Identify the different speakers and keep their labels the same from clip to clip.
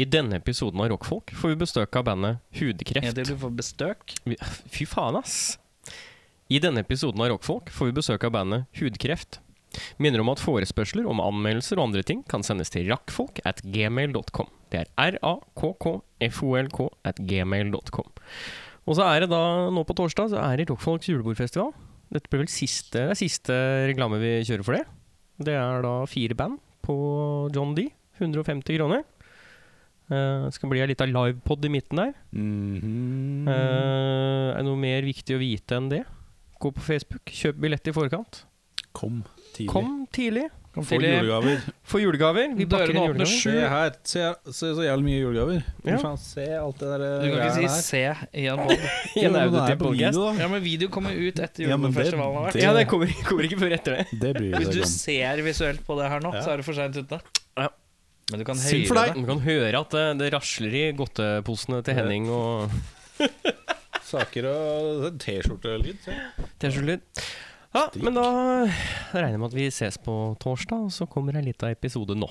Speaker 1: I denne episoden av Rockfolk får vi besøk av bandet
Speaker 2: Er det
Speaker 1: Hudkreft.
Speaker 2: du får bestøk?
Speaker 1: Vi- Fy faen, ass! I denne episoden av Rockfolk får vi besøk av bandet Hudkreft. Minner om at forespørsler om anmeldelser og andre ting kan sendes til rakkfolk at gmail.com. Det er r-a-k-k-f-o-l-k at gmail.com. Og så er det da, nå på torsdag, så er det Rockfolks julebordfestival. Dette blir vel siste, det er siste reklame vi kjører for det. Det er da fire band på John D. 150 kroner. Eh, Det skal bli ei lita livepod i midten der.
Speaker 3: Mhm.
Speaker 2: Mm
Speaker 1: Eh, er det noe mer viktig å vite enn det? Gå på Facebook, kjøp billett i forkant.
Speaker 3: Kom tidlig.
Speaker 1: Kom tidlig.
Speaker 3: Kan få
Speaker 1: tidlig.
Speaker 3: julegaver.
Speaker 1: Få julegaver. Vi pakker inn
Speaker 2: Dørene åpner
Speaker 1: julegaver.
Speaker 2: sju.
Speaker 3: Se her, se, se så jævlig mye julegaver.
Speaker 1: Ja.
Speaker 3: Faen, Se alt det der
Speaker 2: Du kan ikke si 'se' i en båt.
Speaker 1: I en auditiv podcast.
Speaker 2: Ja, men video kommer ut etter
Speaker 3: Ja, men det-
Speaker 2: julefestivalen har vært.
Speaker 3: det-
Speaker 1: Ja, det kommer, kommer ikke før etter det.
Speaker 3: Det bryr vi
Speaker 2: Hvis
Speaker 3: oss
Speaker 2: du
Speaker 3: ikke om.
Speaker 2: ser visuelt på det her nå,
Speaker 3: Ja.
Speaker 2: så er du for seint ute.
Speaker 1: Ja.
Speaker 2: Men du kan
Speaker 3: Synd for
Speaker 2: høyre
Speaker 3: deg.
Speaker 2: det.
Speaker 1: Du kan høre at det, det rasler i godteposene til Henning og
Speaker 3: Saker og T-skjortelyd. se.
Speaker 1: T-skjorter. Ja, men da regner jeg med at vi ses på torsdag, og så kommer ei lita episode nå.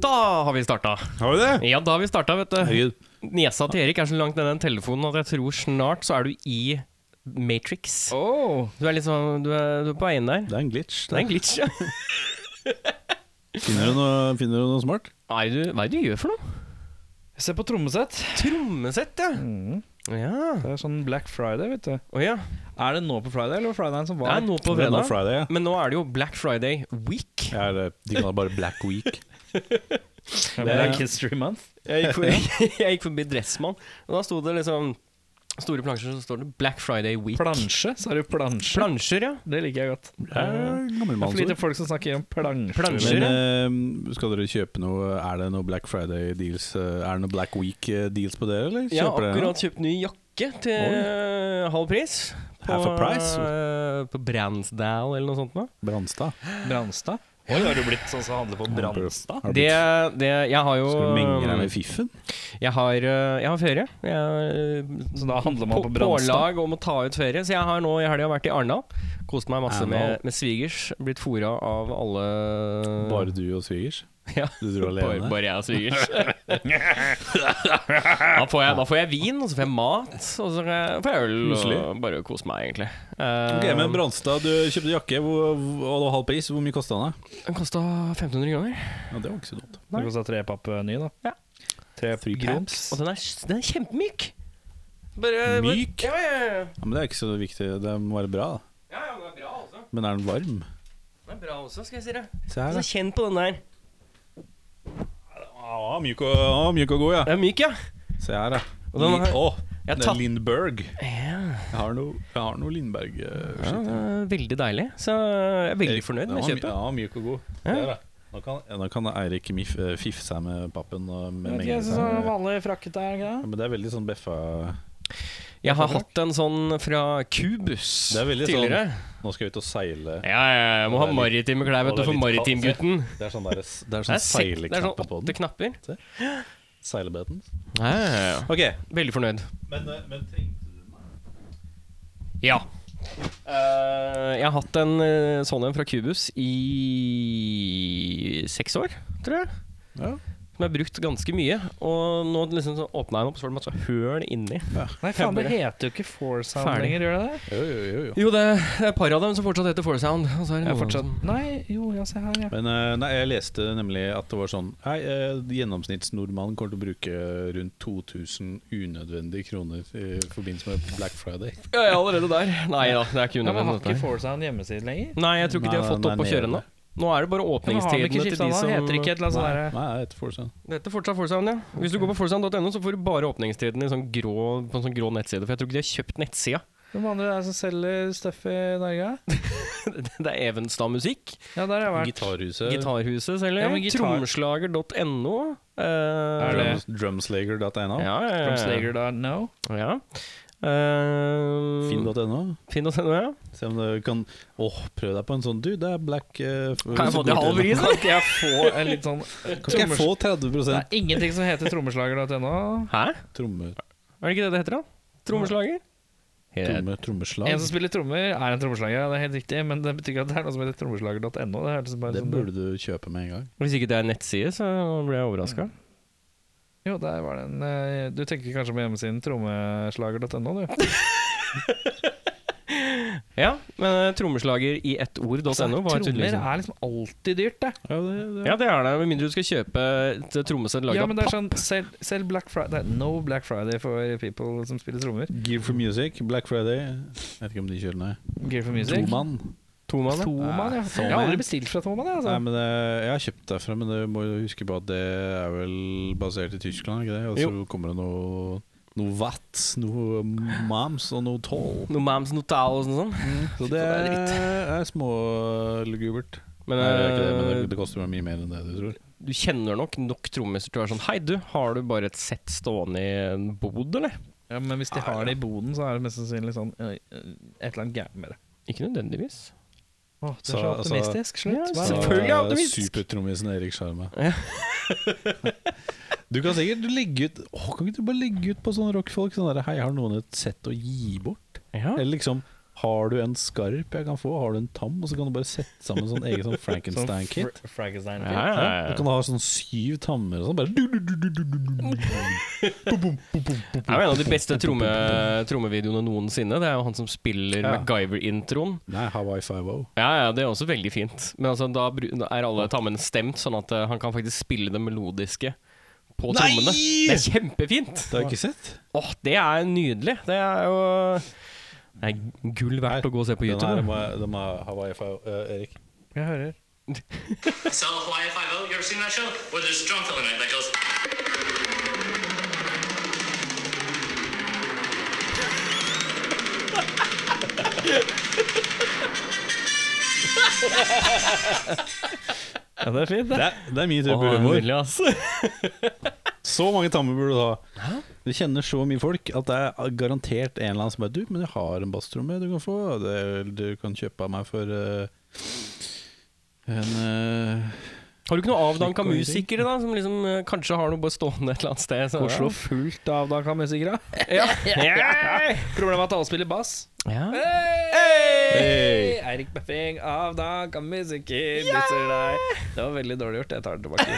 Speaker 1: Da har vi starta.
Speaker 3: Har vi det?
Speaker 1: Ja, da har vi starta, vet du.
Speaker 3: Herregud.
Speaker 1: Nesa til Erik er så langt nede i den telefonen at jeg tror snart så er du i Matrix.
Speaker 2: Åh,
Speaker 1: Du er litt sånn Du er, du er på veien der.
Speaker 3: Det er en glitch.
Speaker 1: Det er en glitch, ja.
Speaker 3: Finner, du noe, finner du noe smart?
Speaker 1: Hva er det du, hva er det du gjør for noe?
Speaker 2: Se på trommesett. Mm,
Speaker 1: Trommesett, ja. Ja.
Speaker 2: Det er sånn Black Friday, vet du.
Speaker 1: Å ja.
Speaker 2: Er det nå på Friday, eller var det Fridayen som
Speaker 1: Det
Speaker 2: var?
Speaker 1: er nå på
Speaker 3: Det er nå
Speaker 1: fredag.
Speaker 3: Friday, ja.
Speaker 1: Men nå er det jo Black Friday week.
Speaker 3: ja det, de kaller det bare Black Week.
Speaker 2: Black History Month.
Speaker 1: Jeg gikk forbi, jeg gikk forbi Dressmann, og da sto det liksom Store plansjer, så står det Black Friday week.
Speaker 2: Plansje, sa du plansje?
Speaker 1: Plansjer, ja.
Speaker 2: Det liker jeg godt.
Speaker 3: Det er
Speaker 2: Det
Speaker 3: altså-
Speaker 2: er for lite
Speaker 3: Gammelmannsord.
Speaker 2: folk som snakker om plansjer.
Speaker 1: Plansjer.
Speaker 3: Men eh, skal dere kjøpe noe Er det noe Black Friday deals eh, Er det noe Black Week eh, deals på dere, eller?
Speaker 1: Jeg har
Speaker 3: Kjøper dere noe?
Speaker 1: akkurat kjøpt ny jakke til eh, halv pris.
Speaker 3: Half a price?
Speaker 1: eh, på Bransdal eller noe sånt. Nå.
Speaker 3: Branstad.
Speaker 2: Bransstad? Oi, har du blitt sånn som handler på Bransstad?
Speaker 3: Har du
Speaker 1: Det,
Speaker 3: blitt-
Speaker 1: det Jeg har jo um,
Speaker 3: Skal du mingle deg med fiffen?
Speaker 1: Jeg har, eh, jeg eh, har ferie. Jeg har
Speaker 2: Så da handler man
Speaker 1: på,
Speaker 2: på Bransstad?
Speaker 1: pålag om å ta ut ferie. Så jeg har nå i helga vært i Arendal. Kost meg masse
Speaker 3: Arendal.
Speaker 1: med, med svigers. Blitt fora av alle
Speaker 3: Bare du og svigers?
Speaker 1: Ja.
Speaker 3: Du dro
Speaker 1: bare,
Speaker 3: alene?
Speaker 1: bare jeg og svigers. da, får jeg, da får jeg vin, og så får jeg mat, og så får jeg- får jeg øl.
Speaker 3: Koselig.
Speaker 1: Og bare kose meg, egentlig. Eh,
Speaker 3: Ok, men Branstad, du kjøpte jakke hvor, hvor- og det var halv pris. Hvor mye kosta den? da?
Speaker 1: Eh, Den kosta 1500 kroner.
Speaker 3: Ja, det var ikke så dumt.
Speaker 2: Det kosta tre papp eh, ny, da.
Speaker 1: Ja.
Speaker 2: Tre
Speaker 3: Three
Speaker 2: grums.
Speaker 3: packs.
Speaker 1: Og den er, den er kjempemyk. Bare,
Speaker 3: Myk?
Speaker 1: Bare, ja, ja, ja.
Speaker 3: Ja, men det er ikke så viktig. Det må være bra. da.
Speaker 1: ja, ja, den er bra også.
Speaker 3: Men er den varm?
Speaker 1: Den er bra også, skal jeg si deg.
Speaker 3: Se her,
Speaker 1: Så
Speaker 3: da.
Speaker 1: kjenn på den der.
Speaker 3: Ah, mjuk og, ah, mjuk og god, ja.
Speaker 1: Den er myk, ja.
Speaker 3: Se her, da.
Speaker 1: Og den har-
Speaker 3: Å,
Speaker 1: Jeg
Speaker 3: det
Speaker 1: tatt-
Speaker 3: er Lindberg.
Speaker 1: ja.
Speaker 3: Jeg har noe, jeg har noe Lindberg. eh,
Speaker 1: Ja,
Speaker 3: shit.
Speaker 1: det er veldig deilig. Så jeg er veldig fornøyd
Speaker 3: Den
Speaker 1: med
Speaker 3: var my-
Speaker 1: kjøpet.
Speaker 3: Ja, mjuk og god.
Speaker 1: Ja.
Speaker 3: Der, da. Nå kan, ja, nå kan Eirik mif, eh, fiffe seg med pappen. Og med
Speaker 2: Vet ikke, jeg
Speaker 3: mengden.
Speaker 2: synes det var vanlig frakkete er
Speaker 3: ja,
Speaker 2: greia.
Speaker 3: men det er veldig sånn beffa
Speaker 1: Jeg har hatt en sånn fra Cubus
Speaker 3: Det er veldig
Speaker 1: tidligere.
Speaker 3: Nå skal jeg ut og seile.
Speaker 1: Ja, ja, ja, jeg må ha maritime klær, vet du,
Speaker 3: Og det er
Speaker 1: for
Speaker 3: litt kaldt, se.
Speaker 1: maritimgutten.
Speaker 3: Det er sånn, der, det er
Speaker 1: Det
Speaker 3: sånn
Speaker 1: er, sek, det er sånn
Speaker 3: seileknappe på
Speaker 1: åtte
Speaker 3: den.
Speaker 1: knapper.
Speaker 3: Seilebeten.
Speaker 1: Ja, ja, ja.
Speaker 3: Ok,
Speaker 1: Veldig fornøyd.
Speaker 3: men, eh, men tenkte du
Speaker 1: Ja. Eh, jeg har hatt en eh, sånn en fra Cubus i seks år, tror jeg.
Speaker 3: Ja.
Speaker 1: Som jeg har brukt ganske mye. Og nå liksom så åpna jeg den opp, så var det masse høl inni.
Speaker 2: Nei, faen, det heter jo ikke Foursound
Speaker 1: Ferdig.
Speaker 2: lenger, gjør det det?
Speaker 3: Jo, jo, jo, jo.
Speaker 1: Jo, det det er et par av dem som fortsatt heter Foursound. Og så er
Speaker 2: Jeg
Speaker 1: det noen
Speaker 2: fortsatt
Speaker 1: som-
Speaker 2: Nei, jo, ja, se her, ja.
Speaker 3: Men eh, nei, jeg leste nemlig at det var sånn Nei, eh, gjennomsnittsnordmannen kommer til å bruke rundt 2000 unødvendige kroner i forbindelse med Black Friday.
Speaker 1: Ja, jeg er allerede der. Nei da, det er ikke
Speaker 2: Ja, men
Speaker 1: unødvendig.
Speaker 2: har ikke
Speaker 1: dette her.
Speaker 2: Foursound hjemmeside lenger?
Speaker 1: Nei, jeg tror ikke de har
Speaker 3: Nei,
Speaker 1: fått
Speaker 3: nei,
Speaker 1: opp å
Speaker 3: nei,
Speaker 1: kjøre
Speaker 3: nei.
Speaker 1: ennå. Nå er det bare
Speaker 2: Ja, Men har de ikke
Speaker 1: åpningstidene til
Speaker 2: skifta
Speaker 1: de
Speaker 2: navn?
Speaker 1: som
Speaker 2: Heter det ikke et eller annet
Speaker 3: Nei,
Speaker 2: sånt
Speaker 3: nei, jeg heter Forsen.
Speaker 1: Det heter fortsatt Forsound, ja. Hvis du går på forsound.no, så får du bare åpningstidene i sånn grå, på en sånn grå nettside. For jeg tror ikke de har kjøpt nettsida.
Speaker 4: Hvem andre er det som selger stuff i Norge?
Speaker 1: Det er Evenstad Musikk.
Speaker 4: Ja, der har jeg vært.
Speaker 3: Gitarhuset.
Speaker 1: Gitarhuset selger.
Speaker 4: Ja, men gitar-
Speaker 1: Trommeslager.no. eh,
Speaker 4: Er det-
Speaker 3: Drums- Drumslager.no.
Speaker 1: Ja, ja, ja.
Speaker 4: Drumslager da, no?
Speaker 1: Ja. Eh,
Speaker 3: Finn.no.
Speaker 1: Finn.no, ja.
Speaker 3: Se om du kan Åh, prøv deg på en sånn. Du, det er black eh, f-
Speaker 1: Kan jeg få til halv pris, da?
Speaker 4: Kan ikke jeg få en litt sånn
Speaker 3: Kan ikke jeg få 30
Speaker 4: Det er ingenting som heter trommeslager.no.
Speaker 1: Hæ?
Speaker 3: tromme,
Speaker 1: Er det ikke det det heter, da? Trommeslager? Helt
Speaker 3: tromme,
Speaker 4: En
Speaker 3: trommeslag?
Speaker 4: som spiller trommer, er en trommeslager, ja, det er helt riktig. Men det betyr ikke at det er noe som heter trommeslager.no. Det er liksom bare
Speaker 3: Det
Speaker 4: sånn-
Speaker 3: burde du kjøpe med en gang.
Speaker 1: Hvis ikke det er en nettside, så blir jeg overraska.
Speaker 4: Jo, der var den eh, Du tenker kanskje på hjemmesiden trommeslager.no, du.
Speaker 1: Ja, men eh, trommeslager i ett ord.no var
Speaker 4: trommer
Speaker 1: tydeligvis
Speaker 4: er liksom alltid dyrt, det.
Speaker 3: Ja, det, det.
Speaker 1: Ja, det er det, med mindre du skal kjøpe et eh, trommesett laget
Speaker 4: Ja, men det
Speaker 1: av
Speaker 4: er
Speaker 1: papp.
Speaker 4: sånn selv, selv Black Friday Nei, No Black Friday for people som spiller trommer.
Speaker 3: Gear for Music, Black Friday Jeg vet ikke om de kjører ned.
Speaker 4: Gear for Music.
Speaker 3: Tomann.
Speaker 1: Tomann, ja.
Speaker 4: Toman, ja. Jeg har aldri bestilt fra Toman, jeg.
Speaker 3: Nei,
Speaker 4: Altså.
Speaker 3: men det, jeg har kjøpt derfra, men du må jo huske på at det er vel basert i Tyskland, ikke det? Og så kommer det noe noe Vats, noe Mams og noe Toll.
Speaker 1: Noe Mams Notal og sånn. sånn.
Speaker 3: Så det
Speaker 1: det
Speaker 3: er,
Speaker 1: er
Speaker 3: er smålugubert.
Speaker 1: Men,
Speaker 3: Nei, det er ikke det, men det,
Speaker 1: eh,
Speaker 3: det koster meg mye mer enn det du tror.
Speaker 1: du kjenner nok nok trommiser til å være sånn Hei, du, har du bare et sett stående i en bod, eller?
Speaker 4: Ja, men hvis de har det i boden, så er det mest sannsynlig sånn eh, et eller annet gærent med det.
Speaker 1: Ikke nødvendigvis.
Speaker 4: Åh, du er
Speaker 3: Så,
Speaker 4: så
Speaker 3: altså-
Speaker 4: optimistisk. Slutt.
Speaker 1: Ja,
Speaker 4: Hva er det?
Speaker 1: selvfølgelig
Speaker 3: Så,
Speaker 1: er det visst.
Speaker 3: Supertrommisen Erik Sjarma.
Speaker 1: Ja.
Speaker 3: du kan sikkert legge ut Åh, Kan ikke du bare legge ut på sånne rockfolk sånn derre Hei, har noen et sett å gi bort?
Speaker 1: Ja.
Speaker 3: Eller liksom Har du en skarp jeg kan få? Har du en tam? Og så kan du bare sette sammen sånn egen sånn
Speaker 4: Sånn
Speaker 3: Frankenstein-kit.
Speaker 4: Fra- Frankenstein.
Speaker 1: Ja, ja,
Speaker 3: Ja, Du
Speaker 1: ja.
Speaker 3: kan ha sånn syv tammer og sånn. Bare du, du, du, du, du, du, du, du.
Speaker 1: Det er jo en av de beste tromme, trommevideoene noensinne. Det er jo han som spiller
Speaker 3: Ja.
Speaker 1: MacGyver-introen.
Speaker 3: Nei, Hawaii Five-O.
Speaker 1: Ja, ja, det er også veldig fint. Men altså, da bru- da er alle tammene stemt, sånn at eh, han kan faktisk spille det melodiske på
Speaker 3: Nei!
Speaker 1: trommene. Det er kjempefint!
Speaker 3: Det har jeg ikke sett.
Speaker 1: Åh, det er nydelig. Det er jo Det er gull verdt å gå og se på
Speaker 3: Den her
Speaker 1: YouTube.
Speaker 3: må jeg- den må jeg- Hawaii Five-O, eh, Erik.
Speaker 4: Jeg hører.
Speaker 5: So Hawaii Five-O, you ever seen that show? Where there's a drum fill in it that goes.
Speaker 4: Ja, det er fint, det.
Speaker 3: Det er, det er min
Speaker 1: Åh,
Speaker 3: type
Speaker 1: det er
Speaker 3: humor.
Speaker 1: nydelig, altså.
Speaker 3: Så mange tammer burde du ha. Du kjenner så mye folk at det er garantert en eller annen som bare Du, men jeg har en basstromme du kan få. Det, du kan kjøpe av meg for eh, en eh,
Speaker 1: Har du ikke noen avdanka
Speaker 3: Slik og
Speaker 1: musikere da som liksom eh, kanskje har noe bare stående et eller annet sted? Så,
Speaker 4: Oslo fullt av Dankan-musikere.
Speaker 1: Ja. Ja.
Speaker 4: Problemet er at alle spiller bass.
Speaker 1: Ja.
Speaker 4: Hey! Eirik Beffing av Dankan-musiker disser deg. Det var veldig dårlig gjort. Jeg tar det tilbake.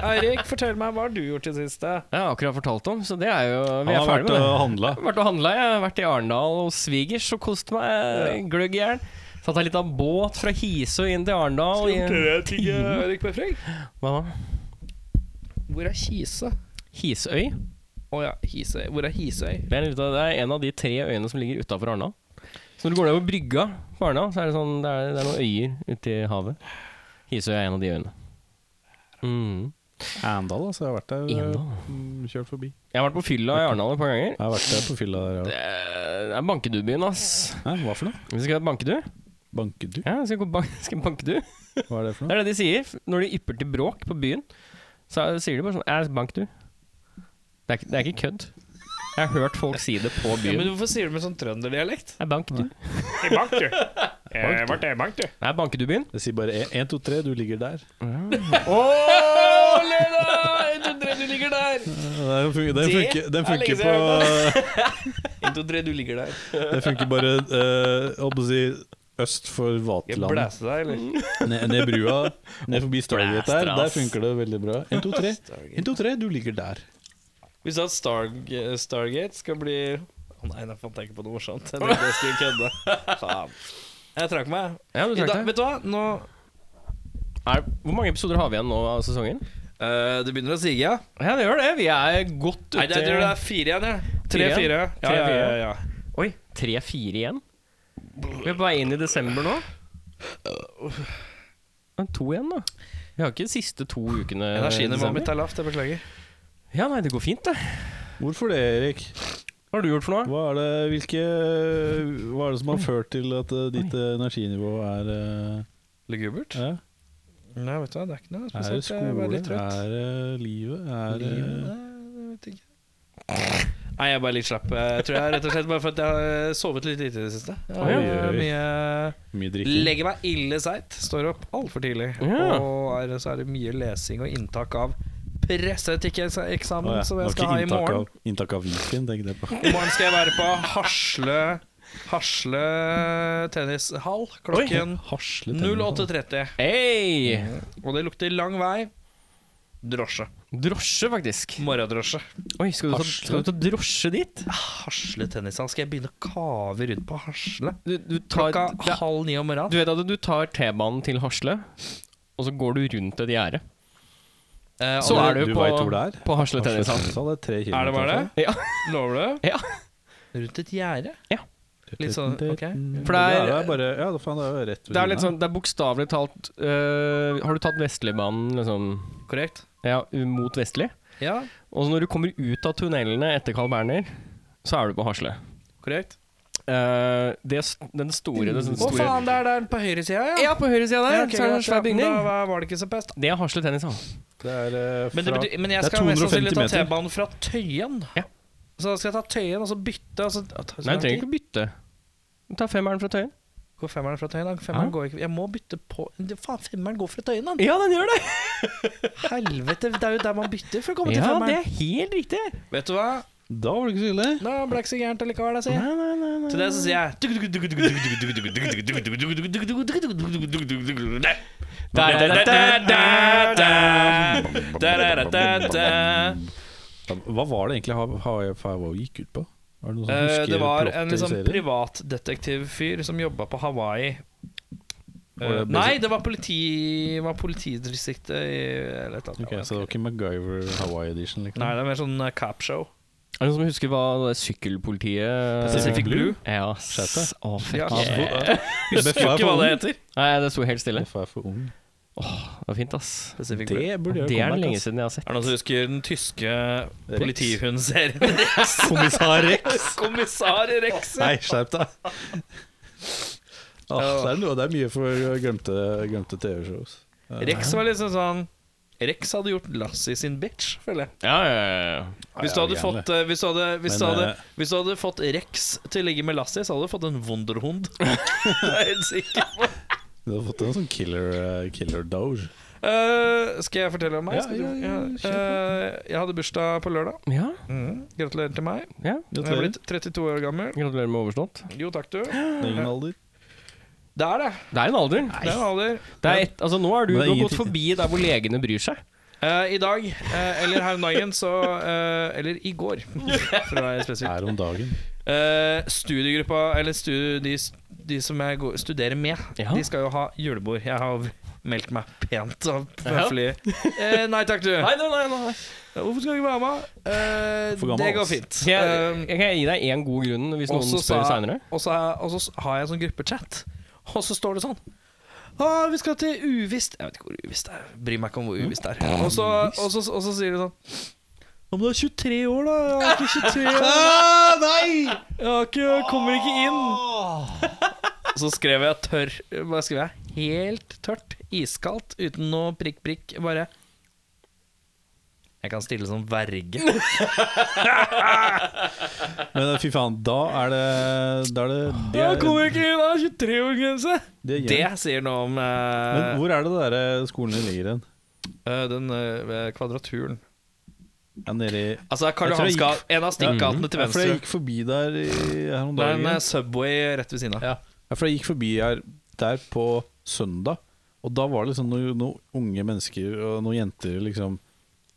Speaker 4: Eirik, fortell meg, hva har du gjort i det siste?
Speaker 1: Jeg har akkurat fortalt om, så det er jo Vi
Speaker 3: Han
Speaker 1: er
Speaker 3: har vært eh,
Speaker 1: ferdig med
Speaker 3: og
Speaker 1: det.
Speaker 3: handla.
Speaker 1: Jeg har vært og handla, jeg har vært i Arendal og svigers og kost meg eh, gløgg i hjel. Tatt ei lita båt fra Hisøy inn til Arendal. i en time.
Speaker 4: Eirik Beffing?
Speaker 1: Hva da?
Speaker 4: Hvor er Kise?
Speaker 1: Hisøy?
Speaker 4: Å ja, Hisøy. Hvor er Hisøy?
Speaker 1: Det er, litt av- det er en av de tre øyene som ligger utafor Arendal. Så når du går ned på brygga på Arendal, så er det, sånn, det, er, det er noen øyer ute i havet. Hisøy er en av de øyene. Mm.
Speaker 3: Arendal, altså. Jeg har vært der. eh,
Speaker 1: Arendal.
Speaker 3: mm, Kjørt forbi.
Speaker 1: Jeg har vært på fylla i Arendal et par ganger.
Speaker 3: Jeg har vært der på fylla der. Ja.
Speaker 1: Det er- det er Bankedu-byen, ass.
Speaker 3: Hæ, hva for noe?
Speaker 1: Vi skal ha bankedu.
Speaker 3: Bankedu?
Speaker 1: Ja, vi skal, gå ban skal bankedu.
Speaker 3: Hva er det for
Speaker 1: Det
Speaker 3: noe?
Speaker 1: er det de sier f- når de ypper til bråk på byen. Så er- sier de bare sånn «Ja, Bank, du. Det er, ikke- det er ikke kødd. Jeg har hørt folk si det på
Speaker 4: Ja, men
Speaker 1: byen.
Speaker 4: hvorfor sier du med sånn trønderdialekt?
Speaker 1: Nei, bank, du.
Speaker 4: I bank, du. Jeg ble i bank, du.
Speaker 1: Nei, banker du byen?
Speaker 3: Jeg sier bare 1, 2, 3, du ligger der.
Speaker 4: du ligger der.
Speaker 3: Den funker, den funker, den
Speaker 4: er lenge
Speaker 3: funker
Speaker 4: siden
Speaker 3: på
Speaker 4: du ligger der.
Speaker 3: Den funker bare eh, Hva skal jeg si Øst for
Speaker 4: Jeg
Speaker 3: Vaterland. Mm.
Speaker 4: blæste deg, eller?
Speaker 3: Ned, ned brua, ned forbi Stargate der.
Speaker 1: Blæster,
Speaker 3: Der
Speaker 1: ass.
Speaker 3: funker det veldig bra. 1, 2, 3. 1, 2, 3, du ligger der.
Speaker 4: Vi sa at Star Stargate skal bli Å nei, da fant jeg ikke på noe morsomt. Jeg tenkte jeg skulle kødde. Faen. Jeg trakk meg.
Speaker 1: Ja, du
Speaker 4: I dag,
Speaker 1: trakk deg.
Speaker 4: vet du hva? Nå
Speaker 1: Er, hvor mange episoder har vi igjen nå av sesongen?
Speaker 4: Eh, Det begynner å sige, ja.
Speaker 1: Ja, det gjør det. Vi er godt
Speaker 4: Nei, jeg tror det er
Speaker 1: ute.
Speaker 4: fire igjen, jeg.
Speaker 1: Fire igjen?
Speaker 4: Tre-fire. Ja, ja, ja, ja.
Speaker 1: Oi, tre-fire igjen? Vi er på vei inn i desember nå. Men to igjen, da. Vi har ikke de siste to ukene. i
Speaker 4: Energinivået
Speaker 1: desember.
Speaker 4: mitt er lavt, jeg beklager.
Speaker 1: Ja, nei, det går fint, det.
Speaker 3: Hvorfor det, Erik?
Speaker 1: Hva har du gjort for noe?
Speaker 3: Hva er det, hvilke, hva er det som har ført til at eh, ditt eh, energinivå er eh,
Speaker 4: Lugubert?
Speaker 3: ja?
Speaker 4: Nei, vet du hva, det er ikke noe
Speaker 3: Er det
Speaker 4: spesielt. Jeg er
Speaker 3: skole?
Speaker 4: bare litt trøtt.
Speaker 3: Er det livet? Er eh, det
Speaker 4: Livet? Nei, jeg vet ikke. Nei, jeg er bare litt slapp. Jeg tror jeg rett og slett bare for at jeg har eh, sovet litt lite i det siste. Jeg har
Speaker 3: Oi, oi, oi.
Speaker 4: mye
Speaker 3: mye drikking?
Speaker 4: Legger meg ille seigt. Står opp altfor tidlig.
Speaker 1: Ja.
Speaker 4: Og er, så er det mye lesing og inntak av presseetikeksamen
Speaker 3: Å ja,
Speaker 4: som
Speaker 3: det var
Speaker 4: jeg skal
Speaker 3: ikke
Speaker 4: ha i
Speaker 3: inntak
Speaker 4: morgen.
Speaker 3: Av, inntak av hvitvin, tenkte jeg på.
Speaker 4: I morgen skal jeg være på Hasle Hasle tennishall klokken
Speaker 3: Hasle tenner, da.
Speaker 4: 08.30.
Speaker 1: Hei!
Speaker 4: Og det lukter lang vei. Drosje.
Speaker 1: Drosje, faktisk.
Speaker 4: Morgendrosje.
Speaker 1: Oi, skal du ta,
Speaker 3: Hasle.
Speaker 1: skal du ta drosje dit?
Speaker 4: Ah, Hasle tennishall. Skal jeg begynne å kave rundt på Hasle?
Speaker 1: Du, du, tar,
Speaker 4: Klokka
Speaker 1: det,
Speaker 4: halv ni om
Speaker 1: du
Speaker 4: morgenen.
Speaker 1: vet at du tar T-banen til Hasle, og så går du rundt et gjerde.
Speaker 4: Eh,
Speaker 1: Så
Speaker 4: og-
Speaker 1: er du,
Speaker 3: du
Speaker 1: på,
Speaker 3: vet hvor det er?
Speaker 1: på Hasle tennishall.
Speaker 3: Tennishall er tre
Speaker 4: Er det bare det?
Speaker 1: Ja.
Speaker 4: Lover du?
Speaker 1: Ja.
Speaker 4: Rundt et gjerde? Litt sånn, ok.
Speaker 3: Mm.
Speaker 1: For det er-
Speaker 3: Ja, det er bare Ja, faen, det er jo rett ved
Speaker 1: Det er litt
Speaker 3: siden
Speaker 1: sånn, det er bokstavelig talt øh, Har du tatt Vestligbanen, liksom?
Speaker 4: Korrekt.
Speaker 1: Ja, mot Vestlig?
Speaker 4: Ja,
Speaker 1: Og så når du kommer ut av tunnelene etter Carl Berner, så er du på Hasle.
Speaker 4: korrekt.
Speaker 1: Eh, det, s- den store, den
Speaker 4: Å
Speaker 1: store
Speaker 4: faen, det er der på høyresida, ja.
Speaker 1: Ja, på høyresida der
Speaker 4: Ja, ok,
Speaker 1: så er det en
Speaker 4: greit, ja.
Speaker 1: svær bygning.
Speaker 4: Da var- var det ikke så pest.
Speaker 1: Det er Hasle tennishall.
Speaker 3: der. Det er eh,
Speaker 4: Men, det
Speaker 3: fra-
Speaker 4: betyr, men jeg
Speaker 3: Det er
Speaker 4: skal mest sannsynlig
Speaker 3: 250
Speaker 4: ta
Speaker 3: meter.
Speaker 4: T-banen fra Tøyen.
Speaker 1: Ja.
Speaker 4: Så da skal jeg ta Tøyen og så bytte. Og så, Å, ta- så
Speaker 1: Nei,
Speaker 4: lang
Speaker 1: du trenger
Speaker 4: tid.
Speaker 1: ikke å bytte. Du tar femmeren fra Tøyen.
Speaker 4: Går femmeren fra Tøyen? da? Femmeren
Speaker 1: Ja.
Speaker 4: går ikke Jeg må bytte på Det- Faen, femmeren går fra Tøyen, da!
Speaker 1: Ja, den gjør det!
Speaker 4: Helvete, det er jo der man bytter for å komme til
Speaker 1: Ja, det
Speaker 4: femmeren.
Speaker 1: er helt riktig.
Speaker 4: Vet du hva?
Speaker 3: Da var det ikke så ille.
Speaker 4: Da ble det ikke så gærent allikevel, jeg sier.
Speaker 1: Nei, nei, nei, nei.
Speaker 4: Til det så sier jeg
Speaker 1: Da, da, da, da, da, da.
Speaker 4: Da-da-da-da-da.
Speaker 3: Hva var det egentlig High- High Five gikk ut på? Var det, noen som
Speaker 4: Eh,
Speaker 3: husker
Speaker 4: det var en
Speaker 3: plottet i
Speaker 4: liksom
Speaker 3: serien?
Speaker 4: privatdetektivfyr som jobba på Hawaii.
Speaker 3: Var
Speaker 4: Eh,
Speaker 3: det bare
Speaker 4: nei,
Speaker 3: så-
Speaker 4: det var, politi, var politidistriktet i eller et eller annet.
Speaker 3: Ok, Så det var ikke MacGyver Hawaii Edition? Liksom.
Speaker 4: Nei, det er mer sånn eh, capshow.
Speaker 1: Er det noen som husker hva det sykkelpolitiet
Speaker 3: Pacific Blue?
Speaker 1: Ja.
Speaker 3: Skjøt
Speaker 1: s- Å,
Speaker 4: Ja.
Speaker 1: fuck.
Speaker 3: Altså,
Speaker 1: yeah.
Speaker 3: Husker
Speaker 4: Husker ikke hva det heter.
Speaker 1: Nei, det sto helt stille.
Speaker 3: Hvorfor er jeg for ung?
Speaker 1: Det var fint, ass.
Speaker 4: Pacific Blue.
Speaker 3: Det burde
Speaker 1: Det
Speaker 3: jeg
Speaker 1: er det lenge
Speaker 3: lenge
Speaker 1: siden jeg har sett.
Speaker 4: Er det noen som husker den tyske
Speaker 3: Rex?
Speaker 4: politihundserien?
Speaker 3: Kommissar Rex!
Speaker 4: Kommissar Rex.
Speaker 3: Nei, skjerp deg! Åh, det, er noe, det er mye for glemte, glemte TV-show. ass.
Speaker 4: Rex var liksom sånn Rex hadde gjort Lassie sin bitch, føler jeg.
Speaker 1: Ja, ja, ja, ja.
Speaker 4: Hvis du
Speaker 3: Ja,
Speaker 4: hadde
Speaker 3: gjerne.
Speaker 4: fått, eh, hvis du hadde, hvis du
Speaker 3: Men,
Speaker 4: hadde,
Speaker 3: eh,
Speaker 4: hvis du hadde fått Rex til å ligge med Lassie, så hadde du fått en Wunderhund. Det er jeg helt sikker på.
Speaker 3: Du har fått en sånn killer, eh, killer doge.
Speaker 4: Eh, skal jeg fortelle om meg?
Speaker 3: Ja,
Speaker 4: Skal du-
Speaker 3: ja, ja,
Speaker 4: ja.
Speaker 3: kjør
Speaker 4: Eh, jeg hadde bursdag på lørdag.
Speaker 1: ja,
Speaker 4: Gratulerer til meg.
Speaker 1: ja.
Speaker 4: Jeg er
Speaker 3: Gratulerer.
Speaker 4: blitt 32 år gammel.
Speaker 1: Gratulerer med overstått.
Speaker 4: Jo, takk, du.
Speaker 3: Ingen alder.
Speaker 4: Det er det.
Speaker 1: Det er en alder.
Speaker 4: Det er en alder.
Speaker 1: Det er et, altså, nå er du,
Speaker 3: Men
Speaker 1: du
Speaker 3: det er
Speaker 1: har gått
Speaker 3: ingenting-
Speaker 1: forbi der hvor legene bryr seg.
Speaker 4: Eh, I dag, eh, eller her om dagen, så eh, Eller i går, for å være spesifikk.
Speaker 3: Her om dagen.
Speaker 4: Eh, studiegruppa, eller stu- de, s- de som jeg går, studerer med,
Speaker 1: Ja.
Speaker 4: de skal jo ha julebord. Jeg har meldt meg pent av høflig Eh, Nei takk, du.
Speaker 1: nei, nei, nei.
Speaker 4: Hvorfor skal du ikke være med? Eh,
Speaker 3: For gammel,
Speaker 4: det går
Speaker 3: ass.
Speaker 4: fint.
Speaker 1: Skal jeg,
Speaker 4: Eh,
Speaker 1: jeg kan gi deg én god grunn hvis
Speaker 4: Og
Speaker 1: noen
Speaker 4: så
Speaker 1: spør
Speaker 4: sa-
Speaker 1: seinere?
Speaker 4: Og så, har jeg- og så s- har jeg en sånn gruppechat, og så står det sånn Å, vi skal til uvisst Jeg vet ikke hvor uvisst det er. Bryr meg ikke om hvor
Speaker 1: Mm.
Speaker 4: uvisst det er. Og så, og så, og så sier de sånn Ja, men du er 23 år, da. Jeg er ikke 23 år.
Speaker 1: Ah,
Speaker 4: Jeg har ikke, kommer ikke inn.
Speaker 1: Ah.
Speaker 4: Så skrev jeg tørr Hva skrev jeg? Helt tørt, iskaldt, uten noe prikk, prikk. Bare Jeg kan stille som verge.
Speaker 3: Men eh, fy faen, da er det Da er det det
Speaker 4: Jeg
Speaker 3: er-
Speaker 4: kommer ikke inn, jeg har 23-årsgrense.
Speaker 3: det er-
Speaker 4: Ah, Det sier noe om eh,
Speaker 3: Men hvor er det der eh, skolen din ligger hen?
Speaker 4: eh, den eh, ved kvadraturen.
Speaker 3: Ja, nede i
Speaker 4: Altså Karl
Speaker 3: Jeg tror
Speaker 4: Johans
Speaker 3: jeg
Speaker 4: gate. En av stikkgatene til
Speaker 3: Ja, for jeg
Speaker 4: venstre.
Speaker 3: gikk forbi der i, her om
Speaker 4: Det er
Speaker 3: dagen.
Speaker 4: en eh,
Speaker 3: Ja,
Speaker 4: Subway rett ved siden av.
Speaker 3: for jeg gikk forbi her der på søndag, og da var det liksom noen, noen unge mennesker og noen jenter liksom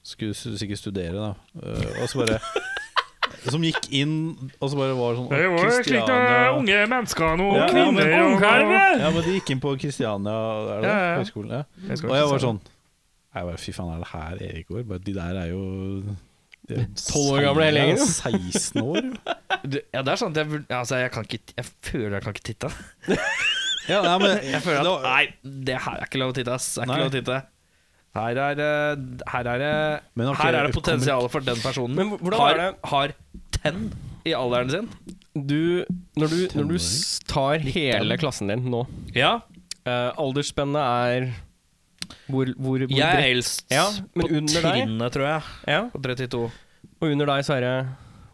Speaker 3: skulle s- sikkert studere, da. Eh, og så bare Som gikk inn, og så bare var sånn
Speaker 6: Det var jo slik det
Speaker 3: Kristiania-
Speaker 6: unge mennesker nå,
Speaker 3: Ja, ja, men-
Speaker 6: kvinner og ungkarve.
Speaker 3: Ja, men de gikk inn på Kristiania er det,
Speaker 6: Ja, ja, ja.
Speaker 3: høgskolen. Ja. Og jeg var sånn jeg bare, Fy faen, er det her Erik går? Bare, de der er jo de er
Speaker 1: 12 år gamle hele gjengen.
Speaker 3: 16 år.
Speaker 4: Du- Ja, det er sånn at jeg, vur- altså, jeg kan ikke Jeg føler jeg kan ikke titte.
Speaker 3: Ja, nei, men jeg
Speaker 4: Jeg føler at Nei, det her er ikke lov å titte, ass. Det er
Speaker 3: Nei.
Speaker 4: ikke lov å titte. Her er, eh, her er, det-
Speaker 3: Men ok,
Speaker 4: her er det
Speaker 3: kommer-
Speaker 4: potensial for den personen.
Speaker 1: Men hvordan
Speaker 4: har,
Speaker 1: er det-
Speaker 4: har ten i alderen sin.
Speaker 1: Du, når du, når du s- tar hele klassen din nå
Speaker 4: Ja,
Speaker 1: eh, Aldersspennet er hvor, hvor, hvor
Speaker 4: jeg er
Speaker 1: bredt-
Speaker 4: eldst
Speaker 1: Ja, men
Speaker 4: på
Speaker 1: under deg-
Speaker 4: trinnet, tror jeg.
Speaker 1: Ja,
Speaker 4: På 32.
Speaker 1: og under deg så er det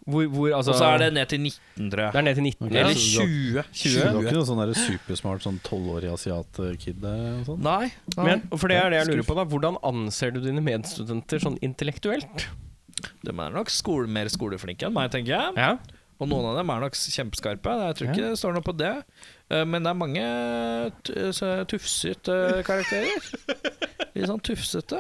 Speaker 1: hvor, hvor, altså,
Speaker 4: Og så er det ned til 19, tror
Speaker 1: Det
Speaker 4: jeg.
Speaker 1: er ned til 19.
Speaker 3: Ja,
Speaker 4: Eller
Speaker 1: så-
Speaker 4: 20.
Speaker 3: Du har
Speaker 1: 20.
Speaker 3: ikke noe sånn der supersmart sånn tolvårig asiat-kid der? og sånn?
Speaker 4: Nei.
Speaker 1: Men, for det er det jeg lurer på, da. Hvordan anser du dine medstudenter sånn intellektuelt?
Speaker 4: De er nok skole, mer skoleflinke enn meg, tenker jeg.
Speaker 1: Ja.
Speaker 4: Og noen av dem er nok kjempeskarpe. Jeg tror ikke det står noe på det. Eh, Men det er mange t- så tufsete karakterer. Litt sånn tufsete.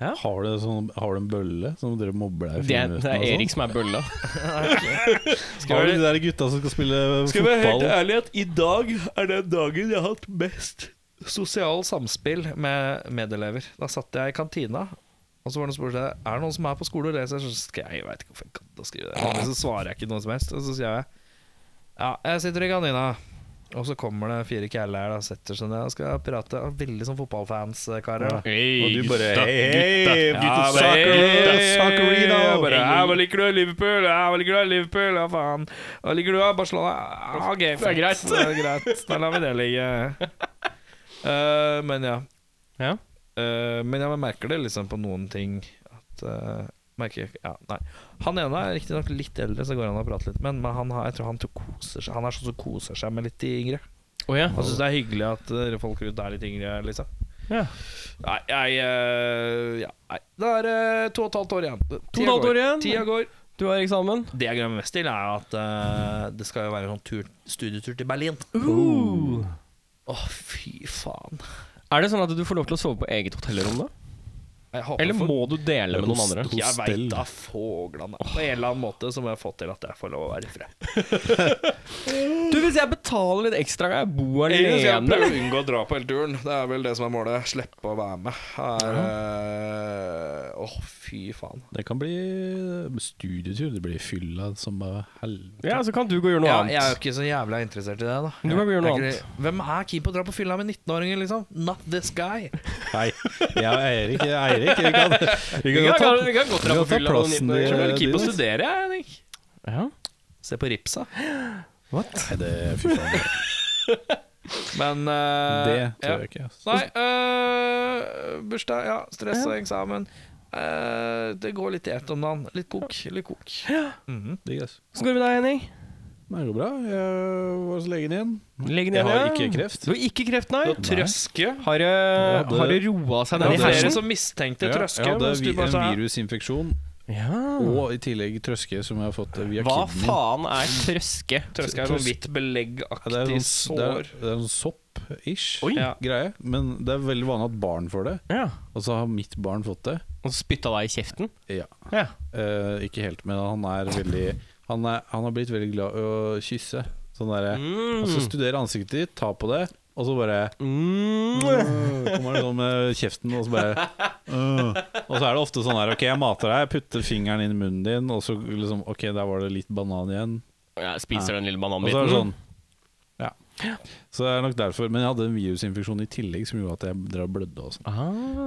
Speaker 3: Har du, sånn, har du en bølle som dere mobber deg i
Speaker 1: Det, det
Speaker 3: friminuttene
Speaker 1: er
Speaker 3: og sånn?
Speaker 4: altså.
Speaker 1: Erik som er bølla.
Speaker 3: Har du de der gutta som skal spille eh, fotball?
Speaker 4: ærlig at i dag er den dagen jeg har hatt mest sosial samspill med medelever. Da satt jeg i kantina, og så var det noen som spurte Er det noen som er på skole og leser. Så skal jeg, jeg vet ikke hvorfor jeg gadd å skrive det. Men så svarer jeg ikke noe som helst. Og så sier jeg Ja, jeg sitter i kantina. Og så kommer det fire kjæler her da, setter seg ned og skal prate. Veldig sånn fotballfans-karer. da.
Speaker 3: Og
Speaker 6: Hey,
Speaker 3: du bare
Speaker 6: gutta,
Speaker 3: hei,
Speaker 6: gutta.
Speaker 3: hei,
Speaker 4: Ja,
Speaker 3: gutta,
Speaker 4: bare,
Speaker 3: soccer,
Speaker 4: hey,
Speaker 3: soccerino!
Speaker 4: jeg bare, ja, Hva liker du av Liverpool? Ja, Hva liker du av Liverpool? Ja, faen. Hva liker du av Barcelona? Ja, ok, det er greit. Det er greit. Da lar vi det ligge. Eh, men ja.
Speaker 1: Ja.
Speaker 4: Eh, men jeg merker det liksom på noen ting at eh, merker, ja, nei. Han ene er riktignok litt eldre, så går han og prater litt med han, men han, har, jeg tror han, to- koser seg. han er sånn som koser seg med litt de yngre.
Speaker 1: Å ja.
Speaker 4: Han syns det er hyggelig at eh, folk rundt er litt yngre, liksom.
Speaker 1: Altså, Ja.
Speaker 4: Nei, jeg eh, ja, nei. Det er eh, to og et halvt år igjen.
Speaker 1: To og et halvt år igjen?
Speaker 4: Tida går.
Speaker 1: Du har eksamen?
Speaker 4: Det jeg gleder meg mest til, er at eh, det skal jo være en sånn tur, studietur til Berlin. Å, fy faen.
Speaker 1: Er det sånn at du får lov til å sove på eget hotellrom, da?
Speaker 4: Jeg håper
Speaker 1: Eller
Speaker 4: for-
Speaker 1: må du dele med noen andre?
Speaker 4: Jeg
Speaker 3: hostell?
Speaker 4: veit da fåglene. På en eller annen måte så må jeg få til at jeg får lov å være i fred.
Speaker 1: Du, hvis jeg betaler litt ekstra, kan jeg bo
Speaker 4: Egentlig skal
Speaker 1: alene?
Speaker 4: jeg prøve å unngå å dra på hele turen. Det er vel det som er målet. Slippe å være med. Her, eh, Åh, fy faen.
Speaker 3: Det kan bli studietur. Det blir fylla som bare helvete.
Speaker 1: Ja, så kan du gå og gjøre noe
Speaker 4: Ja, jeg er jo
Speaker 1: annet.
Speaker 4: ikke så jævla interessert i det, da.
Speaker 1: Du kan gjøre noe
Speaker 4: Jeg er ikke- Hvem er keen på å dra på fylla med 19-åringer, liksom? Not this guy.
Speaker 3: Nei, jeg og Eirik Eirik, vi kan, vi kan godt ta
Speaker 1: godt
Speaker 3: dra på fylla på 19 år.
Speaker 4: Jeg er
Speaker 3: Eh,
Speaker 4: veldig keen på å
Speaker 3: Didrik?
Speaker 4: studere, jeg, Henrik.
Speaker 1: Ja.
Speaker 4: Se på Ripsa.
Speaker 3: Nei, det, fy faen,
Speaker 4: Men eh,
Speaker 3: det
Speaker 4: ja.
Speaker 3: tror jeg ikke. altså. ass.
Speaker 4: Nei, eh, bursdag, ja. Stress og eksamen. Eh, det går litt i ett om dagen. Litt kok, litt kok. Mhm.
Speaker 3: Digg, ass.
Speaker 1: Åssen går det med deg, Henning?
Speaker 3: Men Det går bra. Jeg var hos legen igjen.
Speaker 1: Legg ned
Speaker 3: Jeg har
Speaker 1: ja.
Speaker 3: ikke kreft.
Speaker 1: Du har ikke kreft, nei?
Speaker 4: Trøske.
Speaker 1: Har det,
Speaker 3: hadde-
Speaker 1: har det roa seg
Speaker 4: Det
Speaker 1: ned i
Speaker 4: var dere
Speaker 3: sånn.
Speaker 1: hersen?
Speaker 4: som mistenkte trøske.
Speaker 3: jeg hadde
Speaker 4: mens du
Speaker 3: vi,
Speaker 4: bare
Speaker 3: en
Speaker 4: sa-
Speaker 3: virusinfeksjon
Speaker 1: Ja.
Speaker 3: og i tillegg trøske som jeg har fått via
Speaker 1: Hva
Speaker 3: kidney.
Speaker 1: faen er trøske?
Speaker 4: Trøske er sånn hvitt
Speaker 3: Ja, det er
Speaker 4: beleggaktig
Speaker 3: en sånn, det er,
Speaker 4: sår.
Speaker 3: det er en sopp-ish
Speaker 1: Oi.
Speaker 4: Ja.
Speaker 3: greie. Men det er veldig vanlig at barn får det.
Speaker 1: Ja.
Speaker 3: Og så har mitt barn fått det.
Speaker 1: Og spytta deg i kjeften?
Speaker 3: Ja.
Speaker 1: Ja.
Speaker 3: Eh, ikke helt, men han er veldig Han, er, han har blitt veldig glad i å kysse. Sånn derre
Speaker 4: Mm.
Speaker 3: Altså studere ansiktet ditt, ta på det, og så bare
Speaker 1: Mm.
Speaker 3: øh, Kommer han sånn med kjeften, og så bare øh. Og så er det ofte sånn her OK, jeg mater deg, jeg putter fingeren inn i munnen din, og så liksom OK, der var det litt banan igjen.
Speaker 1: Jeg spiser den lille
Speaker 3: Og så er
Speaker 1: bananbiten.
Speaker 3: det sånn Ja. Så det er nok derfor. Men jeg hadde en virusinfeksjon i tillegg som gjorde at jeg drev og blødde og sånn.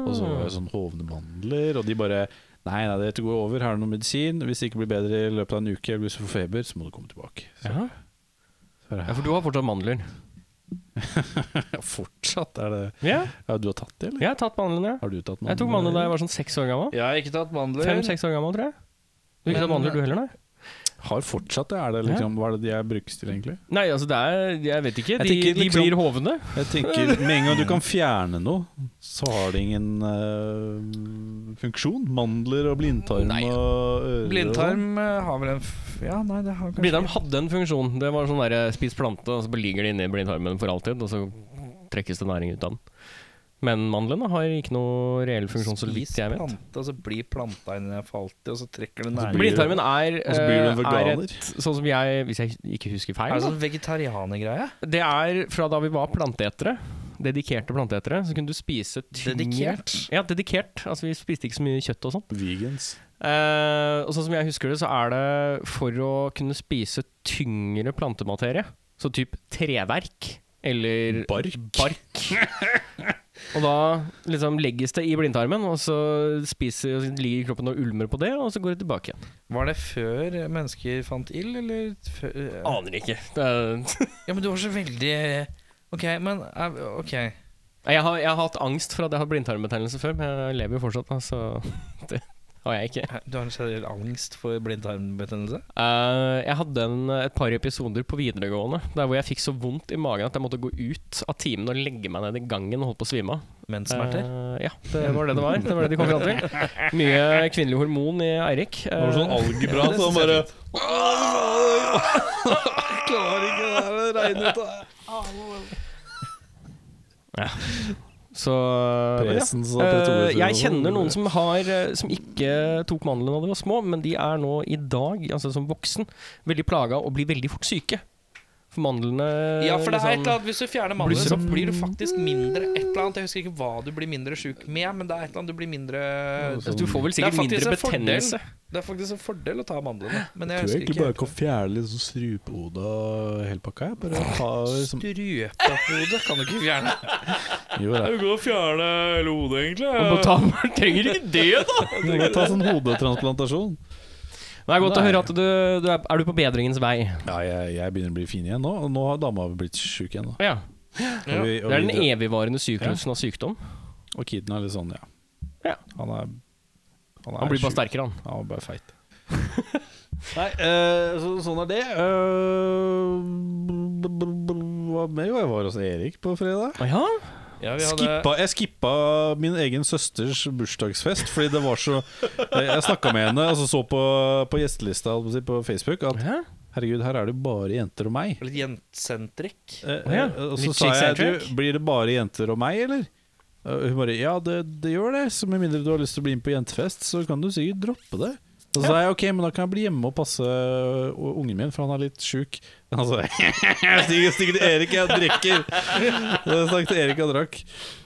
Speaker 3: Og så var det sånn hovne mandler, og de bare Nei, nei, dette går over. Her er det noe medisin. Hvis det ikke blir bedre i løpet av en uke, eller hvis du får feber, så må du komme tilbake. Så
Speaker 1: Ja.
Speaker 3: så er
Speaker 1: ja,
Speaker 3: det,
Speaker 1: for du har fortsatt mandler.
Speaker 3: ja, fortsatt er det
Speaker 1: Ja,
Speaker 3: Ja, du har tatt det, eller?
Speaker 1: jeg har tatt mandlene.
Speaker 3: Har du tatt noen?
Speaker 1: Jeg tok mandler da jeg var sånn seks år gammel.
Speaker 4: Jeg har ikke tatt mandler.
Speaker 1: Fem-seks år gammel, tror jeg. Du har ikke
Speaker 4: Men-
Speaker 1: tatt mandler du heller, nei?
Speaker 3: Har fortsatt det? Er det liksom Hva er det de er brukes til, egentlig?
Speaker 1: Nei, altså det er Jeg vet ikke.
Speaker 3: Jeg
Speaker 1: De,
Speaker 3: tenker
Speaker 1: de
Speaker 3: liksom-
Speaker 1: blir hovne.
Speaker 3: Jeg tenker Med en gang du kan fjerne noe, så har det ingen eh, funksjon. Mandler og blindtarm
Speaker 1: Nei.
Speaker 3: og ører og sånn.
Speaker 4: Blindtarm eh, har vel en f Ja, nei, det har kanskje
Speaker 1: Blindtarm hadde en funksjon. Det var sånn derre spis plante, og så bare ligger det inni blindtarmen for alltid, og så trekkes det næring ut av den. Men mandlene har ikke noe reell funksjon, så vidt jeg vet.
Speaker 4: plante, og så blir planta inni der for alltid, og så trekker det
Speaker 3: blir
Speaker 4: næring.
Speaker 3: det-
Speaker 1: Blindtarmen er,
Speaker 3: Og så blir du
Speaker 1: eh,
Speaker 3: en
Speaker 1: er
Speaker 3: veganer. Altså-
Speaker 1: et Sånn som jeg, hvis jeg ikke husker
Speaker 4: Er
Speaker 1: feil,
Speaker 4: det
Speaker 1: da.
Speaker 4: sånn vegetarianergreie?
Speaker 1: det er fra da vi var planteetere. Dedikerte planteetere. Så kunne du spise tyngre
Speaker 4: Dedikert?
Speaker 1: Ja, dedikert. Altså vi spiste ikke så mye kjøtt og sånn.
Speaker 3: Vegans.
Speaker 1: Eh, og sånn som jeg husker det, så er det for å kunne spise tyngre plantematerie, så typ treverk eller
Speaker 3: Bark.
Speaker 1: bark Og da liksom legges det i blindtarmen, og så spiser og så ligger kroppen og ulmer på det, og så går det tilbake igjen.
Speaker 4: Var det før mennesker fant ild, eller før
Speaker 1: Aner ikke. Det er,
Speaker 4: Ja, men du var så veldig Ok, men eh, Ok.
Speaker 1: jeg, har, jeg har hatt angst for at jeg har blindtarmbetennelse før, men jeg lever jo fortsatt, da, så det har jeg ikke.
Speaker 4: Du har en generell angst for blindtarmbetennelse?
Speaker 1: Eh, jeg hadde en, et par episoder på videregående der hvor jeg fikk så vondt i magen at jeg måtte gå ut av timen og legge meg ned i gangen og holdt på å svime av.
Speaker 4: Menssmerter?
Speaker 1: Eh, ja, det var det det var. Det var det de kom fram til. Mye kvinnelig hormon i Eirik.
Speaker 3: Det var sånn
Speaker 1: Eh,
Speaker 3: algebra, så han bare
Speaker 4: Klarer ikke det her å regne ut av det.
Speaker 1: så
Speaker 3: Presens og sånn.
Speaker 1: Eh,
Speaker 3: pretorius-
Speaker 1: jeg kjenner noen som, har, eh, som ikke tok mandlene da de var små, men de er nå i dag, altså som voksen, veldig plaga og blir veldig fort syke. For mandlene
Speaker 4: Ja, for det er et
Speaker 1: liksom-
Speaker 4: eller annet Hvis du fjerner mandelen, så
Speaker 1: sånn-
Speaker 4: blir du faktisk mindre et eller annet. Jeg husker ikke hva du blir mindre sjuk med, men det er et eller annet du blir mindre
Speaker 1: Du får vel
Speaker 4: Det er
Speaker 1: sikkert
Speaker 4: faktisk
Speaker 1: mindre
Speaker 4: en fordel.
Speaker 1: betennelse.
Speaker 4: Det er faktisk en fordel å ta mandlene. Men jeg
Speaker 3: Tror jeg
Speaker 4: husker
Speaker 3: egentlig
Speaker 4: ikke
Speaker 3: bare kan fjerne litt sånn strupehodet og hele pakka. Jeg bare ta liksom
Speaker 4: Strøpehode kan du ikke fjerne.
Speaker 3: Jo, jeg
Speaker 2: går og fjerner hele hodet, egentlig.
Speaker 1: Og på tarmen trenger ikke det, da!
Speaker 3: kan godt ta sånn hodetransplantasjon.
Speaker 1: Det er godt å
Speaker 3: Nei.
Speaker 1: høre at du, du er, er du på bedringens vei.
Speaker 3: Ja, jeg, jeg begynner å bli fin igjen nå, og nå har dama blitt sjuk igjen. Da.
Speaker 1: Ja.
Speaker 3: Og, vi, og,
Speaker 1: Det er den
Speaker 3: vi-
Speaker 1: evigvarende syklusen av sykdom.
Speaker 3: og kiden er litt sånn, ja.
Speaker 1: Ja.
Speaker 3: Han er Han, er
Speaker 1: Han blir bare
Speaker 3: sjuk.
Speaker 1: sterkere, han.
Speaker 3: Han er bare feit. Nei, eh, så, sånn er det. Eh, b- b- b- Hva med? Jo, jeg var hos Erik på fredag.
Speaker 1: Å ja?
Speaker 4: Ja, vi hadde
Speaker 3: skippa, jeg skippa min egen søsters bursdagsfest fordi det var så Jeg, jeg snakka med henne og så, så på, på gjestelista holdt på å si, på Facebook at
Speaker 1: Hæ?
Speaker 3: herregud, her er det jo bare jenter og meg.
Speaker 4: litt jentsentrikk.
Speaker 3: Eh,
Speaker 1: Å ja,
Speaker 3: eh, Og så
Speaker 1: litt
Speaker 3: sa jeg
Speaker 1: chick-centric.
Speaker 3: du, blir det bare jenter og meg, eller? Og hun bare ja, det, det gjør det, så med mindre du har lyst til å bli med på jentefest, så kan du sikkert droppe det. Og så sa jeg ok, men da kan jeg bli hjemme og passe øh, ungen min, for han er litt sjuk. Han sa jeg stikker, stikker til Erik, jeg drikker. Så jeg stakk til Erik og drakk.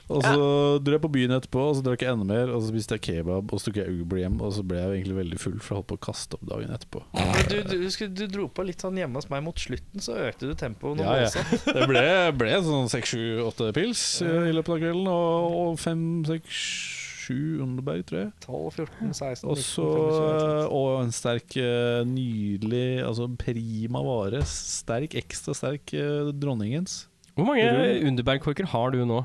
Speaker 3: Og så dro jeg på byen etterpå, og så drakk jeg enda mer. Og så spiste jeg kebab, og så tok jeg Uber hjem, og så ble jeg egentlig veldig full, for jeg holdt på å kaste opp dagen etterpå.
Speaker 4: Men Du, du, husker du dro på litt sånn hjemme hos meg mot slutten, så økte du tempoet noe
Speaker 3: Ja, ja.
Speaker 4: voldsomt.
Speaker 3: Det ble, ble sånn seks, sju, åtte pils eh, i løpet av kvelden, og, og fem, seks, sju Underberg, tror jeg.
Speaker 4: 12, 14, 16, 19,
Speaker 3: Og så
Speaker 4: 25,
Speaker 3: Og en sterk, eh, nydelig, altså prima vare. Sterk, ekstra sterk eh, dronningens.
Speaker 1: Hvor mange Underberg-korker har du nå?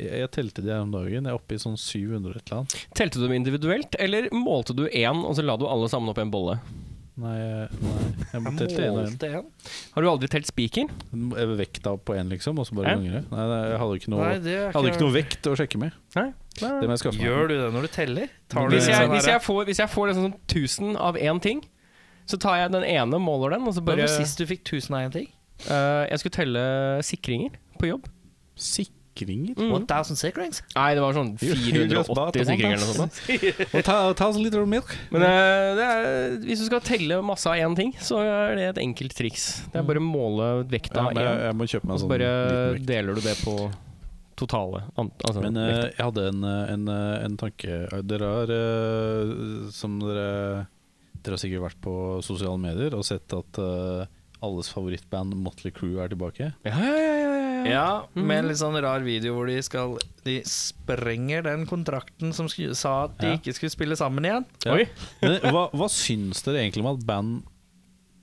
Speaker 3: Jeg, jeg telte de her om dagen. Jeg er oppe i sånn 700 et eller annet.
Speaker 1: Telte du dem individuelt, eller målte du én, og så la du alle sammen opp i en bolle?
Speaker 3: Nei, nei jeg må
Speaker 4: 26.
Speaker 3: telte
Speaker 4: Jeg
Speaker 3: en og en.
Speaker 4: målte en.
Speaker 1: Har du aldri telt spiker?
Speaker 3: Jeg Vekta på én, liksom, og så bare
Speaker 1: Hæ?
Speaker 3: ganger jeg. Nei, nei, jeg hadde ikke noe,
Speaker 4: Nei, det er
Speaker 3: jeg hadde ikke noe vekt å sjekke med.
Speaker 1: Nei.
Speaker 3: Det må jeg skaffe meg.
Speaker 4: Gjør du det når du teller? Tar du
Speaker 1: Hvis jeg,
Speaker 4: sånn
Speaker 1: hvis
Speaker 4: her-
Speaker 1: jeg får, hvis jeg får liksom 1000 av én ting, så tar jeg den ene, måler den, og så
Speaker 4: Hva
Speaker 1: bare
Speaker 4: var sist du fikk 1000 av en ting?
Speaker 1: Eh, Jeg skulle telle sikringer på jobb.
Speaker 3: Sikringer?
Speaker 1: Mhm.
Speaker 4: 1000 sickrings?
Speaker 1: Nei, det var sånn
Speaker 3: You- you just bought
Speaker 1: 480 sikringer
Speaker 3: sånn,
Speaker 1: eller noe sånt. da.
Speaker 3: Og ta, ta oss litt milk.
Speaker 1: Men eh, det er, hvis du skal telle masse av én ting, så er det et enkelt triks. Det er bare å måle vekta
Speaker 3: Ja,
Speaker 1: av
Speaker 3: men jeg,
Speaker 1: én,
Speaker 3: jeg må kjøpe
Speaker 1: og
Speaker 3: meg en
Speaker 1: så
Speaker 3: sånn
Speaker 1: bare
Speaker 3: liten vekt.
Speaker 1: deler du det på totale an, altså,
Speaker 3: Men eh,
Speaker 1: vekta.
Speaker 3: jeg hadde en, eh, en, eh, en tanke Dere har, eh, som dere Dere har sikkert vært på sosiale medier og sett at eh, alles favorittband Motley Crew er tilbake.
Speaker 1: Ja, ja, ja, ja, ja, ja.
Speaker 4: Ja, med en litt sånn rar video hvor de skal De sprenger den kontrakten som sku, sa at de
Speaker 3: Ja.
Speaker 4: ikke skulle spille sammen igjen.
Speaker 1: Oi.
Speaker 3: Men, eh, hva, hva syns dere egentlig om at band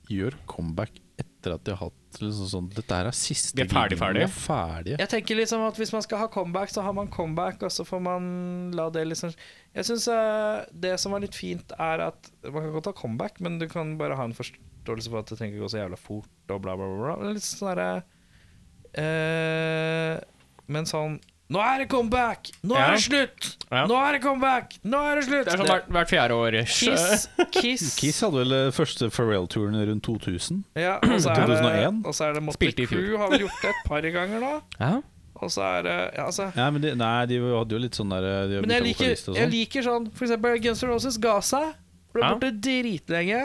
Speaker 3: gjør comeback etter at de har hatt liksom sånn Dette her er siste
Speaker 1: Vi er ferdig,
Speaker 3: giggen, vi er ferdige.
Speaker 4: Jeg tenker liksom at Hvis man skal ha comeback, så har man comeback, og så får man la det liksom Jeg syns det som er litt fint, er at man kan godt ha comeback, men du kan bare ha en forståelse for at det trenger ikke gå så jævla fort og bla, bla, bla. bla. Litt sånn derre eh, Men sånn Nå er det comeback! Nå
Speaker 1: Ja.
Speaker 4: er det slutt!
Speaker 1: Ja.
Speaker 4: Nå er det comeback! Nå er det slutt!
Speaker 1: Det er sånn hvert, hvert fjerde år.
Speaker 4: Kiss, Kiss,
Speaker 3: Kiss hadde vel eh, første Pharrell-turen rundt 2000.
Speaker 4: Ja, og så er det,
Speaker 3: 2001.
Speaker 4: og så er det Motley
Speaker 1: Spilte i fjor.
Speaker 4: Crue har vel gjort det et par ganger nå.
Speaker 1: Ja.
Speaker 4: Og så er det ja, altså,
Speaker 3: Nei, men de, nei, de hadde jo litt sånn der eh, de har
Speaker 4: Men jeg
Speaker 3: byttet
Speaker 4: liker,
Speaker 3: vokalist og
Speaker 4: jeg
Speaker 3: sånn.
Speaker 4: liker sånn For eksempel Guns N' Roses ga seg. Ble
Speaker 1: Ja.
Speaker 4: borte dritlenge.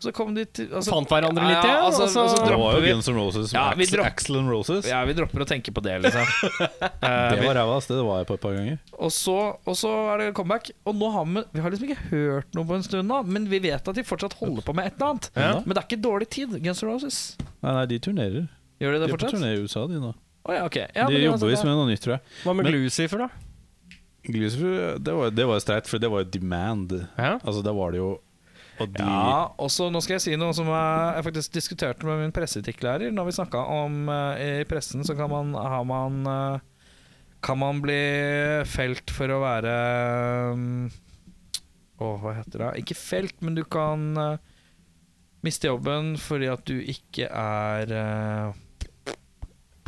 Speaker 4: Så kom de til altså,
Speaker 1: Fant hverandre litt,
Speaker 4: ja.
Speaker 1: ja,
Speaker 4: altså,
Speaker 1: og så-
Speaker 4: altså,
Speaker 3: Det
Speaker 4: dropper
Speaker 3: var jo
Speaker 4: vi-
Speaker 3: Guns N' Roses.
Speaker 4: Ja, vi
Speaker 3: Axl,
Speaker 4: dropp-
Speaker 3: Axl and Roses.
Speaker 4: ja, vi dropper å tenke på det, liksom. Eh,
Speaker 3: Det var ræva, ass. Det var jeg på et par ganger.
Speaker 4: og, så, og så er det comeback. Og nå har vi, vi har liksom ikke hørt noe på en stund, nå men vi vet at de fortsatt holder på med et eller annet.
Speaker 3: Ja.
Speaker 4: Men det er ikke dårlig tid, Guns N' Roses.
Speaker 3: Nei, nei, de turnerer.
Speaker 4: Gjør de det
Speaker 3: De er på
Speaker 4: fortsatt?
Speaker 3: turné i USA, de nå.
Speaker 4: Å ja, ok. Ja,
Speaker 3: de
Speaker 4: men altså
Speaker 3: jobber
Speaker 4: uansett,
Speaker 3: visst med noe nytt, tror jeg.
Speaker 1: Hva med
Speaker 3: Men-
Speaker 1: Glucifer, da?
Speaker 3: Glucifer, det var, det var jo streit, for det var jo demand.
Speaker 1: Ja.
Speaker 3: Altså, da var det jo Og de
Speaker 4: Ja, også, nå skal jeg si noe som jeg, jeg faktisk diskuterte med min presseetikklærer. Når vi snakka om eh, i pressen, så kan man, har man eh, Kan man bli felt for å være mm, Å, hva heter det? Ikke felt, men du kan eh, miste jobben fordi at du ikke er eh,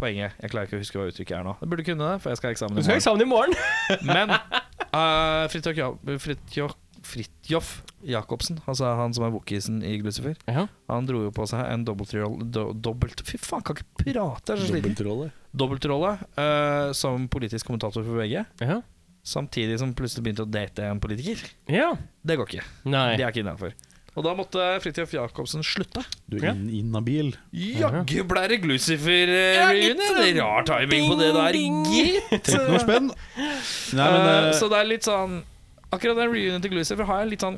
Speaker 4: Poenget. Jeg klarer ikke å huske hva uttrykket er nå. Jeg burde kunne det, for jeg skal ha eksamen
Speaker 1: Du
Speaker 4: i
Speaker 1: skal ha
Speaker 4: morgen.
Speaker 1: eksamen i morgen!
Speaker 4: Men uh, Fridtjof Ja- Fridtjof- Fridtjof Jacobsen, altså han som er wokisen i Glucifer,
Speaker 1: Ja.
Speaker 4: han dro jo på seg en dobbeltrolle do, dobbelt, Fy faen, kan ikke prate! Jeg er så sliten.
Speaker 3: dobbeltroller.
Speaker 4: Dobbeltrolle eh, som politisk kommentator for VG,
Speaker 1: Ja.
Speaker 4: samtidig som plutselig begynte å date en politiker.
Speaker 1: ja.
Speaker 4: Det går ikke. Det
Speaker 1: Nei.
Speaker 4: er ikke innafor. Og da måtte Fridtjof Jacobsen slutte.
Speaker 3: Du
Speaker 1: Ja.
Speaker 3: er in inhabil.
Speaker 4: Jaggu eh, ble det Glucifer-reunion! Rar timing på det der, gitt!
Speaker 3: 13 spenn! Nei, men
Speaker 4: Eh,
Speaker 3: eh,
Speaker 4: så det er litt sånn Akkurat den reunionen til Glucifer har jeg litt sånn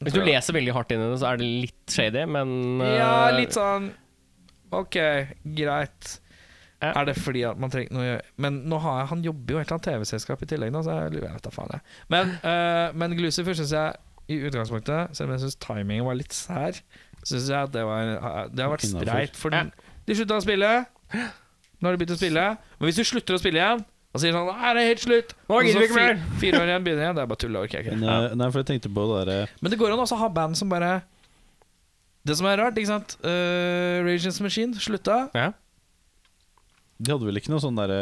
Speaker 1: Hvis du leser veldig hardt inn i det, så er det litt shady, men eh,
Speaker 4: Ja, litt sånn Ok, greit.
Speaker 1: Ja.
Speaker 4: Er det fordi at man trenger noe å gjøre Men nå har jeg, han jobber jo i et eller annet TV-selskap i tillegg, nå, så jeg lurer jeg vet da faen. Jeg. Men, eh, men Glucifer syns jeg i utgangspunktet, selv om jeg syns timingen var litt sær, syns jeg at det var Det har vært
Speaker 3: Innenfor.
Speaker 4: streit. For
Speaker 1: Ja.
Speaker 4: den, de slutta å spille, nå har de begynt å spille. Men hvis du slutter å spille igjen og sier sånn Nå er det helt slutt!
Speaker 1: Nå
Speaker 4: Og så
Speaker 1: gidder vi ikke
Speaker 4: fi-
Speaker 1: mer.
Speaker 4: Fire år igjen, begynner igjen. Det er bare tull. det orker jeg ikke.
Speaker 3: men, eh, Nei, for jeg tenkte på det eh, derre
Speaker 4: Men det går an også å ha band som bare Det som er rart, ikke sant uh, Rage Against the Machine slutta.
Speaker 1: ja.
Speaker 3: De hadde vel ikke noe sånn derre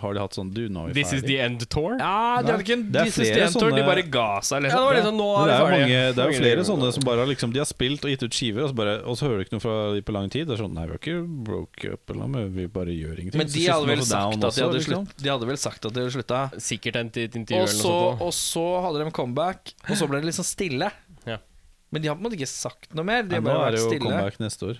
Speaker 3: Har de hatt sånn Du, nå er vi
Speaker 1: This is the end tour?
Speaker 4: Ja, de hadde ikke en
Speaker 3: Det er
Speaker 4: This is
Speaker 3: flere
Speaker 4: the end tour, de
Speaker 3: sånne-
Speaker 4: bare ga seg,
Speaker 1: Ja, det
Speaker 4: liksom.
Speaker 1: var liksom nå
Speaker 3: Men
Speaker 1: er vi
Speaker 3: det er jo
Speaker 1: ferdige.
Speaker 3: mange, det er jo
Speaker 1: Mange
Speaker 3: flere
Speaker 1: liv.
Speaker 3: sånne som bare har liksom De har spilt og gitt ut skiver, og så, bare, og så hører du ikke noe fra de på lang tid. Det er sånn Nei, vi har ikke broke up, eller noe, men vi bare gjør ingenting.
Speaker 4: Men
Speaker 3: Så
Speaker 4: de
Speaker 3: sitter
Speaker 4: hadde,
Speaker 3: man
Speaker 4: vel
Speaker 3: også
Speaker 4: sagt
Speaker 3: down
Speaker 4: at de,
Speaker 3: også,
Speaker 4: hadde
Speaker 3: liksom.
Speaker 4: slutt, de hadde vel sagt at de hadde slutta.
Speaker 1: Sikkert et, et intervju
Speaker 4: Og
Speaker 1: eller
Speaker 4: så,
Speaker 1: noe sånt.
Speaker 4: og så hadde de comeback, og så ble det liksom stille.
Speaker 1: Ja.
Speaker 4: Men de har på en måte ikke sagt noe mer. De
Speaker 3: Nei,
Speaker 4: har bare
Speaker 3: Nå er
Speaker 4: vært
Speaker 3: det jo
Speaker 4: stille.
Speaker 3: comeback neste år.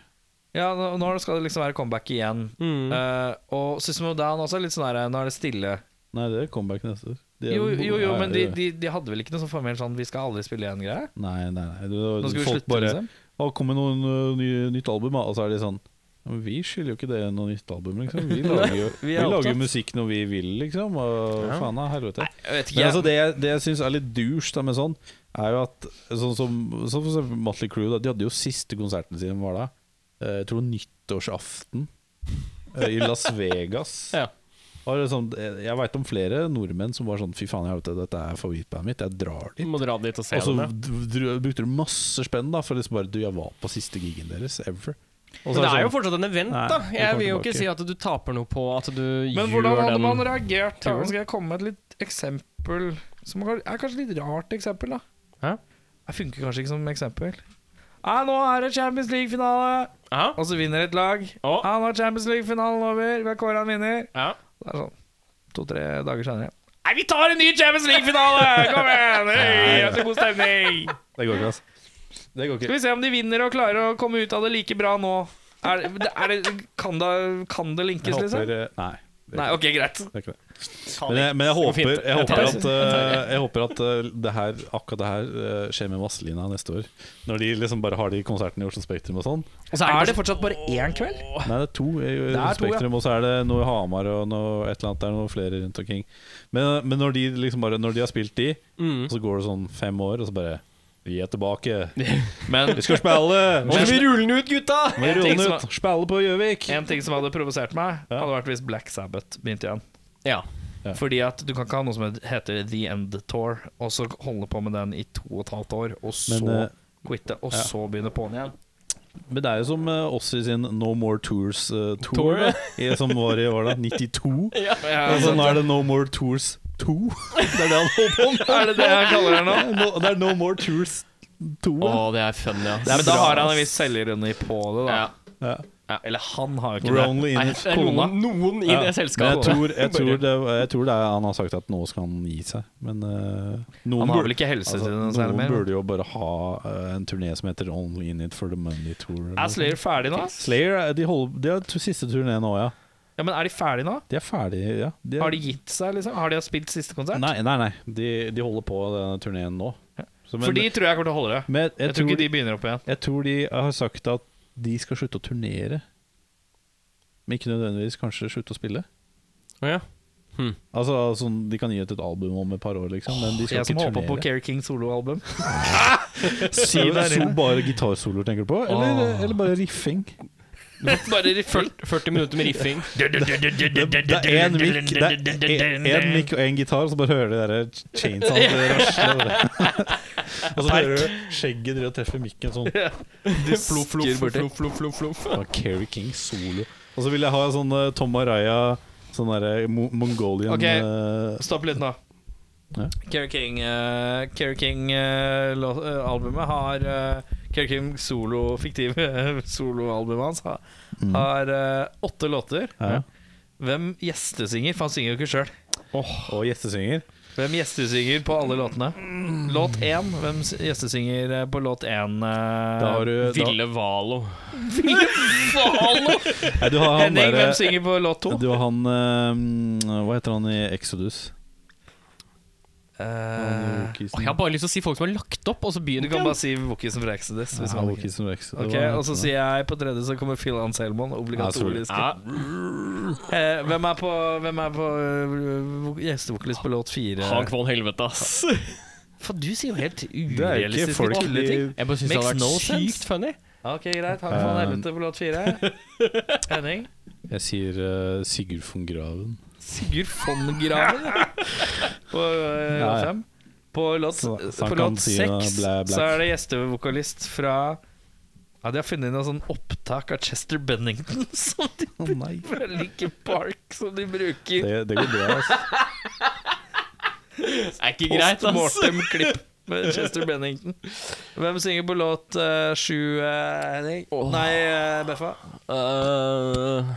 Speaker 4: Ja, nå, nå skal det liksom være comeback igjen.
Speaker 1: Mm.
Speaker 4: Eh, og System of Down også er litt sånn her Nå er det stille.
Speaker 3: Nei, det er comeback neste år. De er
Speaker 4: Jo,
Speaker 3: bo-
Speaker 4: jo, jo,
Speaker 3: ja,
Speaker 4: men de,
Speaker 3: det-
Speaker 4: de, de hadde vel ikke noe sånn formell sånn Vi skal aldri spille igjen-greie?
Speaker 3: Nei, nei, nei. Det var-
Speaker 4: Nå skal vi
Speaker 3: folk
Speaker 4: slutte,
Speaker 3: bare
Speaker 4: liksom?
Speaker 3: Å, kom med noen ø, ny, nytt album, da. og så er de sånn «Ja, men vi skylder jo ikke det noe nytt album, liksom. Vi lager jo
Speaker 4: vi
Speaker 3: vi
Speaker 4: er
Speaker 3: lager
Speaker 4: opptatt.
Speaker 3: jo musikk når vi vil, liksom. Og faen av helvete.
Speaker 4: Jeg vet ikke.
Speaker 3: Men altså, det, jeg- det jeg syns er litt douche da, med sånn, er jo at sånn som sånn for eksempel Motley Crue, da, de hadde jo siste konserten sin var da, eh, jeg tror nyttårsaften eh, i Las Vegas.
Speaker 1: Ja.
Speaker 3: Og det er sånn, jeg jeg veit om flere nordmenn som var sånn Fy faen, jeg vet, dette er favorittbandet mitt, jeg drar
Speaker 4: Mm,
Speaker 3: dit.
Speaker 1: Må dra dit og se
Speaker 3: Og
Speaker 1: dem,
Speaker 3: så
Speaker 1: ja.
Speaker 3: dro- dro- brukte du masse spenn da for liksom bare Du, jeg var på siste gigen deres ever. Og
Speaker 1: Men
Speaker 3: så
Speaker 1: det er jo
Speaker 3: sånn,
Speaker 1: fortsatt en event,
Speaker 3: Nei,
Speaker 1: da.
Speaker 3: vi
Speaker 1: Jeg
Speaker 3: kommer
Speaker 1: vil jo ikke
Speaker 3: tilbake.
Speaker 1: si at du taper noe på at du
Speaker 4: Men
Speaker 1: gjør
Speaker 4: hvordan hadde
Speaker 1: den
Speaker 4: man reagert? da?
Speaker 1: turen.
Speaker 4: Skal jeg komme med et litt eksempel Som kan- er kanskje litt rart eksempel, da.
Speaker 1: Hæ?
Speaker 4: Jeg funker kanskje ikke som eksempel. Nei, nå er det Champions League-finale!
Speaker 1: Ja,
Speaker 4: Og så vinner et lag.
Speaker 1: Å.
Speaker 4: Ja, nå er Champions League-finalen over. Vi har kåra en vinner.
Speaker 1: ja.
Speaker 4: Det er sånn to-tre dager senere Nei, vi tar en ny Champions League-finale! Kom igjen! Hei, det er god stemning!
Speaker 3: det går ikke, altså. Det går ikke.
Speaker 4: Skal vi se om de vinner og klarer å komme ut av det like bra nå. Er, det- er det, kan, det, kan det linkes,
Speaker 3: Jeg
Speaker 4: liksom?
Speaker 3: håper eh, Nei. det er
Speaker 4: Nei, ok, greit.
Speaker 3: Det er ikke det. Men jeg, men jeg
Speaker 1: går
Speaker 3: håper,
Speaker 1: fint.
Speaker 3: jeg
Speaker 1: Jeg tar
Speaker 3: håper
Speaker 1: det.
Speaker 3: at, eh, jeg håper at eh, det her, akkurat det her eh, skjer med Vazelina neste år. Når de liksom bare har de konsertene i Oslo Spektrum og sånn.
Speaker 4: Og så er det fortsatt bare én kveld?
Speaker 3: Nei, det er to i
Speaker 4: er to, ja.
Speaker 3: Spektrum, og så er det noe i Hamar og noe et eller annet. Det er noe flere rundt omkring. Men, men når, de liksom bare, når de har spilt de,
Speaker 1: Mm.
Speaker 3: så går det sånn fem år, og så bare Vi er tilbake.
Speaker 4: Men
Speaker 3: Vi skal spille!
Speaker 1: Nå skal vi rulle den ut, gutta!
Speaker 3: Vi
Speaker 4: En ting som-
Speaker 3: ruller ut! Spille på Gjøvik!
Speaker 4: en ting som hadde provosert meg,
Speaker 3: Ja.
Speaker 4: hadde vært hvis Black Sabbath begynte igjen.
Speaker 1: Ja.
Speaker 3: Ja.
Speaker 4: Fordi at du kan ikke ha noe som heter The End Tour, og så holde på med den i to og et halvt år, og så
Speaker 3: Men, eh,
Speaker 4: quitte, og så begynne på'n igjen.
Speaker 3: Men det er jo som uh, Ossi sin No More Tours eh, tour,
Speaker 1: Tour, ja.
Speaker 3: da, som var i var det, 92.
Speaker 4: Ja,
Speaker 3: Altså, nå er det No More Tours 2. Det er det han holder på med.
Speaker 4: er det det han kaller det nå?
Speaker 3: No, det er No More Tours 2.
Speaker 1: Å, det er funny, ass.
Speaker 4: Men da har han en viss selvironi på det, da.
Speaker 1: Ja.
Speaker 3: Ja.
Speaker 4: Ja, Eller han har jo ikke
Speaker 3: We're
Speaker 4: det.
Speaker 3: only
Speaker 1: Nei,
Speaker 3: in
Speaker 1: det er noen, noen i det
Speaker 3: Men jeg
Speaker 1: selskapet.
Speaker 3: tror, jeg, tror det, jeg tror det er han har sagt at nå skal han gi seg, men eh, noen
Speaker 4: Han har
Speaker 3: burde- altså,
Speaker 4: vel ikke helse til det noe
Speaker 3: noen
Speaker 4: særlig mer.
Speaker 3: burde jo bare ha eh, en turné som heter Only In It For The Money Tour. eller noe
Speaker 4: Er Slayer ferdig nå?
Speaker 3: sånt. Slayer eh, de, holder, de har to siste turné nå, ja.
Speaker 4: Ja, men er de ferdig nå?
Speaker 3: De er ferdige, ja. De er,
Speaker 4: Har de gitt seg, liksom? Har de spilt siste konsert?
Speaker 3: Nei, nei, nei. De, de holder på denne turneen nå. Så, men,
Speaker 4: For de tror jeg kommer til å holde det.
Speaker 3: men jeg,
Speaker 4: Jeg tror ikke de begynner opp igjen.
Speaker 3: jeg tror de har sagt at de skal slutte å turnere. men ikke nødvendigvis kanskje slutte å spille.
Speaker 1: Å ja.
Speaker 3: Altså, sånn, De kan gi ut et album om et par år, liksom, men de skal
Speaker 4: Jeg som
Speaker 3: ikke
Speaker 4: håpa på
Speaker 3: turnere.
Speaker 4: Keri King soloalbum.
Speaker 3: Si det er sol- bare gitarsoloer, tenker du på? Eller, eller bare riffing?
Speaker 4: Bare i full
Speaker 1: 40 minutter med riffing.
Speaker 3: Det, det er én mic, det er en- en mic og én gitar, og så bare hører du det derre chainsaw rasle. over det. Og så hører du skjegget drive og treffe mikken sånn.
Speaker 1: Floff, floff, floff, floff, floff, floff.
Speaker 3: Ah, Kerry King solo. Og så vil jeg ha sånn eh, Tom Araya, sånn derre mo Mongolian
Speaker 4: Ok.
Speaker 3: eh,
Speaker 4: Stopp litt nå.
Speaker 3: Ja.
Speaker 4: Kerry King eh, Kerry King eh, lå- eh, albumet har uh, Kerry King solo fiktive soloalbumet hans har, har eh, åtte låter.
Speaker 3: Mm. ja.
Speaker 4: Hvem gjestesynger? For han synger jo ikke sjøl.
Speaker 3: og gjestesynger.
Speaker 4: Hvem gjestesynger på alle låtene? Låt én. Hvem s- gjestesynger eh, på låt én? eh,
Speaker 3: Da har du da,
Speaker 1: Ville Valo.
Speaker 4: Hallo!
Speaker 3: nei, Du har han
Speaker 4: Henning,
Speaker 3: derre
Speaker 4: hvem synger på låt to?
Speaker 3: Du har han eh, Hva heter han i Exodus?
Speaker 4: Eh,
Speaker 3: Han
Speaker 1: Å, jeg har
Speaker 3: Wokisen.
Speaker 1: bare lyst til å si folk som har lagt opp, og så
Speaker 4: du
Speaker 1: begynner
Speaker 4: kan bare si Wokisen fra Exodus. Hvis
Speaker 3: Ja,
Speaker 4: man ikke.
Speaker 3: Wokisen og Exodus.
Speaker 4: Ok,
Speaker 3: Hva
Speaker 4: Og så
Speaker 3: heter
Speaker 4: sier jeg på tredje, så kommer Phil Anselmon. Obligatorisk.
Speaker 1: Ja,
Speaker 4: Eh, hvem er på, hvem er på øh, vok- gjestevokalist på låt fire?
Speaker 1: han kvån helvete, ass.
Speaker 4: Faen, du sier jo helt
Speaker 3: Det er jo ikke
Speaker 4: urealistiske
Speaker 3: folk i
Speaker 4: tulleting.
Speaker 1: Jeg bare syns det
Speaker 4: Makes
Speaker 1: hadde vært
Speaker 4: no sense.
Speaker 1: sykt funny.
Speaker 4: Ja, Ok, greit. Han kvån
Speaker 3: Um,
Speaker 4: helvete på låt fire. Henning?
Speaker 3: Jeg sier eh, Sigurd von Graven.
Speaker 4: Sigurd von Graven på øh,
Speaker 3: Ja, ja.
Speaker 4: låt fem. På låt,
Speaker 3: Så- så
Speaker 4: på
Speaker 3: han kan
Speaker 4: låt
Speaker 3: si noe
Speaker 4: seks
Speaker 3: blæ, blæ.
Speaker 4: så er det gjestevokalist fra ja, De har funnet noe sånn opptak av Chester Bennington som de
Speaker 3: Å nei.
Speaker 4: fra Linkin Park som de bruker.
Speaker 3: Det, det går bra, altså.
Speaker 1: Er ikke greit, ass.
Speaker 4: Postmortem-klipp med Chester Bennington. Hvem synger på låt eh, sju eh, Henning? Nei, eh, Beffa.
Speaker 1: Øh,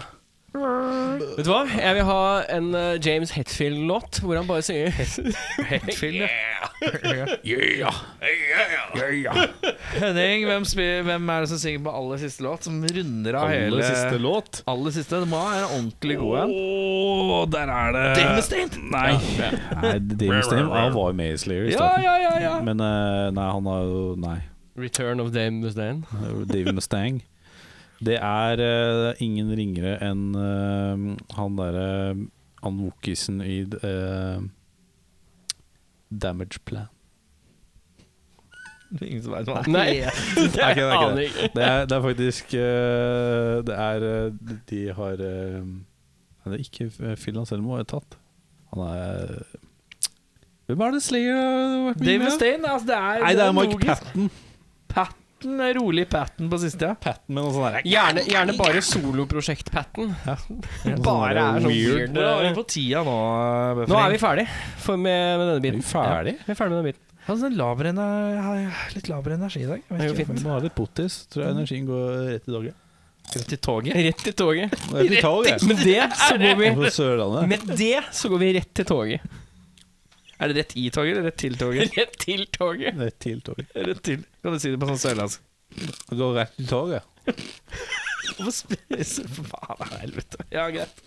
Speaker 4: Eh.
Speaker 1: vet du hva? Jeg vil ha en øh, James Hetfield-låt hvor han bare synger
Speaker 4: Hetfield, ja. Henning, hvem, spil, hvem er det som synger på aller siste låt? Som runder av hele
Speaker 3: Aller siste låt.
Speaker 4: Aller siste. Det må være en ordentlig god en.
Speaker 2: Åh, der er det
Speaker 4: Damestein!
Speaker 2: Nei.
Speaker 3: Nei, Damon Steam han var jo med i Slayer
Speaker 4: Eh,
Speaker 3: i
Speaker 4: Ja,
Speaker 3: starten.
Speaker 4: ja, ja, ja.
Speaker 3: Men eh, nei, han har jo Nei.
Speaker 1: Return of Dame Mustaine.
Speaker 3: Dave Mustang. Det er eh, ingen ringere enn eh, han derre Han wokisen i eh, Damage Plan.
Speaker 4: Det er Ingen som vet hva
Speaker 1: Nei,
Speaker 4: det er.
Speaker 1: det
Speaker 3: er ikke det, er ikke
Speaker 1: aner jeg ikke.
Speaker 3: Det er, det er faktisk eh, Det er eh, De har eh, nei, Det er ikke eh, Phil Anselmo er tatt. Han er Hvem er det Slayer har vært mye
Speaker 4: Dave
Speaker 3: med?
Speaker 4: Stein, altså det er
Speaker 3: Nei, det er Mike
Speaker 4: logisk.
Speaker 3: Patton.
Speaker 4: Patton. eh, Rolig Patton på siste, ja.
Speaker 3: Patton med noe sånn der-
Speaker 1: Gjerne, gjerne bare soloprosjekt-patten.
Speaker 3: noe sånn
Speaker 1: Bare
Speaker 3: der
Speaker 1: er sånn weird.
Speaker 4: Nå er vi på tida nå, eh, Beffa.
Speaker 1: Nå er vi ferdig for med, med denne
Speaker 3: Er
Speaker 1: biten.
Speaker 3: vi ferdig?
Speaker 1: Ja, vi er ferdig med denne biten.
Speaker 4: Altså, laber ener- jeg har litt laber energi i dag. Jeg vet
Speaker 1: Det går
Speaker 4: ikke
Speaker 1: fint.
Speaker 3: Vi må ha litt potis, tror jeg energien går rett i dagen.
Speaker 4: hvorfor. Rett i toget.
Speaker 1: Rett i toget.
Speaker 3: Rett i toget!
Speaker 1: Med det så går vi
Speaker 3: På Sørlandet.
Speaker 1: Med det så går vi rett til toget.
Speaker 4: Er det rett i toget eller rett til toget?
Speaker 1: Rett til toget.
Speaker 3: Rett til toget.
Speaker 4: rett til. Kan du si det på sånn sørlandsk?
Speaker 3: Det går rett til toget.
Speaker 4: Hvorfor spiser Faen i helvete. Ja, greit.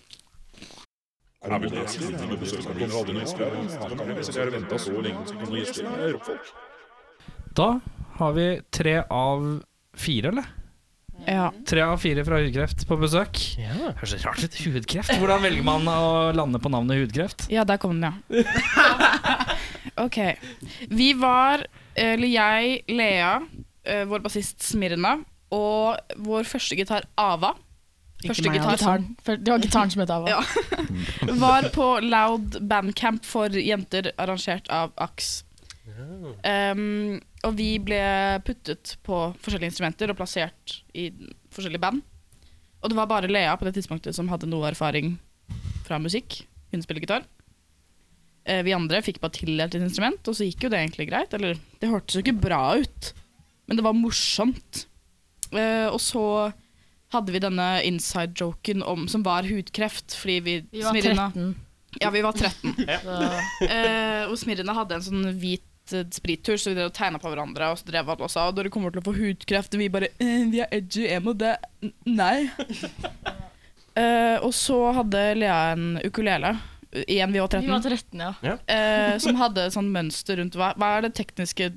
Speaker 4: Da har vi tre av fire, eller?
Speaker 7: Ja.
Speaker 4: Tre av fire fra hudkreft på besøk.
Speaker 1: Ja.
Speaker 4: Høres litt rart ut. Hudkreft? Hvordan velger man å lande på navnet hudkreft?
Speaker 7: ja, der kom den, ja. OK. Vi var, eller jeg, Lea, eh, vår bassist Smirna og vår første gitar Ava Første
Speaker 8: meg, altså. ja.
Speaker 7: gitar.
Speaker 8: Gitaren. Før- Det var gitaren som het Ava.
Speaker 7: Ja. var på Loud Bandcamp for jenter arrangert av AKS. Um, og vi ble puttet på forskjellige instrumenter og plassert i forskjellige band. Og det var bare Lea på det tidspunktet som hadde noe erfaring fra musikk. Hun spiller gitar. Eh, vi andre fikk bare tildelt et instrument, og så gikk jo det egentlig greit. Eller, det hørtes jo ikke bra ut, men det var morsomt. Eh, og så hadde vi denne inside-joken om- som var hudkreft, fordi vi,
Speaker 8: Vi var
Speaker 7: Smirna-
Speaker 8: 13.
Speaker 7: ja, vi var 13.
Speaker 8: Så
Speaker 7: Eh, og Smirrene hadde en sånn hvit eh, sprittur, så vi drev og tegna på hverandre. Og så drev alle og sa at dere kommer til å få hudkreft. Og vi bare eh, Vi er edgy emo, det n- Nei. Eh, og så hadde Lea en ukulele. eh, Igjen, vi var
Speaker 8: vi var
Speaker 7: 13.
Speaker 8: 13, ja.
Speaker 7: Eh, som hadde et sånt mønster rundt hva, hva er det tekniske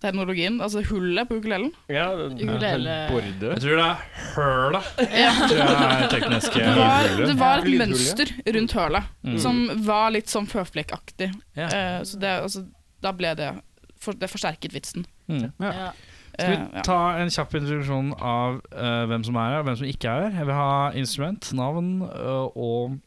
Speaker 7: terminologien. Altså hullet på ukulelen.
Speaker 1: Ja,
Speaker 7: Ukulele-
Speaker 1: Borde.
Speaker 2: Jeg tror det er høla.
Speaker 7: Ja.
Speaker 2: Det er teknisk
Speaker 7: Det var, det var et
Speaker 1: Lydhullet.
Speaker 7: mønster rundt hølet
Speaker 4: Mm.
Speaker 7: som var litt sånn føflekkaktig.
Speaker 4: Ja.
Speaker 7: Eh, så det, altså, da ble det for, Det forsterket vitsen.
Speaker 4: Ja.
Speaker 7: Eh,
Speaker 4: Skal vi ta en kjapp introduksjon av eh, hvem som er her, og hvem som ikke er her? Jeg vil ha instrument, navn eh, og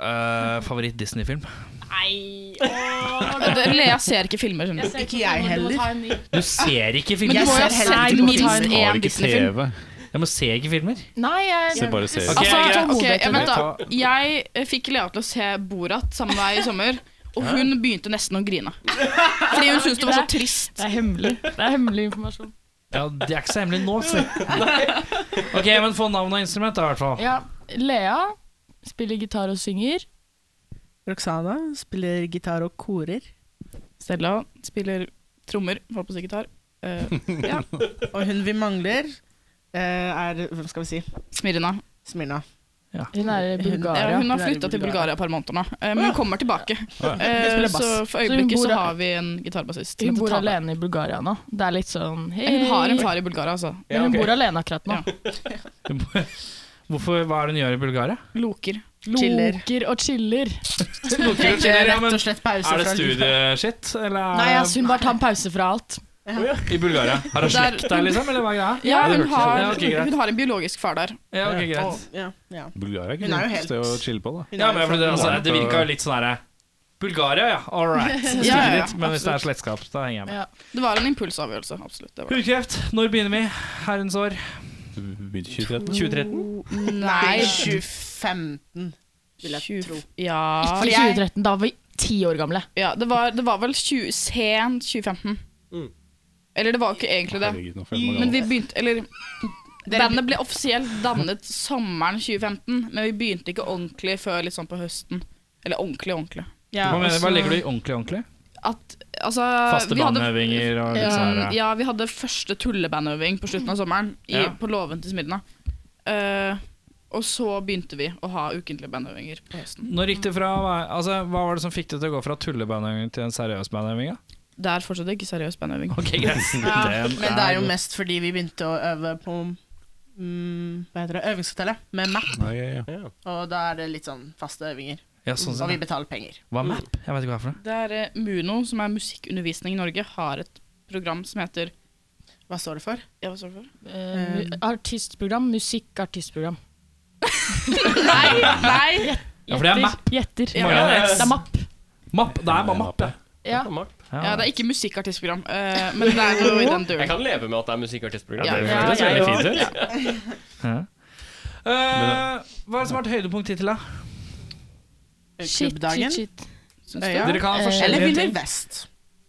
Speaker 4: eh, favoritt-Disney-film.
Speaker 8: Nei åh,
Speaker 7: ja. Det- Lea ser ikke filmer. skjønner du.
Speaker 8: ser
Speaker 9: Ikke jeg
Speaker 8: filmen, du må
Speaker 9: heller.
Speaker 8: ta en ny.
Speaker 4: Du ser ikke
Speaker 7: Men
Speaker 4: filmer?
Speaker 7: du
Speaker 9: Jeg
Speaker 7: må jo
Speaker 9: ser
Speaker 7: ha
Speaker 9: heller
Speaker 7: sett Altså,
Speaker 9: ikke på
Speaker 7: minst
Speaker 3: Har
Speaker 7: én
Speaker 3: ikke
Speaker 7: Disney-film.
Speaker 3: TV.
Speaker 4: Jeg må se ikke filmer.
Speaker 8: Nei, jeg
Speaker 3: Se bare serier.
Speaker 7: Altså,
Speaker 2: Ok, greit.
Speaker 7: ok, jeg, vent
Speaker 4: Ta-
Speaker 7: da. jeg eh, fikk Lea til å se Borat sammen med meg i sommer, og hun begynte nesten å grine. Fordi hun syntes det var så trist.
Speaker 8: Det er hemmelig. Det er hemmelig informasjon.
Speaker 4: Ja, Det er ikke så hemmelig nå. Så. Ok, men Få navn og instrument, da, i hvert fall.
Speaker 8: Ja, Lea spiller gitar og synger.
Speaker 9: Roxana spiller gitar og korer.
Speaker 7: Stella spiller trommer, holdt på å si gitar. Eh,
Speaker 9: Og hun vi mangler, eh, er Hvem skal vi si?
Speaker 7: Smirna.
Speaker 9: Smirna.
Speaker 8: Hun er
Speaker 7: Ja,
Speaker 8: i Bulgaria.
Speaker 7: hun har
Speaker 9: Hun er i
Speaker 7: flytta til Bulgaria
Speaker 9: Bulgaria.
Speaker 7: et par måneder nå, eh, men hun kommer tilbake.
Speaker 9: Hun
Speaker 7: Eh,
Speaker 9: spiller
Speaker 7: Så
Speaker 9: bass.
Speaker 7: for øyeblikket
Speaker 8: Så hun
Speaker 7: så
Speaker 8: bor-
Speaker 7: har vi en gitarbassist.
Speaker 8: Hun
Speaker 7: men
Speaker 8: bor
Speaker 7: så tar det-
Speaker 8: alene i Bulgaria nå. Det er litt sånn hei.
Speaker 7: Hun har en far i Bulgaria, altså.
Speaker 8: Men hun bor alene akkurat nå.
Speaker 7: Ja.
Speaker 4: Hvorfor, Hva er det hun gjør i Bulgaria?
Speaker 7: Loker.
Speaker 9: Chiller.
Speaker 8: Loker og chiller.
Speaker 9: Tok rett og slett pause
Speaker 2: Er det
Speaker 9: fra livet.
Speaker 2: studieskitt, eller
Speaker 9: Nei,
Speaker 2: er
Speaker 9: jeg
Speaker 8: Så hun bare tar en pause fra alt.
Speaker 2: det i Bulgaria? Har hun
Speaker 7: altså. Der-
Speaker 2: slekt der, liksom? Eller hva er greia?
Speaker 7: Ja,
Speaker 4: det
Speaker 7: hun
Speaker 4: hørtes- Ja,
Speaker 7: har,
Speaker 4: ok, greit.
Speaker 7: hun har en biologisk far der.
Speaker 4: Ja, ok,
Speaker 9: Å,
Speaker 4: greit.
Speaker 9: ja, ja.
Speaker 3: Bulgaria er ikke
Speaker 9: Hun er jo
Speaker 3: noe
Speaker 9: helt-
Speaker 3: sted å chille på, da.
Speaker 9: Hun
Speaker 4: Ja,
Speaker 9: er
Speaker 4: men
Speaker 9: jo
Speaker 4: for det,
Speaker 9: fra-
Speaker 4: altså, det virka jo litt sånn herre Bulgaria, ja. All right. Stikke
Speaker 7: Ja, ja, ja,
Speaker 4: dit. Men hvis det er slektskap, da henger jeg med.
Speaker 8: Ja.
Speaker 7: Det var en impulsavgjørelse, absolutt. Det var. det.
Speaker 4: Hudkreft, når begynner vi? Herrens år.
Speaker 3: Begynte i 2013.
Speaker 4: 2013.
Speaker 9: Nei,
Speaker 7: Nei,
Speaker 9: 2015, vil jeg tro.
Speaker 7: ja,
Speaker 8: For
Speaker 9: jeg-
Speaker 8: 2013, da var vi ti år gamle.
Speaker 7: ja det, var, det var vel 20, sent 2015.
Speaker 1: Mm.
Speaker 7: Eller det var ikke egentlig det.
Speaker 3: Herregud, nå føler jeg meg
Speaker 7: Mm, Men
Speaker 3: gammel.
Speaker 7: vi begynte Eller bandet ble offisielt dannet sommeren 2015, men vi begynte ikke ordentlig før litt sånn på høsten. Eller ordentlig, ordentlig.
Speaker 9: Ja,
Speaker 4: Hva, mener,
Speaker 9: og
Speaker 4: hva
Speaker 9: så-
Speaker 4: legger du i ordentlig, ordentlig?
Speaker 7: At altså
Speaker 4: Faste
Speaker 7: vi hadde-
Speaker 4: bandøvinger og litt sånn
Speaker 7: Um,
Speaker 4: herre.
Speaker 7: ja, vi hadde første tullebandøving på slutten av sommeren i,
Speaker 4: Ja.
Speaker 7: på låven til Smidna. Eh, og så begynte vi å ha ukentlige bandøvinger på høsten.
Speaker 4: Når gikk det fra å være- altså, Hva var det som fikk det til å gå fra tullebandøving til en seriøs bandøving? da?
Speaker 7: Det er fortsatt ikke seriøs bandøving.
Speaker 4: Ok, greit.
Speaker 9: Ja,
Speaker 4: Den
Speaker 9: men det er jo
Speaker 4: god.
Speaker 9: mest fordi vi begynte å øve på mm, Hva heter det? Øvingshotellet med map.
Speaker 3: Ja, ja, ja.
Speaker 9: Og da er det litt sånn faste øvinger.
Speaker 4: ja, sånn
Speaker 9: Og vi
Speaker 4: sett.
Speaker 9: betaler penger.
Speaker 4: Hva er map? Jeg vet ikke hva det er for noe.
Speaker 7: Det er eh, Muno, som er Musikkundervisning i Norge, har et program som heter
Speaker 9: Hva står det for?
Speaker 7: Ja, hva står det for?
Speaker 8: Eh,
Speaker 9: Um.
Speaker 8: mu- artistprogram. Musikk-artistprogram.
Speaker 7: Nei! nei
Speaker 4: Ja, for det er mapp.
Speaker 8: Gjetter.
Speaker 7: Ja,
Speaker 8: Mange
Speaker 4: det er-
Speaker 8: Det er mapp.
Speaker 4: Mapp, Det er bare mapp, ja.
Speaker 8: Ja.
Speaker 7: ja, Det er ikke musikkartistprogram, eh, men det er noe i den
Speaker 1: Jeg
Speaker 7: duren.
Speaker 1: kan leve med at det er musikkartistprogram.
Speaker 7: Ja,
Speaker 1: Det
Speaker 7: ja,
Speaker 1: føles veldig fint ut.
Speaker 4: Eh, hva er det som har vært høydepunkt hittil, da?
Speaker 8: Shit,
Speaker 9: Klubbdagen.
Speaker 8: shit, shit.
Speaker 7: Syns du?
Speaker 9: Øya.
Speaker 4: Dere kan ha
Speaker 8: Eh,
Speaker 9: Eller
Speaker 4: forskjellige
Speaker 9: Ville
Speaker 4: ting.
Speaker 9: Vest.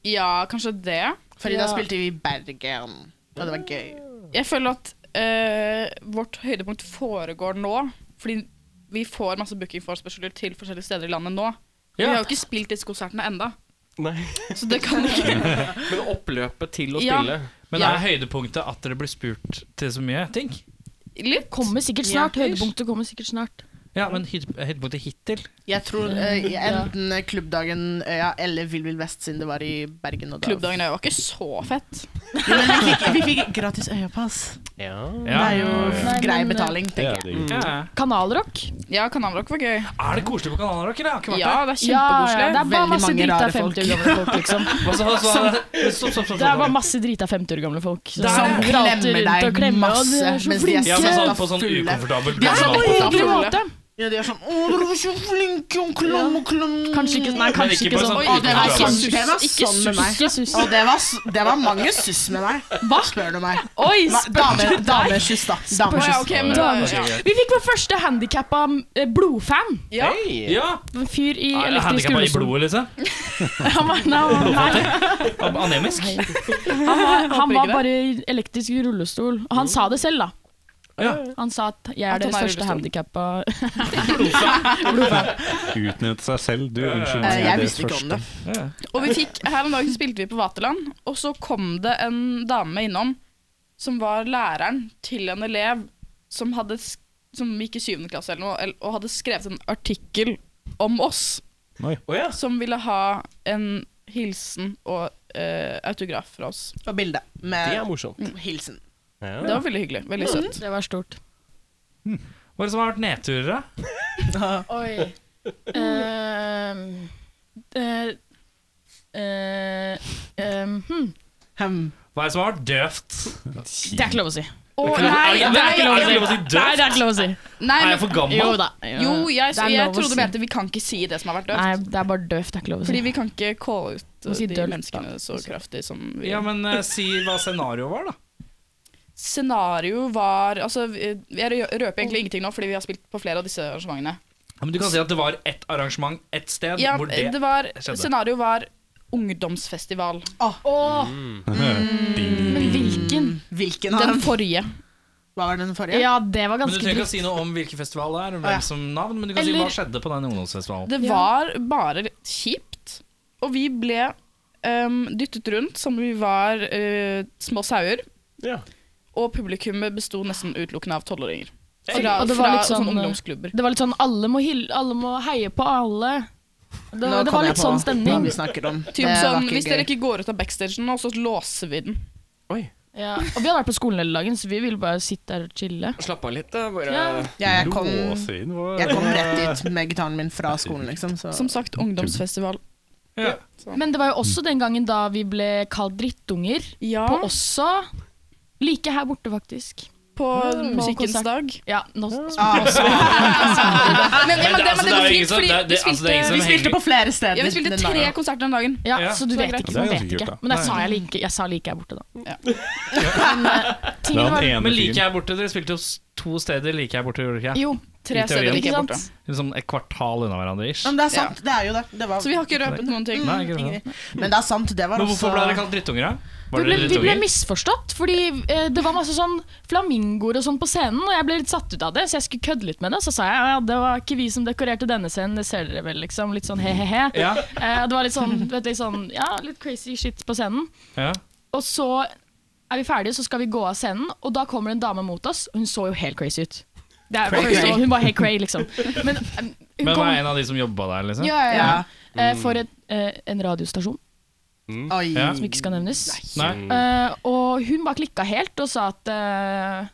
Speaker 7: Ja, kanskje det.
Speaker 9: Fordi
Speaker 8: Ja.
Speaker 9: da spilte vi i Bergen. Og det var gøy.
Speaker 7: Jeg føler at eh, vårt høydepunkt foregår nå, fordi vi får masse booking for specialer til forskjellige steder i landet nå. Men Vi har jo ikke spilt disse konsertene enda,
Speaker 1: Nei.
Speaker 7: så det kan ikke
Speaker 1: Men oppløpet til å
Speaker 7: Ja.
Speaker 1: spille
Speaker 4: Men det er høydepunktet at dere blir spurt til så mye ting?
Speaker 7: Litt.
Speaker 8: Kommer sikkert snart.
Speaker 7: Ja.
Speaker 8: Høydepunktet kommer sikkert snart.
Speaker 4: Ja, men høyde- høydepunktet hittil?
Speaker 9: Jeg tror eh, enten Klubbdagen Øya eller Vill Vill Vest, siden det var i Bergen. Og da-
Speaker 7: Klubbdagen er jo ikke så fett.
Speaker 9: Jo, men vi fikk, vi fikk gratis Øyapass.
Speaker 1: Ja.
Speaker 9: Mm. Det er jo
Speaker 8: Nei,
Speaker 9: grei
Speaker 8: men, eh,
Speaker 9: betaling,
Speaker 3: Det er
Speaker 9: tenker jeg.
Speaker 3: digg.
Speaker 4: Ja.
Speaker 8: Kanalrock.
Speaker 7: Ja, Kanalrock var gøy.
Speaker 4: Er det koselig på Kanalrock, eller? Jeg har ikke vært
Speaker 7: Ja, det er
Speaker 8: Ja, ja, det
Speaker 7: kjempekoselig.
Speaker 8: er bare
Speaker 9: Veldig
Speaker 8: masse
Speaker 9: mange
Speaker 8: drita
Speaker 9: rare
Speaker 8: 50 år gamle folk, liksom.
Speaker 4: der. Hva sa- hva sa- Altså, Stopp, stopp, stopp.
Speaker 8: Det er bare
Speaker 4: stopp.
Speaker 8: masse drita 50 år gamle folk som,
Speaker 9: Som
Speaker 8: prater
Speaker 9: klemmer
Speaker 8: rundt og
Speaker 9: deg
Speaker 8: klemmer, og de
Speaker 9: masse
Speaker 8: er så
Speaker 9: mens de er
Speaker 8: flinke.
Speaker 4: Ja, men sånn på sånn
Speaker 9: Fulle.
Speaker 4: ukomfortabel
Speaker 9: Ja,
Speaker 8: på en
Speaker 4: måte.
Speaker 8: hyggelig
Speaker 7: fulle.
Speaker 8: måte.
Speaker 9: Ja, de er sånn 'Å, dere var så flinke, og klem og klem'.
Speaker 8: Kanskje ikke, nei,
Speaker 4: Men ikke
Speaker 8: kanskje ikke
Speaker 4: på
Speaker 8: sånn.
Speaker 4: sånn
Speaker 7: Oi,
Speaker 9: det var
Speaker 4: ukomfortabel
Speaker 9: sånn,
Speaker 7: sus-
Speaker 9: det var
Speaker 7: ikke
Speaker 9: sånn med meg.
Speaker 8: Ikke sus.
Speaker 9: Og det var, s- det var mange suss med meg,
Speaker 8: Hva?
Speaker 9: spør du meg.
Speaker 8: Oi,
Speaker 9: Nei,
Speaker 8: spør
Speaker 9: dame- Damekyss, da.
Speaker 7: Å, ja,
Speaker 9: Damekyss.
Speaker 7: ok, men da,
Speaker 8: Damer.
Speaker 7: ja.
Speaker 8: Vi fikk vår første handikappa eh, blodfan.
Speaker 7: Ja.
Speaker 4: Ja,
Speaker 8: En fyr i
Speaker 4: Er det
Speaker 8: elektrisk
Speaker 4: handikappa i
Speaker 8: rullestol.
Speaker 4: blodet, liksom?
Speaker 8: Han var, nei, han var- nei,
Speaker 4: Am- Anemisk?
Speaker 8: han var, han
Speaker 7: ikke
Speaker 8: var
Speaker 7: det.
Speaker 8: bare i elektrisk rullestol. Og
Speaker 7: Mm.
Speaker 8: han sa det selv, da.
Speaker 4: Ja.
Speaker 8: Han sa at 'jeg er
Speaker 7: At han
Speaker 8: det
Speaker 7: er i
Speaker 8: største
Speaker 7: rullestol.
Speaker 8: handikappa
Speaker 3: Utnytte seg selv. Du, unnskyld.
Speaker 9: Eh,
Speaker 3: meg,
Speaker 9: Jeg
Speaker 3: det
Speaker 9: visste ikke om det.
Speaker 7: Og vi fikk, her om dagen spilte vi på Vaterland, og så kom det en dame innom som var læreren til en elev som, hadde, sk- som gikk i syvende klasse eller noe, el- og hadde skrevet en artikkel om oss
Speaker 3: Oi.
Speaker 7: som ville ha en hilsen og eh, autograf fra oss.
Speaker 9: Og bilde
Speaker 1: Det
Speaker 9: med
Speaker 1: er morsomt.
Speaker 9: mm, hilsen.
Speaker 7: Det var veldig hyggelig. Veldig søtt.
Speaker 8: Det var stort.
Speaker 4: Hva er det som har vært nedturer, da?
Speaker 8: Oi. Ehm, eh, eh, ehm, hmm.
Speaker 9: Hem.
Speaker 4: Hva er det som har vært døvt?
Speaker 8: Det er ikke lov å si.
Speaker 7: Å nei,
Speaker 8: Det er ikke lov å si. Nei, det er ikke lov å si.
Speaker 7: nei,
Speaker 4: Er jeg
Speaker 7: men,
Speaker 4: for gammel?
Speaker 8: Jo da.
Speaker 7: Jo, jeg,
Speaker 8: Det er
Speaker 7: jeg
Speaker 8: lov å
Speaker 7: trodde du
Speaker 8: si.
Speaker 7: mente vi kan ikke si det som har vært
Speaker 8: Nei,
Speaker 7: døvt.
Speaker 8: det er bare døvt. Det er ikke lov å
Speaker 7: Fordi
Speaker 8: si.
Speaker 7: vi kan ikke calle ut eh,
Speaker 8: Må si
Speaker 7: de
Speaker 8: dølt, da.
Speaker 7: menneskene så kraftig som vi
Speaker 4: Ja, men eh, si hva scenarioet var, da.
Speaker 7: Scenario var Altså, vi- jeg røper egentlig ingenting nå, fordi vi har spilt på flere av disse arrangementene.
Speaker 4: Ja, men Du kan si at det var ett arrangement ett sted.
Speaker 7: Ja,
Speaker 4: hvor det,
Speaker 7: det var
Speaker 4: skjedde.
Speaker 7: Scenario var ungdomsfestival.
Speaker 8: Men hvilken?
Speaker 9: Hvilken av
Speaker 7: Den
Speaker 9: dem?
Speaker 7: forrige.
Speaker 9: Hva var den forrige?
Speaker 8: Ja, det var
Speaker 4: Men Du
Speaker 8: ganske
Speaker 4: trenger ikke
Speaker 8: dritt.
Speaker 4: å si noe om hvilken festival det er, og
Speaker 9: Å, ja.
Speaker 4: hvem som navn, men du kan si
Speaker 7: Eller-
Speaker 4: hva skjedde på den ungdomsfestivalen.
Speaker 7: Det var bare kjipt. Og vi ble ehm, dyttet rundt som om vi var eh, små sauer.
Speaker 1: Ja.
Speaker 7: Og publikummet besto nesten utelukkende av tolvåringer.
Speaker 8: Oi.
Speaker 7: Fra,
Speaker 8: Og det var
Speaker 7: fra
Speaker 8: litt sånn-
Speaker 7: sånne ungdomsklubber.
Speaker 8: Det var litt sånn alle må, hylle, alle må heie på alle. Det,
Speaker 9: Nå
Speaker 8: det
Speaker 9: kom
Speaker 8: var
Speaker 9: jeg
Speaker 8: litt
Speaker 9: på
Speaker 8: sånn
Speaker 9: hva
Speaker 8: stemning.
Speaker 9: vi snakker om. Det
Speaker 7: Typ
Speaker 9: var
Speaker 7: sånn,
Speaker 9: ikke
Speaker 7: hvis dere
Speaker 9: gøy.
Speaker 7: ikke går ut av backstagen nå, så låser vi den.
Speaker 8: Ja. Og vi hadde vært på skolen hele dagen, så vi ville bare sitte der og chille.
Speaker 1: Slapp av litt, da. Bare
Speaker 8: Ja.
Speaker 9: Ja, jeg kom,
Speaker 3: Låsvin var
Speaker 9: jeg kom rett dit med gitaren min fra skolen, liksom. Så.
Speaker 7: Som sagt, ungdomsfestival.
Speaker 8: Men det var jo også den gangen da vi ble kalt drittunger.
Speaker 7: Ja,
Speaker 8: På også like her borte, faktisk.
Speaker 7: på Ah, musikkens
Speaker 8: konsert.
Speaker 7: dag.
Speaker 8: Ja, nå,
Speaker 9: Ah,
Speaker 7: Men, ja, men, det, men det
Speaker 4: altså, det er
Speaker 7: går
Speaker 4: ingen
Speaker 7: fint,
Speaker 4: som-
Speaker 7: fordi
Speaker 4: det er-
Speaker 7: vi
Speaker 4: det- altså, det er ingen
Speaker 7: spilte,
Speaker 4: som
Speaker 9: vi spilte på flere steder.
Speaker 7: ja, vi spilte
Speaker 9: den
Speaker 7: tre
Speaker 9: dagen.
Speaker 7: konserter den dagen.
Speaker 8: ja,
Speaker 4: Ja,
Speaker 8: så du
Speaker 7: så
Speaker 8: vet
Speaker 7: greit.
Speaker 8: ikke.
Speaker 3: Det er
Speaker 8: Man
Speaker 3: ganske
Speaker 8: vet
Speaker 3: kult,
Speaker 8: ikke.
Speaker 3: da.
Speaker 8: Men jeg sa jeg, like, jeg sa like her borte, da.
Speaker 7: Ja.
Speaker 8: Men eh,
Speaker 3: Det
Speaker 8: tingene
Speaker 3: er
Speaker 8: var
Speaker 3: den ene
Speaker 4: Men like
Speaker 3: fyren.
Speaker 4: her borte, dere spilte jo s- to steder like her borte, gjorde dere ikke?
Speaker 8: Jo,
Speaker 7: Tre
Speaker 4: I
Speaker 7: steder
Speaker 4: teorien.
Speaker 7: like borte.
Speaker 4: Liksom et kvartal unna hverandre, ish.
Speaker 9: Ja, Men det er sant, det er jo det. det var,
Speaker 7: Så vi har Mm, ikke røpet noen ting.
Speaker 4: Nei, ikke sant.
Speaker 9: Ingrid. Men det er sant, det var
Speaker 4: Men hvorfor
Speaker 9: også
Speaker 4: ble dere kalt drittunger, da?
Speaker 8: Vi
Speaker 4: Var
Speaker 8: ble,
Speaker 4: dere
Speaker 8: vi ble
Speaker 4: drittunger?
Speaker 8: misforstått, fordi eh, det var masse sånn flamingoer og sånn på scenen, og jeg ble litt satt ut av det, så jeg skulle kødde litt med det. Så sa jeg ja, det var ikke vi som dekorerte denne scenen, det ser dere vel, liksom. Litt sånn he-he-he.
Speaker 4: Mm. Ja,
Speaker 8: Eh, det var litt sånn, du vet, litt sånn ja, litt crazy shit på scenen.
Speaker 4: ja.
Speaker 8: Og så er vi ferdige, så skal vi gå av scenen, og da kommer en dame mot oss, og hun så jo helt crazy ut. Det er,
Speaker 9: Cray-cray.
Speaker 8: så Hun var helt cray, liksom. Men, eh, hun
Speaker 4: Men
Speaker 8: kom,
Speaker 4: var en av de som jobba der, liksom?
Speaker 8: ja, ja, ja.
Speaker 9: Ja.
Speaker 8: Eh, for et, eh, en radiostasjon
Speaker 9: Oi.
Speaker 4: Mm. Ja.
Speaker 8: som ikke skal nevnes.
Speaker 4: Nei?
Speaker 8: Eh, og hun bare klikka helt og sa at eh,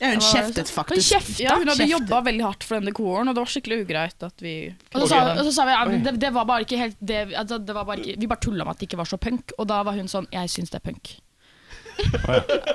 Speaker 9: Ja, hun
Speaker 8: Hva var det
Speaker 9: kjeftet
Speaker 8: som- Hun
Speaker 9: faktisk.
Speaker 8: kjefta.
Speaker 7: Ja, hun hadde
Speaker 9: kjeftet.
Speaker 7: jobba veldig hardt for den dekoren, og det var skikkelig ugreit at vi
Speaker 8: Og så, sa, og så sa vi ja, men det, det var bare ikke helt det, vi- altså, det var bare ikke, Vi bare tulla med at det ikke var så punk, og da var hun sånn Jeg syns det er punk.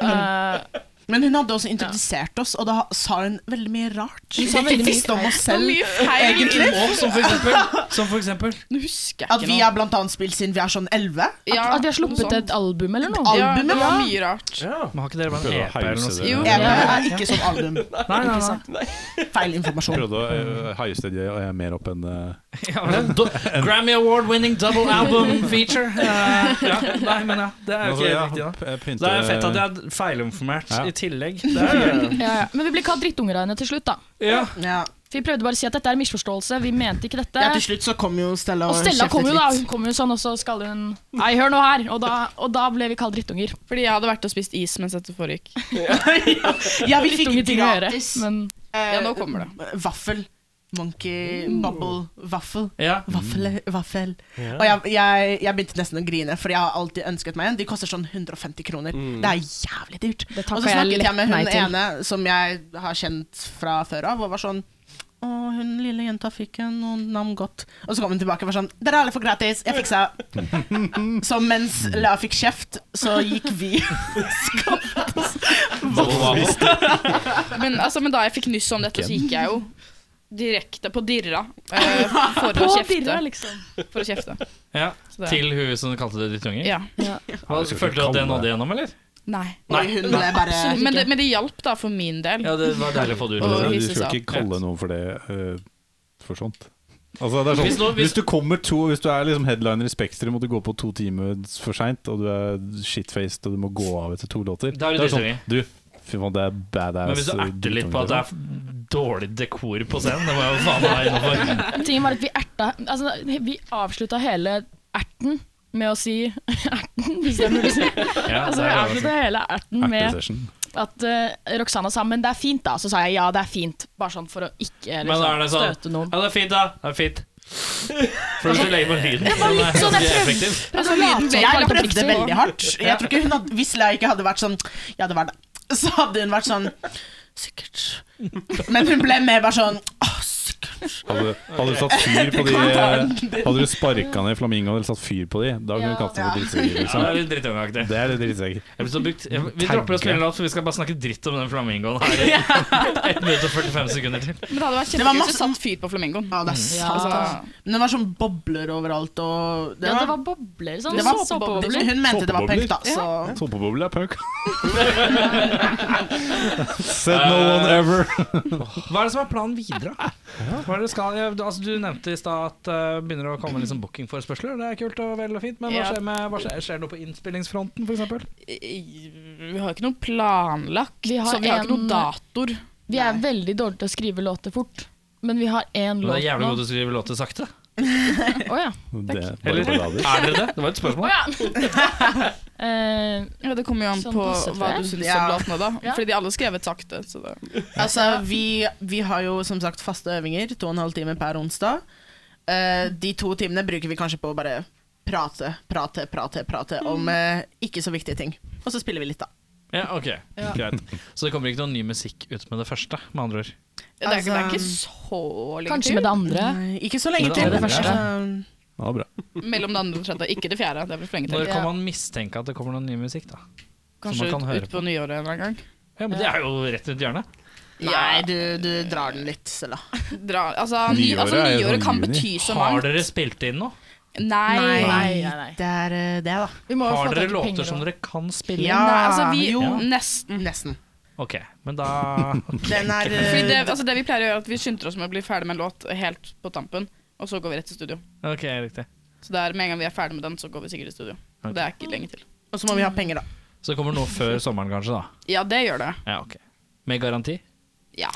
Speaker 8: Eh,
Speaker 9: Men hun hadde også introdusert oss, og da sa hun veldig mye rart. Hun
Speaker 8: sa veldig mye
Speaker 9: visste om oss
Speaker 7: Så
Speaker 9: selv.
Speaker 7: mye feil!
Speaker 9: Egentlig.
Speaker 4: Og som for eksempel, som for eksempel
Speaker 7: Nå husker
Speaker 9: At
Speaker 7: jeg
Speaker 9: vi
Speaker 7: ikke noe.
Speaker 9: har blant annet spilt siden vi er sånn 11.
Speaker 7: Ja,
Speaker 8: at vi
Speaker 7: noe
Speaker 8: har sluppet
Speaker 7: sånt.
Speaker 8: et album eller noe.
Speaker 9: Al-
Speaker 7: Ja, det
Speaker 9: album,
Speaker 7: var
Speaker 9: ja.
Speaker 7: mye rart.
Speaker 4: Men har ikke dere bare
Speaker 3: Prøvde
Speaker 4: en
Speaker 3: å
Speaker 4: EP eller noe
Speaker 3: hause
Speaker 4: sånt?
Speaker 3: det.
Speaker 7: Jo.
Speaker 9: EP er ikke som album.
Speaker 4: Nei, nei, nei.
Speaker 9: Feil informasjon.
Speaker 3: Prøvde å eh, heiste det eh, mer opp enn eh,
Speaker 4: Ja, men do, Grammy Award-winning double album feature. Eh, ja, nei, men ja, det er jo
Speaker 3: altså,
Speaker 4: ikke
Speaker 3: ja,
Speaker 4: helt riktig, da.
Speaker 3: p- pynte-
Speaker 4: Det er fett at jeg er feilinformert
Speaker 3: Ja.
Speaker 4: i tillegg. Det er,
Speaker 8: Ja, ja. Men vi ble kalt drittunger av henne til slutt, da.
Speaker 4: ja.
Speaker 9: Ja.
Speaker 8: For vi prøvde bare å si at dette er en misforståelse, vi mente ikke dette.
Speaker 9: ja, til slutt så kom jo Stella
Speaker 8: og
Speaker 9: og
Speaker 8: Stella kom
Speaker 9: kjeftet
Speaker 8: jo da, hun
Speaker 9: litt.
Speaker 8: kom jo sånn, og så skal hun Nei, hør nå her! Og da, og da ble vi kalt drittunger.
Speaker 7: Fordi jeg hadde vært og spist is mens dette foregikk.
Speaker 9: Ja, vi fikk
Speaker 8: Drittunge ting å gjøre.
Speaker 9: gratis
Speaker 8: Men
Speaker 9: eh,
Speaker 7: Ja, nå kommer det.
Speaker 9: vaffel. Monkey bubble vaffel.
Speaker 4: ja.
Speaker 9: Vaffel,
Speaker 8: Mm.
Speaker 9: vaffel. Og jeg, jeg, jeg begynte nesten å grine, for jeg har alltid ønsket meg en. De koster sånn 150 kroner. Det er jævlig dyrt.
Speaker 8: Mm. det
Speaker 9: Og
Speaker 8: takka
Speaker 9: så
Speaker 8: jeg
Speaker 9: snakket jeg
Speaker 8: lett
Speaker 9: med
Speaker 8: nei
Speaker 9: hun
Speaker 8: til.
Speaker 9: ene som jeg har kjent fra før av, og var sånn Å, hun lille jenta fikk en og nam godt. Og så kom hun tilbake og var sånn Dere alle får gratis, jeg fiksa. Så mens Lea fikk kjeft, så gikk vi
Speaker 7: Men, altså, men da jeg fikk nyss om dette, så gikk jeg jo direkte på dirra eh, for, å
Speaker 8: På
Speaker 7: kjefte,
Speaker 8: Birra, liksom.
Speaker 7: for å kjefte.
Speaker 4: ja.
Speaker 7: Så det-
Speaker 4: Til hun som kalte det drittunger?
Speaker 7: Ja.
Speaker 4: Hva- Følte du at det nådde gjennom, eller?
Speaker 7: Nei.
Speaker 9: Og hun ble bare
Speaker 7: Men det, men det hjalp, da, for min del.
Speaker 4: Ja, det var deilig å få det ut.
Speaker 7: Og
Speaker 3: Altså,
Speaker 7: hisse
Speaker 3: du skal
Speaker 7: seg
Speaker 3: ikke kalle noen for det eh, for sånt. Altså, det er sånn,
Speaker 4: Hvis
Speaker 3: hvis,
Speaker 4: nå- hvis-
Speaker 3: du kommer to Hvis du er liksom headliner i Spektrum og du går på to timer for seint, og du er shitfaced og du må gå av etter to låter
Speaker 4: Da er du
Speaker 3: det sånn
Speaker 4: drittunge.
Speaker 3: Du, fy faen, det er badass.
Speaker 4: Men hvis du erter litt på at det
Speaker 3: drittunge,
Speaker 4: er f- dårlig dekor på scenen, det må jeg jo faen meg være innafor.
Speaker 8: Tingen var at vi erta altså, Vi avslutta hele erten med å si erten, hvis det er mulig å si.
Speaker 4: Ja,
Speaker 8: Altså,
Speaker 4: det er lov å
Speaker 8: vi
Speaker 4: si.
Speaker 8: avslutta hele erten
Speaker 3: liksom.
Speaker 8: med
Speaker 3: Ertesession.
Speaker 8: at eh, Roxana sa 'men det er fint', da. Så sa jeg ja, det er fint, bare sånn for å ikke
Speaker 4: Men da er
Speaker 8: liksom,
Speaker 4: det sånn
Speaker 8: støte noen.
Speaker 4: Ja, det er fint, da. Det er fint. For du så legger på lyden.
Speaker 8: Det var
Speaker 4: Den er
Speaker 8: litt sånn jeg
Speaker 4: ganske
Speaker 8: prøvde.
Speaker 4: effektiv.
Speaker 9: Altså,
Speaker 8: Prøvde å late som
Speaker 9: jeg
Speaker 8: alt var
Speaker 9: prøvde
Speaker 8: oppriktig.
Speaker 9: veldig hardt. Jeg tror ikke hun hadde, Hvis Lea ikke hadde vært sånn Ja, det var det. Så hadde hun vært sånn Sikkert. Men hun ble mer bare sånn Å, sikkert.
Speaker 3: Hadde, hadde du satt fyr på de eh, Hadde du sparka ned flamingoen eller satt fyr på de, da kunne du kalt dem for
Speaker 9: Ja.
Speaker 3: drittsekker.
Speaker 4: Ja, det
Speaker 3: Liksom.
Speaker 4: er litt drittungeaktig.
Speaker 3: Det er litt drittsekker.
Speaker 4: Jeg blir så brukt. Jeg, vi dropper å spille låt, for vi skal bare snakke dritt om den flamingoen her i 1 minutt og 45 sekunder til.
Speaker 7: Men det hadde vært kjempegøy hvis
Speaker 9: Det var
Speaker 7: du
Speaker 9: masse-
Speaker 7: satte fyr på flamingoen.
Speaker 9: Ja, det er
Speaker 8: Ja.
Speaker 9: sant.
Speaker 7: Altså,
Speaker 9: Men det var sånn bobler overalt, og
Speaker 8: Ja, det var bobler. Sånn
Speaker 9: Det liksom. var
Speaker 8: såpebobler.
Speaker 9: Hun mente det var punk, da,
Speaker 7: Ja.
Speaker 9: så
Speaker 3: Såpeboble er punk. Said no one ever.
Speaker 4: Hva er det som er planen videre? da? Hva er det skal, jeg, altså, du nevnte i stad at det begynner å komme liksom bookingforespørsler. Det er kult og vel og fint, men hva
Speaker 7: Ja.
Speaker 4: skjer, med, hva skjer, skjer det noe på innspillingsfronten, f.eks.?
Speaker 7: i- vi har jo ikke noe planlagt,
Speaker 8: Vi har
Speaker 7: så vi har ikke
Speaker 8: en-
Speaker 7: noen datoer.
Speaker 8: Vi er veldig dårlige til å skrive låter fort. Men vi har én
Speaker 4: Du er
Speaker 8: låt
Speaker 4: jævlig
Speaker 8: nå.
Speaker 4: god til å skrive låter sakte.
Speaker 8: Å ja.
Speaker 3: Det er
Speaker 4: Eller-
Speaker 3: bare ballader.
Speaker 4: Er dere det? Det var et spørsmål.
Speaker 8: Eh,
Speaker 7: Ja, Det kommer jo an
Speaker 8: Sånn
Speaker 7: på
Speaker 8: passe for
Speaker 7: hva
Speaker 8: deg.
Speaker 7: du syns
Speaker 9: Ja.
Speaker 7: om låtene, da.
Speaker 8: Ja.
Speaker 7: Fordi de alle er skrevet sakte. Så det.
Speaker 9: Altså, vi, vi har jo som sagt faste øvinger, to og en halv time per onsdag. Eh, de to timene bruker vi kanskje på å bare prate, prate, prate, prate om eh, ikke så viktige ting. Og så spiller vi litt, da.
Speaker 4: Ja, ok. Greit. Så det kommer ikke noe ny musikk ut med det første, med andre ord.
Speaker 7: Det, er, ikke- det er ikke
Speaker 9: Altså-
Speaker 7: så lenge
Speaker 8: kanskje med det andre.
Speaker 9: Nei, Eh, ikke så lenge
Speaker 4: Men det
Speaker 9: til.
Speaker 4: er det
Speaker 8: første.
Speaker 9: Altså,
Speaker 3: Ja, bra.
Speaker 7: til. Mellom det andre og tredje. Ikke det fjerde. Det er vel for lenge
Speaker 4: Når
Speaker 7: til.
Speaker 4: kan man mistenke at det kommer noe ny musikk, da?
Speaker 7: Kanskje
Speaker 4: man kan
Speaker 7: ut,
Speaker 4: høre
Speaker 7: ut på nyåret en eller annen gang.
Speaker 4: Ja, men Det er jo rett rundt hjørnet.
Speaker 9: nei, du, du drar den litt, Stella.
Speaker 7: Dra, altså, ny,
Speaker 3: Nyåret
Speaker 7: altså,
Speaker 3: er jo
Speaker 7: nyåret
Speaker 3: sånn
Speaker 7: kan
Speaker 3: juni.
Speaker 7: bety så
Speaker 4: Har
Speaker 7: mangt.
Speaker 4: dere spilt inn noe?
Speaker 7: Nei.
Speaker 8: Nei, nei, nei.
Speaker 9: Det er eh, det, da.
Speaker 8: Vi må jo
Speaker 4: Har
Speaker 8: få
Speaker 4: dere
Speaker 8: tak i penger
Speaker 4: låter som
Speaker 8: også.
Speaker 4: dere kan spille?
Speaker 9: Ja,
Speaker 7: Nei, altså, vi,
Speaker 9: jo. mm,
Speaker 7: Nesten.
Speaker 9: Nesten.
Speaker 4: Ok, men da
Speaker 9: Den er eh,
Speaker 7: Fordi det, altså, det vi pleier å gjøre, er at vi skynder oss med å bli ferdig med en låt helt på tampen, og så går vi rett til studio.
Speaker 4: Ok, riktig.
Speaker 7: Så det er, med en gang vi er ferdig med den, så går vi sikkert i studio. Og Det er ikke lenge til.
Speaker 9: Og så må vi ha penger, da.
Speaker 4: Så det kommer noe før sommeren, kanskje? da
Speaker 7: Ja, det gjør det.
Speaker 4: Ja, ok Med garanti?
Speaker 7: Ja.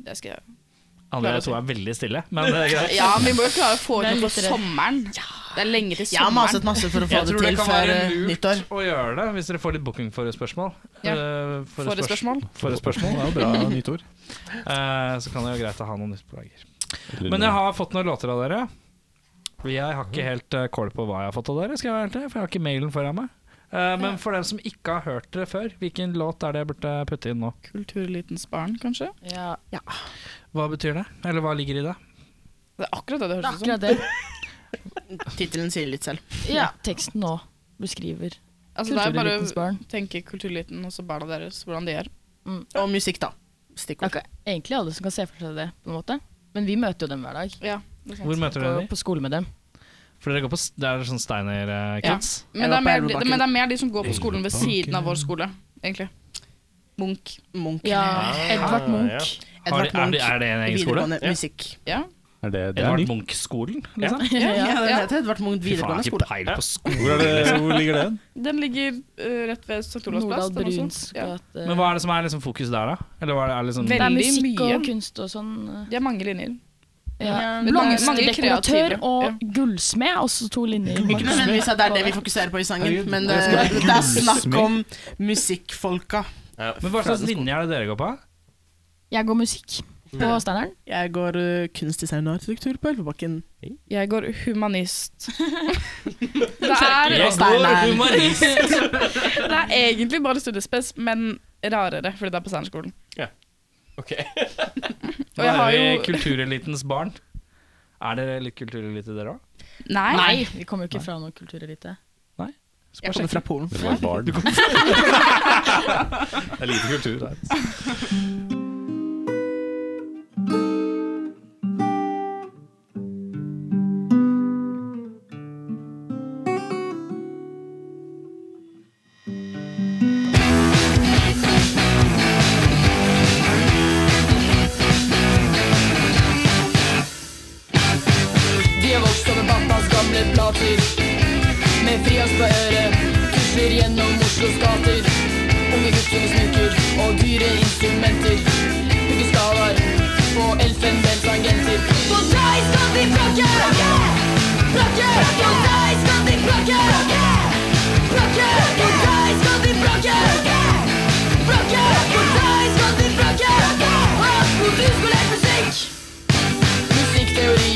Speaker 7: Det skal jeg
Speaker 4: Andre
Speaker 7: Garanti.
Speaker 4: to er veldig stille, men det er greit.
Speaker 7: Ja, men vi må jo klare å få
Speaker 8: Det er
Speaker 7: ut noe på
Speaker 8: litt redd.
Speaker 7: sommeren. Det er lenge til
Speaker 9: Jeg har maset
Speaker 7: sommeren.
Speaker 9: masse for å få
Speaker 4: Jeg
Speaker 9: det
Speaker 4: tror det
Speaker 9: til
Speaker 4: kan
Speaker 9: før
Speaker 4: være
Speaker 9: eh, nyttår.
Speaker 4: lurt å gjøre det, hvis dere får litt bookingforespørsmål.
Speaker 7: Ja.
Speaker 4: Eh,
Speaker 7: Får du spørsmål?
Speaker 4: Forespørsmål,
Speaker 3: Det er jo bra nytt ord.
Speaker 4: Eh, så kan det jo greit å ha noe nytt på lager. Men jeg har fått noen låter av dere. Jeg har ikke helt eh, kål på hva jeg har fått av dere, skal jeg være ærlig, for jeg har ikke mailen foran meg. Eh, men for dem som ikke har hørt dere før, hvilken låt er det jeg burde putte inn nå?
Speaker 7: Kulturelitens barn, kanskje?
Speaker 8: Ja,
Speaker 4: Hva betyr det? Eller hva ligger i det?
Speaker 7: Det er akkurat det det
Speaker 8: det er
Speaker 7: høres ut som.
Speaker 8: akkurat det.
Speaker 9: Tittelen sier litt selv.
Speaker 8: Ja, teksten nå beskriver
Speaker 7: Altså, det er bare
Speaker 8: kulturelitens barn.
Speaker 7: å tenke kultureliten og så barna deres, hvordan de er.
Speaker 9: Og musikk, da.
Speaker 8: Det er
Speaker 9: Stikkord.
Speaker 8: ikke egentlig alle som kan se for seg det, på en måte. Men vi møter jo dem hver dag.
Speaker 7: Ja, det er sant.
Speaker 4: Hvor møter
Speaker 8: På,
Speaker 4: dere dem?
Speaker 8: på skole med dem.
Speaker 4: For dere går på s- Det er sånn
Speaker 7: Ja.
Speaker 4: Steiner-kids.
Speaker 7: Men
Speaker 9: Jeg
Speaker 7: det,
Speaker 9: var
Speaker 7: er
Speaker 9: på
Speaker 7: mer,
Speaker 9: Elvebakken.
Speaker 7: de- men det er mer de som går på skolen ved siden av vår skole, egentlig. Munch.
Speaker 9: Munch.
Speaker 8: Ja, Edvard Munch.
Speaker 4: Har
Speaker 9: Edvard
Speaker 4: de, er,
Speaker 9: Munch.
Speaker 4: de, er det en egen skole?
Speaker 9: Videregående musikk.
Speaker 7: Ja.
Speaker 3: Er det, det er
Speaker 4: Edvard
Speaker 3: nytt.
Speaker 4: Munch-skolen? Liksom?
Speaker 9: Ja,
Speaker 8: Ja.
Speaker 9: den
Speaker 7: ja.
Speaker 9: heter Edvard Munch
Speaker 4: Fy faen, jeg
Speaker 9: videregående
Speaker 4: har
Speaker 9: skole.
Speaker 4: ikke peil på
Speaker 3: Hvor,
Speaker 4: skole.
Speaker 3: er det, hvor ligger den?
Speaker 7: Den ligger eh, rett ved St. Olavs plass.
Speaker 8: Nordahl
Speaker 7: den
Speaker 8: Bruns
Speaker 7: også. altså. Ja.
Speaker 8: gate.
Speaker 4: Men hva er det som er liksom fokus der, da? Eller hva er det, er det liksom
Speaker 8: Det er
Speaker 7: Veldig
Speaker 8: musikk
Speaker 7: mye.
Speaker 8: og kunst og sånn.
Speaker 7: Det er mange linjer.
Speaker 8: Ja.
Speaker 7: Men det er mange
Speaker 8: Blomsterdekoratør
Speaker 7: kreative. Ja.
Speaker 8: og gullsmed, også to linjer.
Speaker 9: Ikke nødvendigvis at det er det vi fokuserer på i sangen, men det,
Speaker 3: Herregud.
Speaker 9: det er snakk om musikkfolka.
Speaker 4: Men Hva slags linje er det dere går på?
Speaker 8: Jeg går musikk på Steineren.
Speaker 9: Jeg går ø, kunstdesign og arkitektur på Elvebakken.
Speaker 7: Jeg går humanist. det, er,
Speaker 9: Jeg Steinar.
Speaker 4: humanist!
Speaker 7: det er egentlig bare studiespes, men rarere, fordi det er på Steinerskolen.
Speaker 10: Ok.
Speaker 7: Og jeg har
Speaker 4: er vi
Speaker 7: jo
Speaker 4: kulturelitens barn? Er dere litt kulturelite, dere òg?
Speaker 7: Nei.
Speaker 8: Nei, vi kommer jo ikke fra noe kulturelite.
Speaker 9: Jeg kommer fra Polen.
Speaker 3: Det var et barn. Det er lite kultur der.
Speaker 11: Vi har vokst over pappas gamle plater Med frias på øret Tusler gjennom Oslos gater Unge gutter med snuker Og dyre instrumenter Byggestavar Og elfenbensagenter På deg skal vi plukke Plukke På deg skal vi plukke Plukke På deg skal vi plukke Plukke På deg skal vi plukke Og du skal lære musikk Musikkteori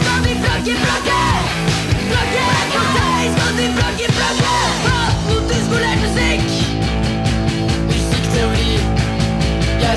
Speaker 12: Brakke! Brakke! For deg skal de brakke, brakke! Hat mot uskolert musikk! Musikkteori. Jeg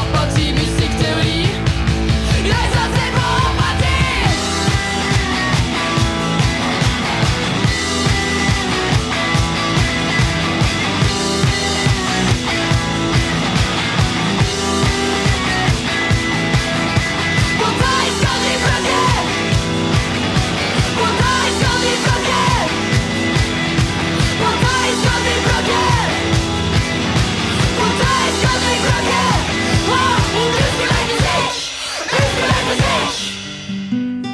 Speaker 12: apati, musikkteori. Jeg satser på apati! På deg skal de brakke! På deg skal de brakke! På deg skal de brakke! På deg skal de brakke! Ha, om du skulle lage musikk! Du skulle lage musikk!
Speaker 8: Det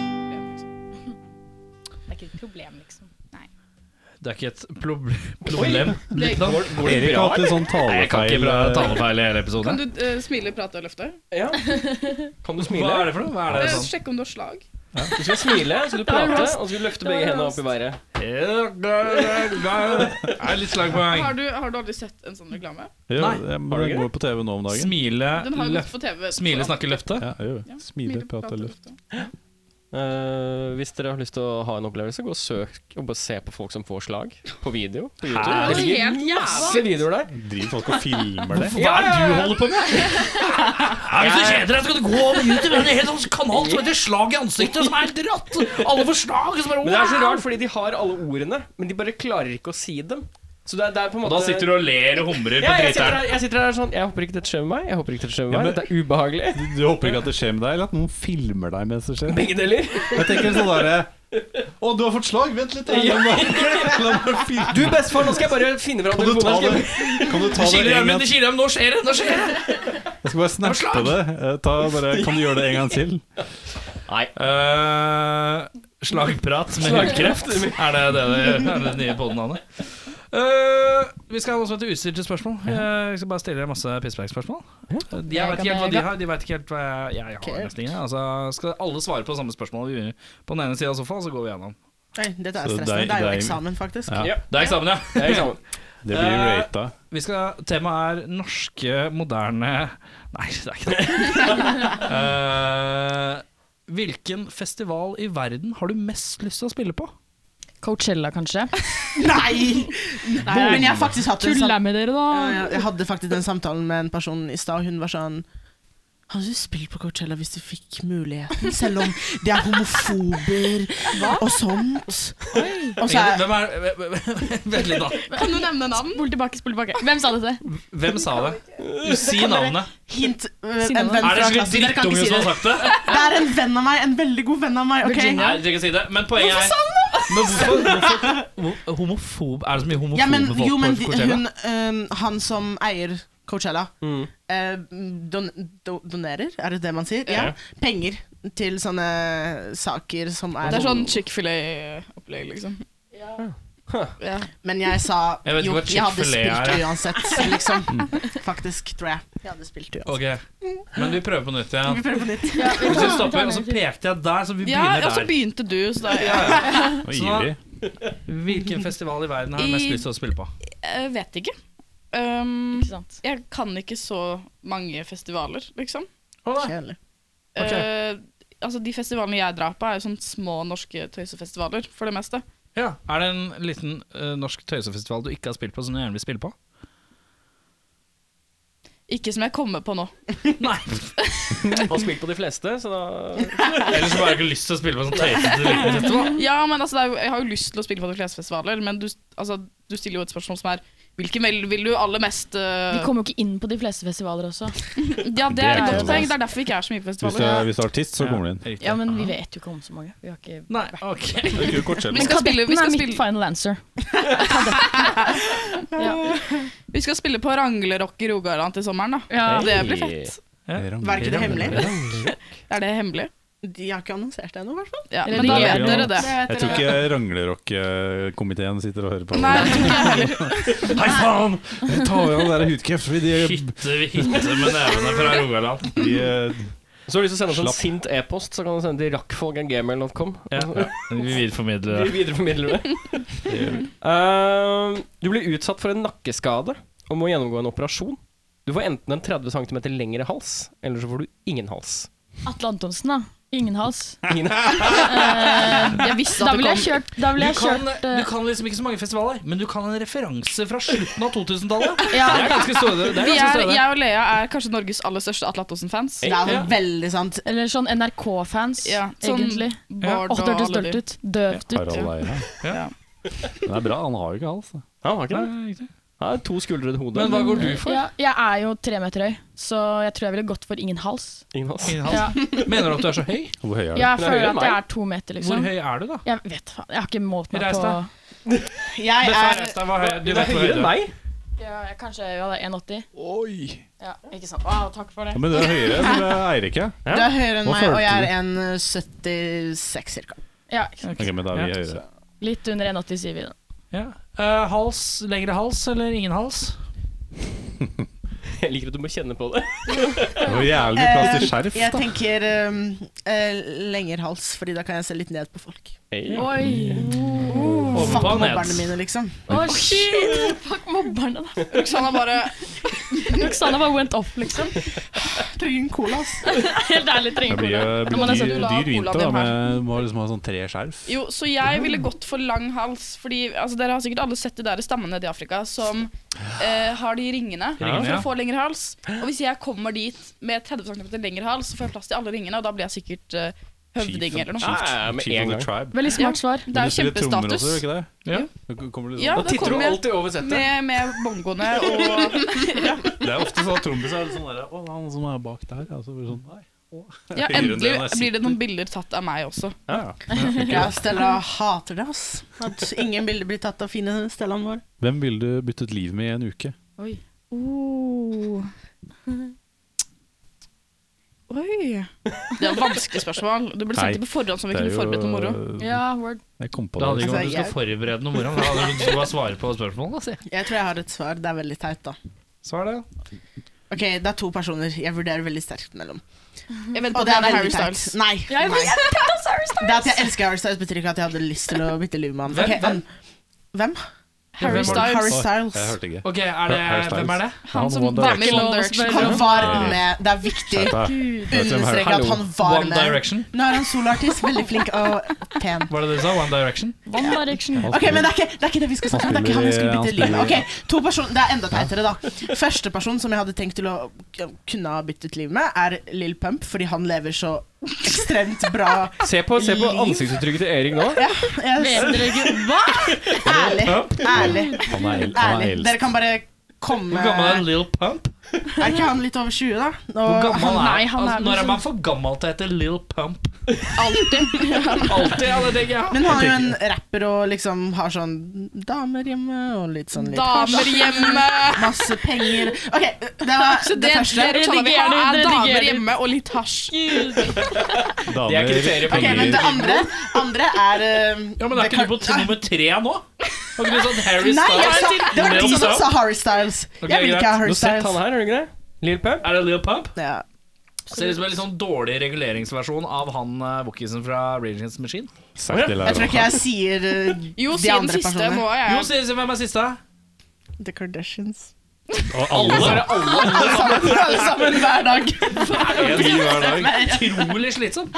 Speaker 8: er ikke et problem, liksom. Nei.
Speaker 4: Det er ikke et proble- problem.
Speaker 7: det-
Speaker 4: Da-
Speaker 7: Går-
Speaker 3: går det Erik bra, har alltid eller? sånn talefeil.
Speaker 4: Nei, Jeg kan ikke bra talefeil i hele
Speaker 7: Kan
Speaker 4: episoden.
Speaker 7: du eh, smile, prate og løfte?
Speaker 1: Ja. Kan du smile?
Speaker 4: Hva er det for noe? Hva er det
Speaker 7: Eh,
Speaker 4: sånn?
Speaker 7: Sjekke om du har slag.
Speaker 1: Du skal smile, så skal du prate, og så skal du løfte begge hendene opp i været.
Speaker 4: Det er litt slagpoeng.
Speaker 7: Har du, har du aldri sett en sånn reklame?
Speaker 3: Ja,
Speaker 4: Nei.
Speaker 3: eh, jeg- men
Speaker 4: Har du
Speaker 3: den
Speaker 4: ikke
Speaker 3: går på TV nå om dagen.
Speaker 4: Smile,
Speaker 7: Den har gått
Speaker 4: løft,
Speaker 7: på TV.
Speaker 4: smile snakke, løfte.
Speaker 3: Ja, jeg gjør det. Smile, prate, løft.
Speaker 1: Eh, hvis dere har lyst til å ha en opplevelse, gå og søk og bare se på folk som får slag på video. På YouTube.
Speaker 7: Hæ?
Speaker 1: Det ligger
Speaker 7: Helt jævlig.
Speaker 1: masse videoer der.
Speaker 3: Driver folk og filmer det?
Speaker 4: Hva er det du holder på med?
Speaker 13: Hvis du kjeder deg, så kan du gå over YouTube. Det er en hel sånn kanal som heter Slag i ansiktet, som er helt rått. Alle får slag. Som er,
Speaker 1: Men det er så rart, fordi de har alle ordene, men de bare klarer ikke å si dem. Så det er, det er på en
Speaker 4: Og
Speaker 1: måte
Speaker 4: da sitter du og ler og humrer
Speaker 1: ja,
Speaker 4: på
Speaker 1: jeg sitter,
Speaker 4: driteren.
Speaker 1: her, jeg sitter her sånn Jeg håper ikke dette skjer med meg. Jeg håper ikke dette skjer med
Speaker 3: Ja,
Speaker 1: meg
Speaker 3: men-
Speaker 1: Dette er ubehagelig.
Speaker 3: Du, du håper ikke at det skjer med deg, eller at noen filmer deg mens det skjer?
Speaker 1: Begge deler.
Speaker 3: Jeg tenker sånn derre Å, du har fått slag? Vent litt. da. La meg- la meg filme.
Speaker 1: Du, bestefar, nå skal jeg bare finne fram
Speaker 3: Kan du ta det Kan du
Speaker 13: Det
Speaker 3: ta det
Speaker 13: kiler i
Speaker 3: en
Speaker 13: armen,
Speaker 3: gang
Speaker 13: det kiler i armen. Nå skjer det! Nå skjer det!
Speaker 3: Jeg skal bare snappe det. Eh, Ta bare, kan du gjøre det en gang til?
Speaker 4: Eh, slagprat med hudkreft. Er det det, det, er det nye podnavnet? Uh, vi skal ha noe som heter utstilte spørsmål. Eh, jeg skal bare stille deg masse pisspreik-spørsmål. Eh, de- Jeg
Speaker 8: Jeg
Speaker 4: vet
Speaker 8: kan-
Speaker 4: ikke helt hva de
Speaker 8: jeg-
Speaker 4: har. De vet ikke helt hva jeg, jeg har. Nesten ingen. Altså, skal alle svare på samme spørsmål vi- på den ene sida av sofaen, så går vi gjennom.
Speaker 9: Nei, dette er
Speaker 3: Så deg-
Speaker 9: stressende. Det er jo
Speaker 3: deg-
Speaker 9: eksamen, faktisk.
Speaker 3: Ja.
Speaker 4: Det er eksamen, ja.
Speaker 1: Det er eksamen.
Speaker 3: Det blir
Speaker 4: Eh,
Speaker 3: rata.
Speaker 4: Vi skal, temaet er norske, moderne Nei, det er ikke det. Eh, hvilken festival i verden har du mest lyst til å spille på?
Speaker 8: Coachella, kanskje.
Speaker 9: Nei! Men jeg har faktisk hatt en
Speaker 8: Tuller
Speaker 9: sam-
Speaker 8: jeg med dere,
Speaker 9: Ja,
Speaker 8: da?
Speaker 9: ja, Jeg hadde faktisk den samtalen med en person i stad. Hun var sånn Hadde du spilt på Coachella hvis du fikk muligheten, selv om det er homofober og sånt? Og så er
Speaker 4: Hvem er Vent litt, da.
Speaker 7: Kan du nevne navn?
Speaker 8: Spol tilbake, spol tilbake. Hvem sa dette?
Speaker 4: Hvem sa det? Si navnet.
Speaker 9: hint øh,
Speaker 8: Si
Speaker 9: en
Speaker 8: noe.
Speaker 9: venn fra
Speaker 4: Er det en slik
Speaker 9: klassen. Dere kan
Speaker 4: drittunge
Speaker 9: ikke si
Speaker 4: som har
Speaker 9: det.
Speaker 4: sagt det?
Speaker 9: Det er en venn av meg. En veldig god venn av meg. ok?
Speaker 8: Virginia.
Speaker 4: Nei, du trenger ikke si det. Men poenget er Men hvorfor, hvorfor hvor- Homofob Er det så mye homofobe
Speaker 9: Ja, men,
Speaker 4: folk
Speaker 9: jo, men
Speaker 4: på
Speaker 9: de,
Speaker 4: Coachella?
Speaker 9: hun, øhm, han som eier Coachella,
Speaker 7: Mm.
Speaker 9: eh, don, do, donerer, er det det man sier? Ja.
Speaker 4: Ja.
Speaker 9: Penger til sånne saker som er,
Speaker 7: Det er sånn Chick-fil-A-opplegg, liksom.
Speaker 4: Ah.
Speaker 7: Ja.
Speaker 9: sånn- Men jeg sa
Speaker 4: Jeg vet ikke
Speaker 9: jo,
Speaker 4: hva
Speaker 9: jeg hadde
Speaker 4: Chick-fil-A
Speaker 9: spilt
Speaker 4: er, Mm.
Speaker 9: det uansett, liksom. Faktisk, tror jeg. Jeg hadde spilt det uansett.
Speaker 4: Ok, men vi prøver på nytt igjen.
Speaker 9: Vi prøver på nytt.
Speaker 4: Hvis du stopper, og så pekte jeg der, så vi
Speaker 7: ja, altså,
Speaker 4: begynner
Speaker 7: og så
Speaker 4: der.
Speaker 7: begynte du, så da
Speaker 4: Så
Speaker 3: Nå gir vi.
Speaker 4: Hvilken festival i verden har du mest
Speaker 7: I-
Speaker 4: lyst til å spille på?
Speaker 7: Jeg vet ikke. Um,
Speaker 8: Ikke sant?
Speaker 7: jeg kan ikke så mange festivaler, liksom.
Speaker 9: Kjedelig.
Speaker 4: Ok.
Speaker 7: Eh, altså De festivalene jeg drar på, er jo sånne små norske tøysefestivaler, for det meste.
Speaker 4: Ja. Er det en liten eh, norsk tøysefestival du ikke har spilt på, som du gjerne vil spille på?
Speaker 7: Ikke som jeg kommer på nå.
Speaker 4: Nei.
Speaker 1: Har spilt på de fleste, så da
Speaker 4: Eller så har jeg ikke lyst til å spille på en sånn tøysete liten festival.
Speaker 7: Ja, men altså, det er jo, Jeg har jo lyst til å spille på de fleste festivaler, men du, altså, du stiller jo et spørsmål som er Hvilken vel vil du aller mest eh,
Speaker 8: Vi kommer jo ikke inn på de fleste festivaler også.
Speaker 7: Ja,
Speaker 3: Det
Speaker 7: det er et
Speaker 3: er
Speaker 7: godt
Speaker 3: jo
Speaker 7: poeng. Det er derfor vi ikke er så mye på
Speaker 3: Hvis du,
Speaker 7: festivaler.
Speaker 3: er, hvis du er artist, så kommer du inn.
Speaker 4: Riktig.
Speaker 8: Ja, men vi vet jo ikke om så mange. Vi har ikke
Speaker 4: Nei, ok.
Speaker 3: Det er ikke Coachella.
Speaker 7: Vi skal spille, vi
Speaker 8: Kadetten
Speaker 7: skal
Speaker 8: er mitt
Speaker 7: spille,
Speaker 8: final answer.
Speaker 7: vi skal spille på Ranglerock i Rogaland til sommeren, da.
Speaker 8: Ja.
Speaker 7: Det blir fett.
Speaker 9: Var ikke det hemmelig?
Speaker 7: Er det hemmelig?
Speaker 9: De har ikke annonsert det ennå, i hvert fall.
Speaker 7: Ja,
Speaker 8: Eller
Speaker 7: men da
Speaker 8: det
Speaker 7: vet
Speaker 8: gjør
Speaker 7: dere det.
Speaker 3: Jeg tror ikke Ranglerock-komiteen sitter og hører på.
Speaker 7: Nei, jeg tror ikke jeg heller.
Speaker 4: Hei faen!
Speaker 3: Ta av den der hudkreft, fordi de,
Speaker 4: Hytte, vi hytte med nevene fra Rogaland.
Speaker 3: de eh,
Speaker 1: Så har du lyst til å sende oss en sint e-post, så kan du sende til rakkfolk.gmail.com.
Speaker 4: Ja. Vi videreformidler det.
Speaker 1: Vi videreformidler det. Ehm, Eh, du ble utsatt for en nakkeskade og må gjennomgå en operasjon. Du får enten en 30 cm lengre hals, eller så får du ingen hals.
Speaker 8: Atle Antonsen, da. Ingen hals.
Speaker 1: Ingen-
Speaker 8: Eh,
Speaker 7: Jeg visste at det
Speaker 8: da ville jeg
Speaker 7: kom.
Speaker 8: kjørt, da
Speaker 4: Du
Speaker 8: ville jeg
Speaker 4: kan,
Speaker 8: kjørt eh,
Speaker 4: du kan liksom ikke så mange festivaler, men du kan en referanse fra slutten av 2000-tallet.
Speaker 7: Ja.
Speaker 4: Det er ganske stående. Det er
Speaker 7: Vi
Speaker 4: ganske
Speaker 7: er,
Speaker 4: stående.
Speaker 7: jeg og Lea er kanskje Norges aller største Atle Antonsen-fans.
Speaker 9: Det er veldig sant.
Speaker 8: Eller sånn NRK-fans,
Speaker 7: Ja, sånn
Speaker 8: egentlig.
Speaker 7: Bård
Speaker 8: Åh, det hørtes
Speaker 7: og alle
Speaker 8: dølt
Speaker 7: de.
Speaker 8: ut. Døvt ut.
Speaker 3: Harald Eia.
Speaker 7: Ja.
Speaker 3: Det er bra, han har jo ikke hals. da.
Speaker 1: Han har ikke det. Han har to skuldre og et hode.
Speaker 4: Men hva går du for?
Speaker 8: Ja, jeg er jo tre meter høy, så jeg tror jeg ville gått for ingen hals.
Speaker 1: Ingen hals.
Speaker 4: Ingen
Speaker 8: Ja.
Speaker 4: hals. Mener du at du er så høy?
Speaker 3: Hvor høy er du?
Speaker 8: Jeg
Speaker 1: Det er høyere
Speaker 8: føler
Speaker 1: enn
Speaker 8: at jeg
Speaker 1: meg.
Speaker 8: er to meter,
Speaker 4: Hvor
Speaker 8: liksom.
Speaker 4: høy er du, da?
Speaker 8: Jeg vet faen, jeg har ikke målt meg
Speaker 4: Reis
Speaker 8: på
Speaker 4: deg.
Speaker 9: Jeg
Speaker 4: Beffa
Speaker 9: er
Speaker 4: Reistad var høy. Du
Speaker 1: Det er
Speaker 4: vet hvor høy
Speaker 1: høyere
Speaker 4: du
Speaker 1: enn
Speaker 4: er.
Speaker 1: meg.
Speaker 8: ja, jeg, Kanskje jeg var 1,80.
Speaker 3: Oi!
Speaker 8: Ja, ikke sant. Å, takk for
Speaker 3: Ja,
Speaker 8: det.
Speaker 3: men du er høyere enn eh, Eirik, ja.
Speaker 9: Du er høyere
Speaker 3: Hva
Speaker 9: enn meg, og
Speaker 3: følte
Speaker 9: jeg er
Speaker 3: du?
Speaker 9: 1,76 cirka.
Speaker 8: Ja, ikke sant.
Speaker 3: Ok, men da er vi høyere.
Speaker 8: Litt under 1,80, sier vi. da.
Speaker 4: Ja. Eh, hals, Lengre hals eller ingen hals?
Speaker 1: Jeg liker at du må kjenne på det.
Speaker 3: Det var jævlig mye plass
Speaker 7: Eh,
Speaker 3: til skjerf.
Speaker 9: Eh, Jeg tenker um, eh, lengre hals, Fordi da kan jeg se litt ned på folk.
Speaker 8: Oi!
Speaker 9: Fuck
Speaker 4: Ovenpå og ned.
Speaker 9: mobberne mine, liksom.
Speaker 8: Å, shit! Fuck mobberne, da.
Speaker 7: Roxanna bare
Speaker 8: Roxana bare went off, liksom.
Speaker 9: Trenger en cola, ass.
Speaker 8: Helt ærlig,
Speaker 3: Det
Speaker 8: trenger
Speaker 3: blir jo
Speaker 8: ikke
Speaker 3: det
Speaker 8: Da må
Speaker 3: blir
Speaker 8: nesten
Speaker 3: dyr,
Speaker 8: du la
Speaker 3: dyr
Speaker 7: Olav
Speaker 3: vinter, da.
Speaker 7: din her.
Speaker 3: Med, må liksom ha sånn tre skjerf.
Speaker 7: Jo, så jeg ville gått for lang hals. Fordi altså, Dere har sikkert alle sett det der stammene i Afrika som eh, har de ringene
Speaker 4: Ringene,
Speaker 7: for
Speaker 4: ja.
Speaker 7: å få lengre hals. Og hvis jeg kommer dit med 30 cm lengre hals, så får jeg plass til alle ringene, og da blir jeg sikkert eh, høvding eller noe.
Speaker 1: Chief. Ja, ja, med
Speaker 3: Chief
Speaker 1: en
Speaker 3: of the
Speaker 1: gang.
Speaker 3: tribe.
Speaker 8: Veldig smart svar.
Speaker 7: Det
Speaker 3: Men
Speaker 7: er jo
Speaker 3: du spiller trommer
Speaker 7: kjempestatus.
Speaker 3: også, gjør ikke det?
Speaker 4: Ja.
Speaker 3: Da kommer det litt
Speaker 7: Ja,
Speaker 3: sånn-
Speaker 1: Da
Speaker 7: det
Speaker 1: titter du
Speaker 7: kommer jeg
Speaker 1: alltid over settet.
Speaker 7: med, med bongoene og
Speaker 3: Det er ofte sånn at trompiser er litt sånn der Å, han som er bak der. Altså, bare sånn, nei.
Speaker 7: Ja,
Speaker 3: Høyere enn det
Speaker 7: endelig
Speaker 3: når jeg
Speaker 7: blir det noen bilder tatt av meg også.
Speaker 3: Ja, ja.
Speaker 9: Ja, Stella hater det, ass. At ingen bilder blir tatt av fine Stellaen vår.
Speaker 3: Hvem ville du byttet liv med i en uke?
Speaker 8: Oi.
Speaker 7: Oi. Det er et vanskelig spørsmål. Det ble sendt
Speaker 3: Nei,
Speaker 7: på forhånd, så vi
Speaker 3: Det er
Speaker 7: kunne
Speaker 3: jo, eh,
Speaker 7: forberedt noe moro.
Speaker 8: Ja, word.
Speaker 3: Jeg kom på
Speaker 4: Det hadde
Speaker 3: det.
Speaker 4: ikke
Speaker 9: Altså,
Speaker 4: vært at du skal
Speaker 9: jeg-
Speaker 4: forberede noe moro. Da hadde du skulle bare svare på spørsmålene. Altså.
Speaker 9: Jeg tror jeg har et svar. Det er veldig teit, da.
Speaker 4: Svar det.
Speaker 9: Ok, Det er to personer jeg vurderer veldig sterkt mellom.
Speaker 7: Jeg venter på
Speaker 9: Og
Speaker 7: at
Speaker 9: det er
Speaker 7: det er
Speaker 9: veldig
Speaker 7: Harry
Speaker 9: teit.
Speaker 7: Styles.
Speaker 9: Nei.
Speaker 8: Jeg
Speaker 9: nei.
Speaker 8: vet
Speaker 9: Det at jeg elsker Harry Styles, betyr ikke at jeg hadde lyst til å bytte liv med han.
Speaker 4: Hvem-
Speaker 9: Ok, han- Hvem? um,
Speaker 7: Harry
Speaker 4: Hvem var det?
Speaker 7: Styles.
Speaker 9: Harry Styles.
Speaker 3: Jeg hørte ikke.
Speaker 4: Ok, er det,
Speaker 3: Harry Styles.
Speaker 4: Hvem er det?
Speaker 7: Han som
Speaker 3: One
Speaker 7: var med i
Speaker 8: Direction.
Speaker 7: One
Speaker 8: Ikke lov å
Speaker 7: Direction.
Speaker 9: Han var med. Det er viktig å
Speaker 3: Skjerpa.
Speaker 9: understreke at han var
Speaker 4: One
Speaker 9: med.
Speaker 4: Direction?
Speaker 9: Nå er han soloartist, veldig flink og pen.
Speaker 4: Var det det du sa? One Direction?
Speaker 8: One Direction.
Speaker 3: Han
Speaker 9: Ok, men
Speaker 3: spiller-
Speaker 9: det er, ikke, det er ikke det vi skal snakke om. Det er ikke
Speaker 3: Han
Speaker 9: han jeg skulle
Speaker 3: spiller-
Speaker 9: bytte
Speaker 3: han
Speaker 9: liv med. Ok, to personer, Det er enda teitere, da. Første person som jeg hadde tenkt til å kunne ha byttet liv med, er Lill Pump, fordi han lever så ekstremt bra.
Speaker 1: Se på, se på ansiktsuttrykket til Erik nå.
Speaker 9: Jeg,
Speaker 8: Vet dere ikke hva?
Speaker 9: ærlig. Ærlig.
Speaker 3: Han er, el- han er
Speaker 9: ærlig.
Speaker 3: eldst.
Speaker 9: Dere kan bare komme
Speaker 4: Hvor gammel er
Speaker 9: Er
Speaker 4: Lil Pump?
Speaker 9: ikke han litt over 20, da?
Speaker 4: Hvor
Speaker 9: Og
Speaker 4: gammel er,
Speaker 8: Nei, han er
Speaker 4: altså, Når er
Speaker 8: liksom-
Speaker 4: man for gammel til å hete Lil Pump? Alltid. ja, det tenker jeg.
Speaker 9: Men han er jo en rapper og liksom har sånn damer hjemme og litt sånn litt
Speaker 7: Damer hjemme!
Speaker 9: Masse penger. Ok, det var
Speaker 7: Så
Speaker 9: det,
Speaker 7: det,
Speaker 9: første. Sånn
Speaker 7: det Roxanna vil ha,
Speaker 8: Redigerer du,
Speaker 7: er
Speaker 8: redigerer
Speaker 7: damer
Speaker 8: du?
Speaker 7: hjemme og litt hasj.
Speaker 3: Damer,
Speaker 1: Det er kriterier for
Speaker 9: Ok, men det andre, andre er eh,
Speaker 4: Ja, men Er
Speaker 9: det
Speaker 4: ikke
Speaker 9: kan-
Speaker 4: du på t- nummer tre nå? Har ikke du sånn Harry
Speaker 9: Nei, jeg
Speaker 4: Styles?
Speaker 9: sa, det var sånn
Speaker 4: Lil
Speaker 9: de som
Speaker 4: Pump?
Speaker 9: sa Harry Styles.
Speaker 4: Ok,
Speaker 9: jeg vil ikke
Speaker 4: greit.
Speaker 9: ha
Speaker 1: Du
Speaker 9: Harry
Speaker 1: har sett
Speaker 9: Styles.
Speaker 1: han her, har du ikke det? Lil Pump.
Speaker 4: Er det Lil Pump?
Speaker 9: Ja.
Speaker 4: Ser ut som en litt sånn dårlig reguleringsversjon av han eh, vokkisen fra Rage Against the Machine.
Speaker 3: Sagt til
Speaker 9: Jeg tror
Speaker 3: Laura.
Speaker 9: ikke jeg sier eh,
Speaker 7: Jo, si
Speaker 9: de
Speaker 7: den
Speaker 9: andre
Speaker 7: siste. Nå
Speaker 9: personene.
Speaker 7: er
Speaker 4: Jo,
Speaker 7: jeg
Speaker 4: sier hvem er siste?
Speaker 9: The Kardashians.
Speaker 3: Og alle sammen.
Speaker 9: Alle sammen, alle sammen hver dag.
Speaker 3: En ny hver dag.
Speaker 4: Utrolig slitsom.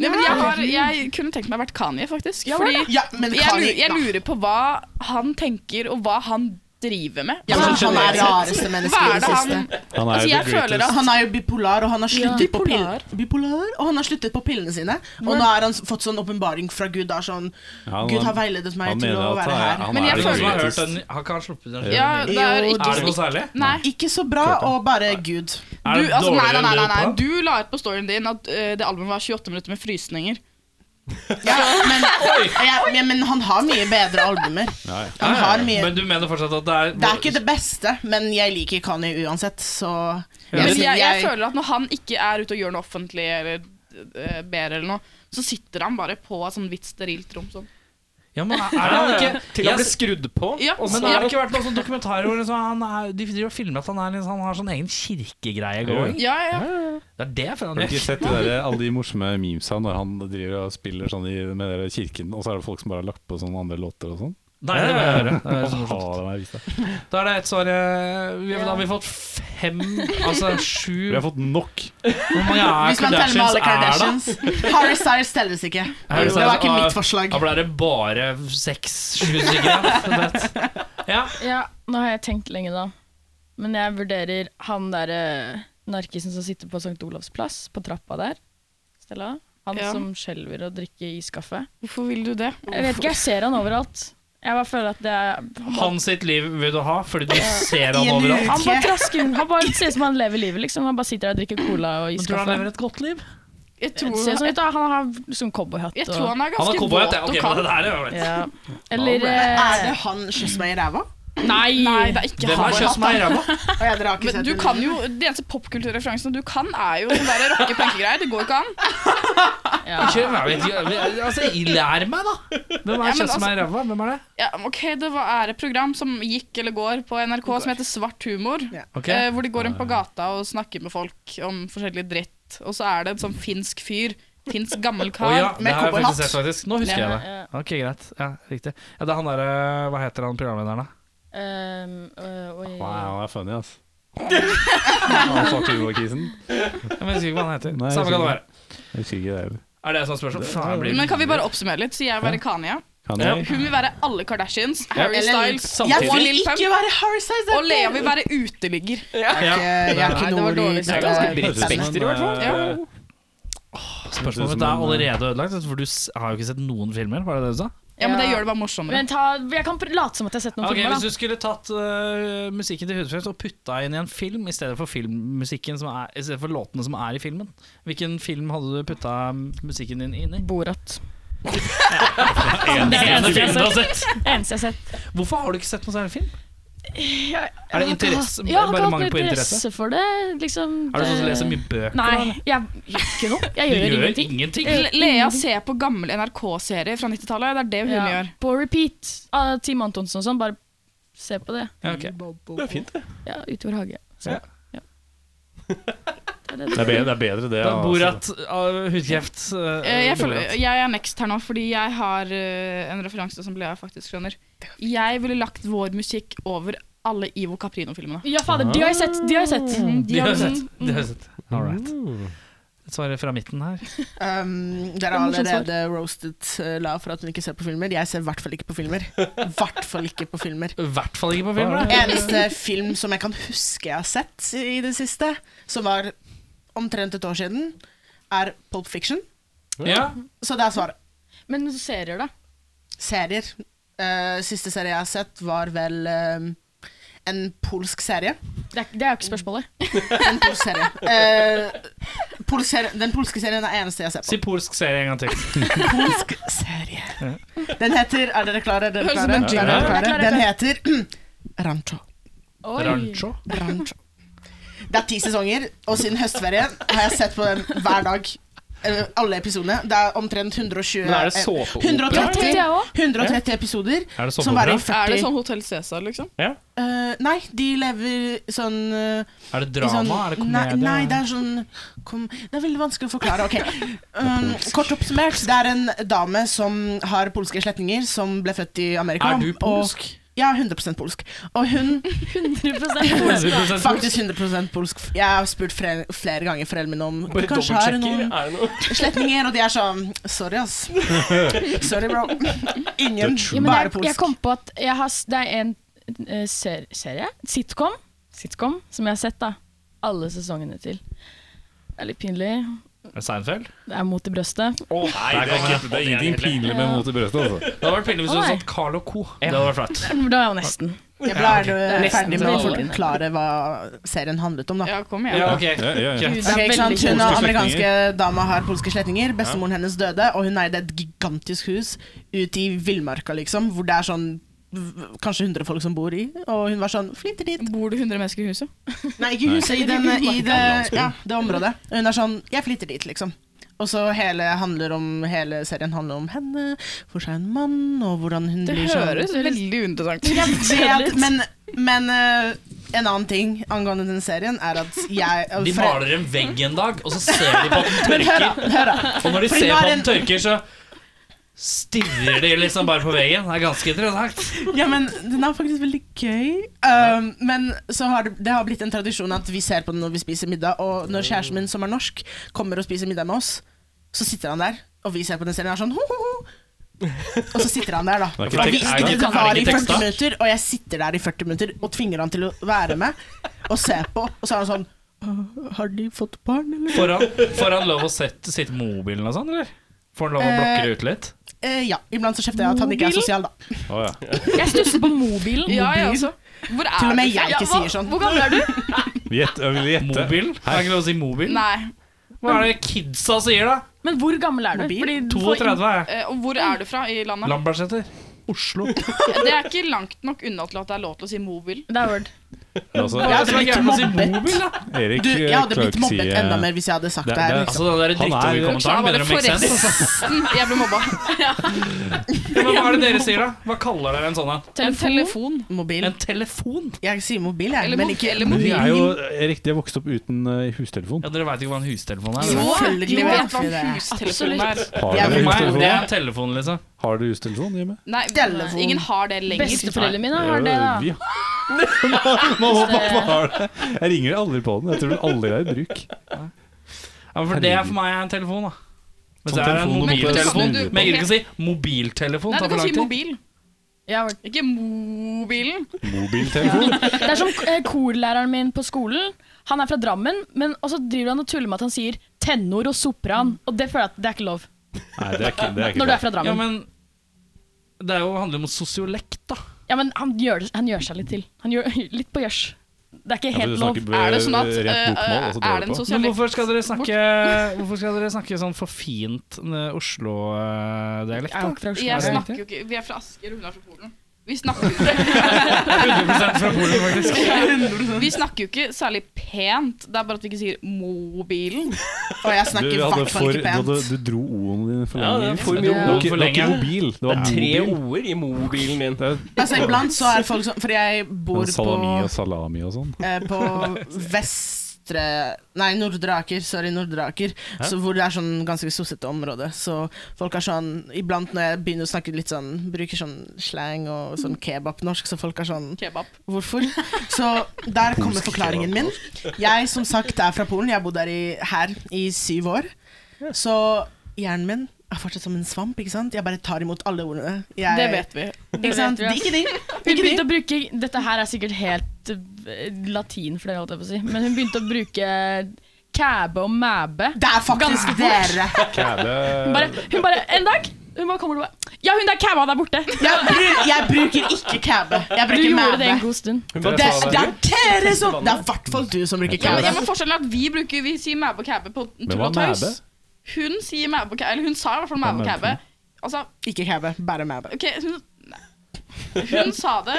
Speaker 7: Nei, men jeg, har, jeg kunne tenkt meg vært Kanye, faktisk. Fordi
Speaker 9: Ja, men
Speaker 7: jeg,
Speaker 9: Kanye
Speaker 7: lurer, jeg
Speaker 9: da.
Speaker 7: lurer på hva han tenker, og hva han driver med.
Speaker 9: ja, men Han er rareste menneske
Speaker 7: Hva
Speaker 9: i
Speaker 7: er
Speaker 9: det
Speaker 7: det
Speaker 9: siste.
Speaker 7: han
Speaker 3: Han er
Speaker 7: Altså,
Speaker 3: the
Speaker 7: jeg føler
Speaker 3: greatest.
Speaker 7: at
Speaker 9: Han er jo bipolar, og han har sluttet,
Speaker 8: Ja.
Speaker 9: på, pill
Speaker 8: Bipolar.
Speaker 9: bipolar, og han har sluttet på pillene sine. Og nå har han s- fått sånn åpenbaring fra Gud. Det er sånn,
Speaker 3: Ja, han-
Speaker 9: Gud har veiledet meg
Speaker 3: han
Speaker 9: til
Speaker 3: mener at
Speaker 9: å være
Speaker 3: han er-
Speaker 9: her.
Speaker 3: han
Speaker 7: Men
Speaker 3: er
Speaker 7: jeg
Speaker 4: Er det
Speaker 3: the
Speaker 4: noen som
Speaker 7: føler-
Speaker 4: har
Speaker 3: greatest.
Speaker 4: hørt den? Har ikke han sluppet den? Er
Speaker 7: Ja, det er
Speaker 9: Jo,
Speaker 7: ikke
Speaker 4: det noe særlig?
Speaker 7: Nei.
Speaker 9: Ikke så bra, og bare
Speaker 4: Er
Speaker 9: Gud.
Speaker 7: Du,
Speaker 4: det
Speaker 7: altså, nei, nei,
Speaker 4: dårligere
Speaker 7: nei, nei,
Speaker 4: enn
Speaker 7: nei.
Speaker 4: Lil Pump?
Speaker 7: du la ut på storyen din at eh, det albumet var 28 minutter med frysninger.
Speaker 9: Ja, men, jeg, men- men han har mye bedre albumer.
Speaker 3: Ja, ja.
Speaker 9: Han har mye
Speaker 4: Men du mener fortsatt at det er
Speaker 9: Det er ikke det beste, men jeg liker Kanye uansett, så
Speaker 7: Ja, men jeg, jeg føler at når han ikke er ute og gjør noe offentlig eller eh, ber eller noe, så sitter han bare på et sånn hvitt sterilt rom sånn.
Speaker 4: Ja, men er er han ikke
Speaker 1: Til han
Speaker 4: Jeg-
Speaker 1: ble skrudd på.
Speaker 7: Ja,
Speaker 1: og så
Speaker 4: Men det har
Speaker 1: er det-
Speaker 4: ikke vært noen sånn dokumentarer hvor liksom han er, de driver og filmer at han, er, liksom, han har sånn egen kirkegreie going.
Speaker 7: Ja, ja.
Speaker 4: Det er det jeg føler
Speaker 3: Har du
Speaker 4: han
Speaker 3: ikke
Speaker 4: gjør.
Speaker 3: sett de der, alle de morsomme memesa når han driver og spiller sånn i, med dere kirken, og så er det folk som bare har lagt på sånne andre låter og sånn?
Speaker 4: Nei, det vil jeg høre. Det er så morsomt.
Speaker 3: morsomt.
Speaker 4: Da er det ett svar eh, vi, Da har vi fått fem Altså sju
Speaker 3: Vi har fått nok.
Speaker 4: Hvor mange er
Speaker 9: Hvis man teller med alle Kardashians.
Speaker 4: Kardashians er det?
Speaker 9: Harry Styles telles ikke. Det var ikke mitt forslag.
Speaker 4: Da ble det bare seks-sju stykker. Ja.
Speaker 8: Nå har jeg tenkt lenge, da. Men jeg vurderer han derre narkisen som sitter på St. Olavs plass, på trappa der. Stella. Han
Speaker 7: Ja.
Speaker 8: som skjelver og drikker iskaffe.
Speaker 7: Hvorfor vil du det?
Speaker 8: Jeg vet ikke, jeg ser han overalt. Jeg bare føler at det er
Speaker 4: Han sitt liv vil du ha, fordi du ser han
Speaker 8: Han bare
Speaker 4: overalt.
Speaker 8: trasker Han bare ser ut som han lever livet, liksom. Han bare sitter der og drikker cola og
Speaker 4: Men tror du
Speaker 8: iskaffe.
Speaker 4: han lever et godt liv?
Speaker 7: Jeg
Speaker 8: tror ser sånn ut, da. Han har liksom cowboyhatt.
Speaker 7: Jeg
Speaker 8: og-
Speaker 7: tror han
Speaker 4: Han har
Speaker 7: er ganske
Speaker 4: cowboyhatt, ja. Ok,
Speaker 7: våt og
Speaker 4: men
Speaker 7: kald.
Speaker 4: det der er jo ålreit.
Speaker 8: Ja. Eller eh,
Speaker 9: Er det han kyss meg i ræva?
Speaker 8: Nei,
Speaker 7: Nei, det er ikke
Speaker 4: Hvem
Speaker 7: han.
Speaker 4: har kysset meg i ræva?
Speaker 9: Å, ja, dere har ikke
Speaker 7: Men
Speaker 9: sett
Speaker 7: du
Speaker 9: den.
Speaker 7: kan jo, De eneste popkulturreferansene du kan, er jo sånne der rocke plankegreier. Det går ikke an.
Speaker 4: Ikke, jeg vet ikke, Altså, lær meg, da! Hvem
Speaker 7: Ja,
Speaker 4: er
Speaker 7: men
Speaker 4: det som
Speaker 7: altså-
Speaker 4: er i ræva? Hvem er det?
Speaker 7: Ja, ok, Det var, er et program som gikk eller går på NRK som heter Svart humor.
Speaker 4: Ok.
Speaker 7: Eh, hvor de går rundt på gata og snakker med folk om forskjellig dritt. Og så er det en sånn finsk fyr. Finsk gammel kar
Speaker 4: Å ja, det
Speaker 7: med
Speaker 4: har jeg faktisk
Speaker 7: cowboyhatt.
Speaker 4: sett, faktisk. Nå husker
Speaker 7: Ja,
Speaker 4: jeg det. Ok, greit. Ja, riktig. Ja, det er han derre Hva heter han programlederen, da?
Speaker 8: Ehm, øh, oi.
Speaker 3: Wow, han er funny, ass. Han sa Tuvo-kisen.
Speaker 4: Jeg husker ikke hva han heter.
Speaker 3: Nei, jeg
Speaker 4: Samme kan det
Speaker 3: husker
Speaker 4: være.
Speaker 3: Jeg husker ikke det.
Speaker 4: Er det som er spørsmålet? Faen, jeg blir-
Speaker 7: Men kan vi bare oppsummere litt? Så jeg vil være Kanye.
Speaker 3: Kanye.
Speaker 7: Ja. Hun vil være alle Kardashians. Harry
Speaker 9: Eller
Speaker 7: Styles.
Speaker 9: samtidig. Jeg
Speaker 7: og
Speaker 9: vil
Speaker 7: Lil Pump.
Speaker 9: ikke være Harry Styles, det er
Speaker 7: Og Lea
Speaker 9: dårlig.
Speaker 7: vil være uteligger.
Speaker 9: Jeg er ikke- jeg er ikke
Speaker 7: Nei, det var
Speaker 9: noe
Speaker 7: dårlig
Speaker 9: i-
Speaker 7: sagt.
Speaker 9: Det er ganske
Speaker 4: bredt spekter, i hvert fall.
Speaker 7: Ja.
Speaker 4: Spørsmålet mitt er allerede ødelagt, altså, for du s- har jo ikke sett noen filmer. Var det det du sa?
Speaker 7: Ja, men det gjør det bare morsommere.
Speaker 8: Men ta, jeg kan pr- late som at jeg har sett noen
Speaker 4: Ok,
Speaker 8: filmer,
Speaker 4: Hvis du
Speaker 8: da.
Speaker 4: skulle tatt øh, musikken til Hudfrelst og putta inn i en film i stedet for filmmusikken som er, i stedet for låtene som er i filmen, hvilken film hadde du putta musikken din inn i?
Speaker 8: Borat.
Speaker 4: En,
Speaker 8: Det er
Speaker 4: en
Speaker 8: det
Speaker 4: film du har
Speaker 8: eneste jeg har
Speaker 4: sett.
Speaker 8: sett. Eneste jeg har sett.
Speaker 4: Hvorfor har du ikke sett noen særlig film? Er
Speaker 8: Jeg-
Speaker 4: det
Speaker 8: jeg har ikke
Speaker 4: interesse-
Speaker 8: hatt- jeg har
Speaker 4: bare
Speaker 8: ikke
Speaker 4: mangel
Speaker 8: hatt
Speaker 4: på interesse?
Speaker 8: for det. Liksom,
Speaker 4: Er du sånn som
Speaker 8: det-
Speaker 4: leser mye bøker?
Speaker 8: Nei, jeg gjør ikke noe. Jeg
Speaker 4: Du
Speaker 8: gjør,
Speaker 4: gjør
Speaker 8: ingenting.
Speaker 4: ingenting.
Speaker 8: Jeg
Speaker 7: Le-
Speaker 9: Mm.
Speaker 8: gjør
Speaker 7: Lea
Speaker 8: ingenting.
Speaker 7: ser på gamle NRK-serier fra 90-tallet. Det er det hun
Speaker 8: Ja.
Speaker 7: gjør.
Speaker 8: På repeat av Team Antonsen og sånn. Bare se på det.
Speaker 4: Ja, ok.
Speaker 8: Det
Speaker 14: er fint,
Speaker 8: det. Ja, ute i vår hage. Så,
Speaker 4: Ja.
Speaker 8: ja.
Speaker 3: Det er bedre det. Er bedre det
Speaker 4: Da
Speaker 3: altså.
Speaker 4: Borat av hudkreft. øh,
Speaker 7: Eh, Jeg, føler,
Speaker 4: Borat.
Speaker 7: jeg er next her nå, fordi jeg har eh, en referanse som Lea faktisk skjønner. Jeg ville lagt vår musikk over alle Ivo Caprino-filmene.
Speaker 8: Ja, fader, de har jeg sett, de har jeg sett.
Speaker 7: Mm,
Speaker 4: De har
Speaker 7: har-
Speaker 4: jo sett.
Speaker 7: mm,
Speaker 4: De har jo sett. All right. Mm. Svaret fra midten her.
Speaker 9: Um, dere har
Speaker 8: morsomt
Speaker 9: allerede roastet eh, La for at hun ikke ser på filmer. Jeg ser i hvert fall ikke på filmer. I hvert fall ikke på filmer.
Speaker 4: I hvert fall ikke på film. da.
Speaker 9: Eneste film som jeg kan huske jeg har sett i det siste, som var omtrent et år siden, er Pulp Fiction.
Speaker 4: Ja.
Speaker 9: Så det er svaret.
Speaker 8: Men serier, da?
Speaker 9: Serier. Eh, siste serie jeg har sett, var vel eh, en polsk serie.
Speaker 8: Det er, det er jo ikke spørsmålet.
Speaker 9: En polsk serie. Eh, polsk serie. Den polske serien er eneste jeg har sett
Speaker 4: Si
Speaker 9: på.
Speaker 4: polsk serie en gang til.
Speaker 9: Polsk serie. Den heter Er dere klare? Er dere
Speaker 7: Høres ut som
Speaker 9: klare?
Speaker 7: en
Speaker 9: Er dere
Speaker 4: jingle.
Speaker 9: klare?
Speaker 8: Ja, jeg er klar, jeg er
Speaker 9: Den heter Rancho.
Speaker 4: Rancho.
Speaker 9: Rancho. Det er ti sesonger, og siden høstferie har jeg sett på den hver dag. Eh, Alle episodene. Det er omtrent 120
Speaker 4: Men er det
Speaker 9: eh,
Speaker 4: såpeopera?
Speaker 8: Ja, det
Speaker 9: 130,
Speaker 8: tenkte jeg også.
Speaker 9: 130 episoder
Speaker 4: Er det
Speaker 9: som varer i
Speaker 4: såpeopera?
Speaker 7: Er det
Speaker 9: 40
Speaker 7: sånn Hotell Cæsar, liksom?
Speaker 4: Ja.
Speaker 9: Eh, Nei, de lever sånn eh,
Speaker 4: Er det
Speaker 9: i sånn-
Speaker 4: drama? Er det komedie?
Speaker 9: Nei, nei det er sånn kom, Det er veldig vanskelig å forklare. Ok, um, Kort oppsummert, det er en dame som har polske slektninger, som ble født i Amerika.
Speaker 4: Er du polsk?
Speaker 9: Og, ja, 100 polsk. Og hun
Speaker 8: 100
Speaker 9: Faktisk 100 polsk. Jeg har spurt flere, flere ganger foreldrene mine om
Speaker 14: Bare
Speaker 9: du kanskje har
Speaker 14: dobbeltsjekker,
Speaker 9: noen
Speaker 14: er det noe?
Speaker 9: slektninger, og de er sånn Sorry, ass. Sorry, bro. Ingen,
Speaker 8: Ja, men jeg,
Speaker 9: bare
Speaker 8: jeg
Speaker 9: polsk.
Speaker 8: kom på at jeg har, s- det er en eh, ser, serie, sitcom, sitcom, som jeg har sett da, alle sesongene til. Det er litt pinlig.
Speaker 4: Seinfeld?
Speaker 8: Det er mot i brøstet.
Speaker 14: Å, nei, det er, ikke, det er ingenting pinlig med mot i brøstet, altså.
Speaker 4: Det hadde vært pinlig hvis du
Speaker 8: Å,
Speaker 4: hadde
Speaker 8: nei.
Speaker 4: satt Carl og Co. Det hadde vært flaut.
Speaker 8: Da er jo nesten.
Speaker 9: Jeg ble er du
Speaker 8: Nesten
Speaker 9: ferdig med å
Speaker 8: til alle.
Speaker 9: forklare hva serien handlet om, da.
Speaker 7: Ja, kom
Speaker 4: Ja,
Speaker 7: igjen.
Speaker 4: ok.
Speaker 3: Ja, ja, ja.
Speaker 8: Det er
Speaker 9: Ok, ikke sant?
Speaker 8: veldig
Speaker 9: Hun
Speaker 8: kjent.
Speaker 9: er amerikanske dama har polske slektninger. Bestemoren hennes døde, og hun eide et gigantisk hus ute i villmarka, liksom, hvor det er sånn v- Kanskje 100 folk som bor i, og hun var sånn Flytter dit.
Speaker 7: Bor det 100 mennesker i huset?
Speaker 9: Nei, ikke i huset, i, den, i det, ja, det området. Og Hun er sånn Jeg flytter dit, liksom. Og så hele, handler om, hele serien handler om henne, hvor seg en mann, og hvordan hun
Speaker 7: Det
Speaker 9: blir
Speaker 7: høres
Speaker 9: sånn.
Speaker 7: veldig uinteressant ut.
Speaker 9: Vet, men men eh, en annen ting angående den serien er at jeg
Speaker 4: De
Speaker 9: for-
Speaker 4: maler en vegg en dag, og så ser de på at den
Speaker 9: Men hør, da,
Speaker 4: tørker.
Speaker 9: hør da.
Speaker 4: Og når de
Speaker 9: Fordi
Speaker 4: ser
Speaker 9: nå
Speaker 4: på
Speaker 9: er
Speaker 4: at
Speaker 9: det
Speaker 4: den tørker, så stirrer de liksom bare på veggen. Det er ganske interessant.
Speaker 9: Ja, men den er faktisk veldig gøy. Um, men så har det, det har blitt en tradisjon at vi ser på den når vi spiser middag. Og når kjæresten min, som er norsk, kommer og spiser middag med oss, så sitter han der, og vi ser på den serien og er sånn ho, ho, ho. Og så sitter han der, da.
Speaker 4: Det er ikke
Speaker 9: For han
Speaker 4: tek-
Speaker 9: visste
Speaker 4: er det-
Speaker 9: det, det
Speaker 4: er det
Speaker 9: var i
Speaker 4: ikke
Speaker 9: 40
Speaker 4: teksta?
Speaker 9: minutter, og jeg sitter der i 40 minutter og tvinger han til å være med og se på, og så er han sånn «Øh, Har de fått barn, eller?
Speaker 4: Får han, får han lov å sette, sitte med mobilen og sånn, eller? Får han lov å blokke det ut litt?
Speaker 9: Eh, ja. Iblant så kjefter jeg at han ikke er
Speaker 8: Mobilen?
Speaker 9: sosial, da.
Speaker 4: Oh,
Speaker 8: Jeg stusser på mobilen.
Speaker 7: Ja, jeg også. Hvor er
Speaker 9: Til og med
Speaker 7: du fra?
Speaker 9: jeg ikke
Speaker 7: hva-
Speaker 9: sier sånn.
Speaker 7: Hvor gammel er du?
Speaker 3: Gjett, jeg vil gjette.
Speaker 4: Mobil? Er det ikke lov å si mobil?
Speaker 7: Nei.
Speaker 4: Hva er det kidsa sier, da?
Speaker 8: Men hvor gammel er du?
Speaker 9: Mobil?
Speaker 8: Fordi du får
Speaker 4: 32 er jeg.
Speaker 7: Eh, Og hvor er du fra i landet?
Speaker 4: Lambertseter. Oslo.
Speaker 7: Det er ikke langt nok unna til at det er lov til å si mobil.
Speaker 8: Det er word.
Speaker 3: Altså,
Speaker 4: Det
Speaker 9: Jeg hadde
Speaker 4: er
Speaker 9: blitt
Speaker 4: gærent å si
Speaker 9: mobbet.
Speaker 4: mobil, da.
Speaker 3: Erik
Speaker 9: Du, jeg hadde
Speaker 3: Clark
Speaker 9: blitt mobbet
Speaker 3: sier-
Speaker 9: enda mer hvis jeg hadde sagt
Speaker 3: Det-
Speaker 9: det her.
Speaker 3: det-
Speaker 9: liksom.
Speaker 4: Altså, den der
Speaker 3: Han er-
Speaker 4: drittoverkommentaren
Speaker 7: var det
Speaker 4: begynner å make sense. altså.
Speaker 7: forresten jeg ble mobba. Ja.
Speaker 4: Ja, Men hva er det dere sier, da? Hva kaller dere en sånn en?
Speaker 7: En telefon.
Speaker 9: Mobil.
Speaker 4: En telefon?
Speaker 9: Jeg sier mobil, jeg.
Speaker 7: Eller,
Speaker 9: Men
Speaker 7: mo-
Speaker 9: ikke
Speaker 7: eller
Speaker 3: Men de
Speaker 7: mobil.
Speaker 3: er jo Erik, de har vokst opp uten eh, hustelefon.
Speaker 4: Ja, Dere veit ikke hva en hustelefon er?
Speaker 9: Jo.
Speaker 4: eller?
Speaker 9: Selvfølgelig
Speaker 7: jo,
Speaker 9: vet
Speaker 7: vet hva
Speaker 9: vi det.
Speaker 7: en hustelefon er.
Speaker 3: Har
Speaker 9: Jeg
Speaker 4: For
Speaker 3: dere
Speaker 9: vil-
Speaker 4: meg,
Speaker 3: hustelefon?
Speaker 4: det er en telefon, liksom.
Speaker 3: Har dere hustelefon hjemme?
Speaker 7: Nei,
Speaker 9: Telefon.
Speaker 7: ingen har det lenger.
Speaker 8: Besteforeldrene mine har det,
Speaker 3: Ja,
Speaker 8: da.
Speaker 3: vi har- Mamma og pappa har det. Jeg ringer aldri på den. Jeg tror den aldri er i bruk.
Speaker 4: Ja, men for det er for meg er en telefon, da. Mens
Speaker 3: Sånn
Speaker 4: det er en
Speaker 3: telefon du
Speaker 7: må
Speaker 4: mobiltelefon.
Speaker 7: snu på.
Speaker 4: Men jeg gidder ikke å si mobiltelefon.
Speaker 7: Nei,
Speaker 4: tar for
Speaker 7: du
Speaker 4: lang
Speaker 7: kan si
Speaker 4: tid.
Speaker 7: mobil.
Speaker 8: Ja, word.
Speaker 7: Ikke mobilen.
Speaker 3: Mobiltelefon.
Speaker 8: Det er som eh, korlæreren min på skolen. Han er fra Drammen, men og så driver han og tuller med at han sier tenor og sopran. Og det føler jeg at det er ikke lov
Speaker 3: Nei, det er ikke, det er ikke
Speaker 8: når du
Speaker 3: bra.
Speaker 8: er fra
Speaker 4: Ja,
Speaker 8: Drammen.
Speaker 4: men det er jo, handler jo om sosiolekt, da.
Speaker 8: Ja, men han gjør, det- han gjør seg litt til. Han gjør litt på gjørs. Det er ikke
Speaker 3: Ja, men du
Speaker 8: helt lov.
Speaker 3: snakker
Speaker 7: Er det sånn at
Speaker 3: rett
Speaker 7: eh,
Speaker 3: bokmål, og så drar
Speaker 7: Er det
Speaker 3: du på.
Speaker 7: en
Speaker 4: Men
Speaker 7: sosialist?
Speaker 4: hvorfor skal dere snakke, hvorfor skal dere snakke sånn forfint eh,
Speaker 2: eh,
Speaker 4: Oslo-dialekt?
Speaker 8: Jeg er jo ikke fra Oslo.
Speaker 7: Jeg
Speaker 4: Er det
Speaker 7: snakker jo ikke Vi er fra Asker, hun er fra Polen. Vi snakker jo ikke,
Speaker 4: 100 fra Polen, faktisk.
Speaker 7: vi snakker jo ikke særlig pent. Det er bare at vi ikke sier 'mobilen'.
Speaker 9: Og jeg
Speaker 3: Du,
Speaker 9: snakker i
Speaker 3: hadde
Speaker 9: hvert fall
Speaker 3: for,
Speaker 9: ikke
Speaker 3: du, hadde,
Speaker 9: pent.
Speaker 3: du dro o-ene dine for
Speaker 1: Ja,
Speaker 3: lenge.
Speaker 1: det er for mye
Speaker 3: Det var
Speaker 1: O-er
Speaker 3: ikke-
Speaker 4: for
Speaker 3: Det var
Speaker 4: lenge.
Speaker 3: ikke mobil, det var
Speaker 1: Tre
Speaker 3: mobil.
Speaker 1: ord i mobilen din.
Speaker 9: Altså, iblant så er folk sånn For jeg bor på,
Speaker 3: Salami og salami og sånn.
Speaker 9: eh, på vestre Nei, Nordre Aker. Sorry, Nordre Aker. Så hvor det er sånn ganske sossete område. Så folk er sånn Iblant når jeg begynner å snakke litt sånn Bruker sånn slang og sånn kebabnorsk, så folk er sånn
Speaker 7: Kebab.
Speaker 9: Hvorfor? Så der kommer forklaringen min. Jeg som sagt er fra Polen. Jeg har bodd her i, her i syv år. Så hjernen min er fortsatt som en svamp. ikke sant? Jeg bare tar imot alle ordene. Jeg,
Speaker 7: Det vet vi.
Speaker 9: Ikke sant?
Speaker 8: Det vet
Speaker 9: Ikke de.
Speaker 8: Hun
Speaker 9: Ikke
Speaker 8: begynte
Speaker 9: de.
Speaker 8: å bruke Dette her er sikkert helt eh, latin for dere, holdt jeg på å si. Men hun begynte å bruke kæbe og mæbe.
Speaker 9: Det er faktisk dere.
Speaker 8: Hun bare, hun bare En dag hun bare kommer til meg. Ja, hun der kæba der borte!
Speaker 9: Jeg, bru- jeg bruker ikke cabbe. Jeg
Speaker 8: Du
Speaker 9: bruker
Speaker 8: gjorde det en
Speaker 9: mæve.
Speaker 8: god stund.
Speaker 9: Det, det er dere som Det er i hvert fall du som bruker
Speaker 7: Ja, men, ja,
Speaker 9: cabbe.
Speaker 7: men forskjellen er at vi bruker Vi sier mæbe og kæbe på tull
Speaker 3: hva
Speaker 7: og
Speaker 3: er
Speaker 7: tøys. Hun sier mæbe og kæbe Eller hun sa i hvert fall mæbe og kæbe. Altså,
Speaker 9: Ikke cabbe, bare mæve.
Speaker 7: ok hun, hun sa det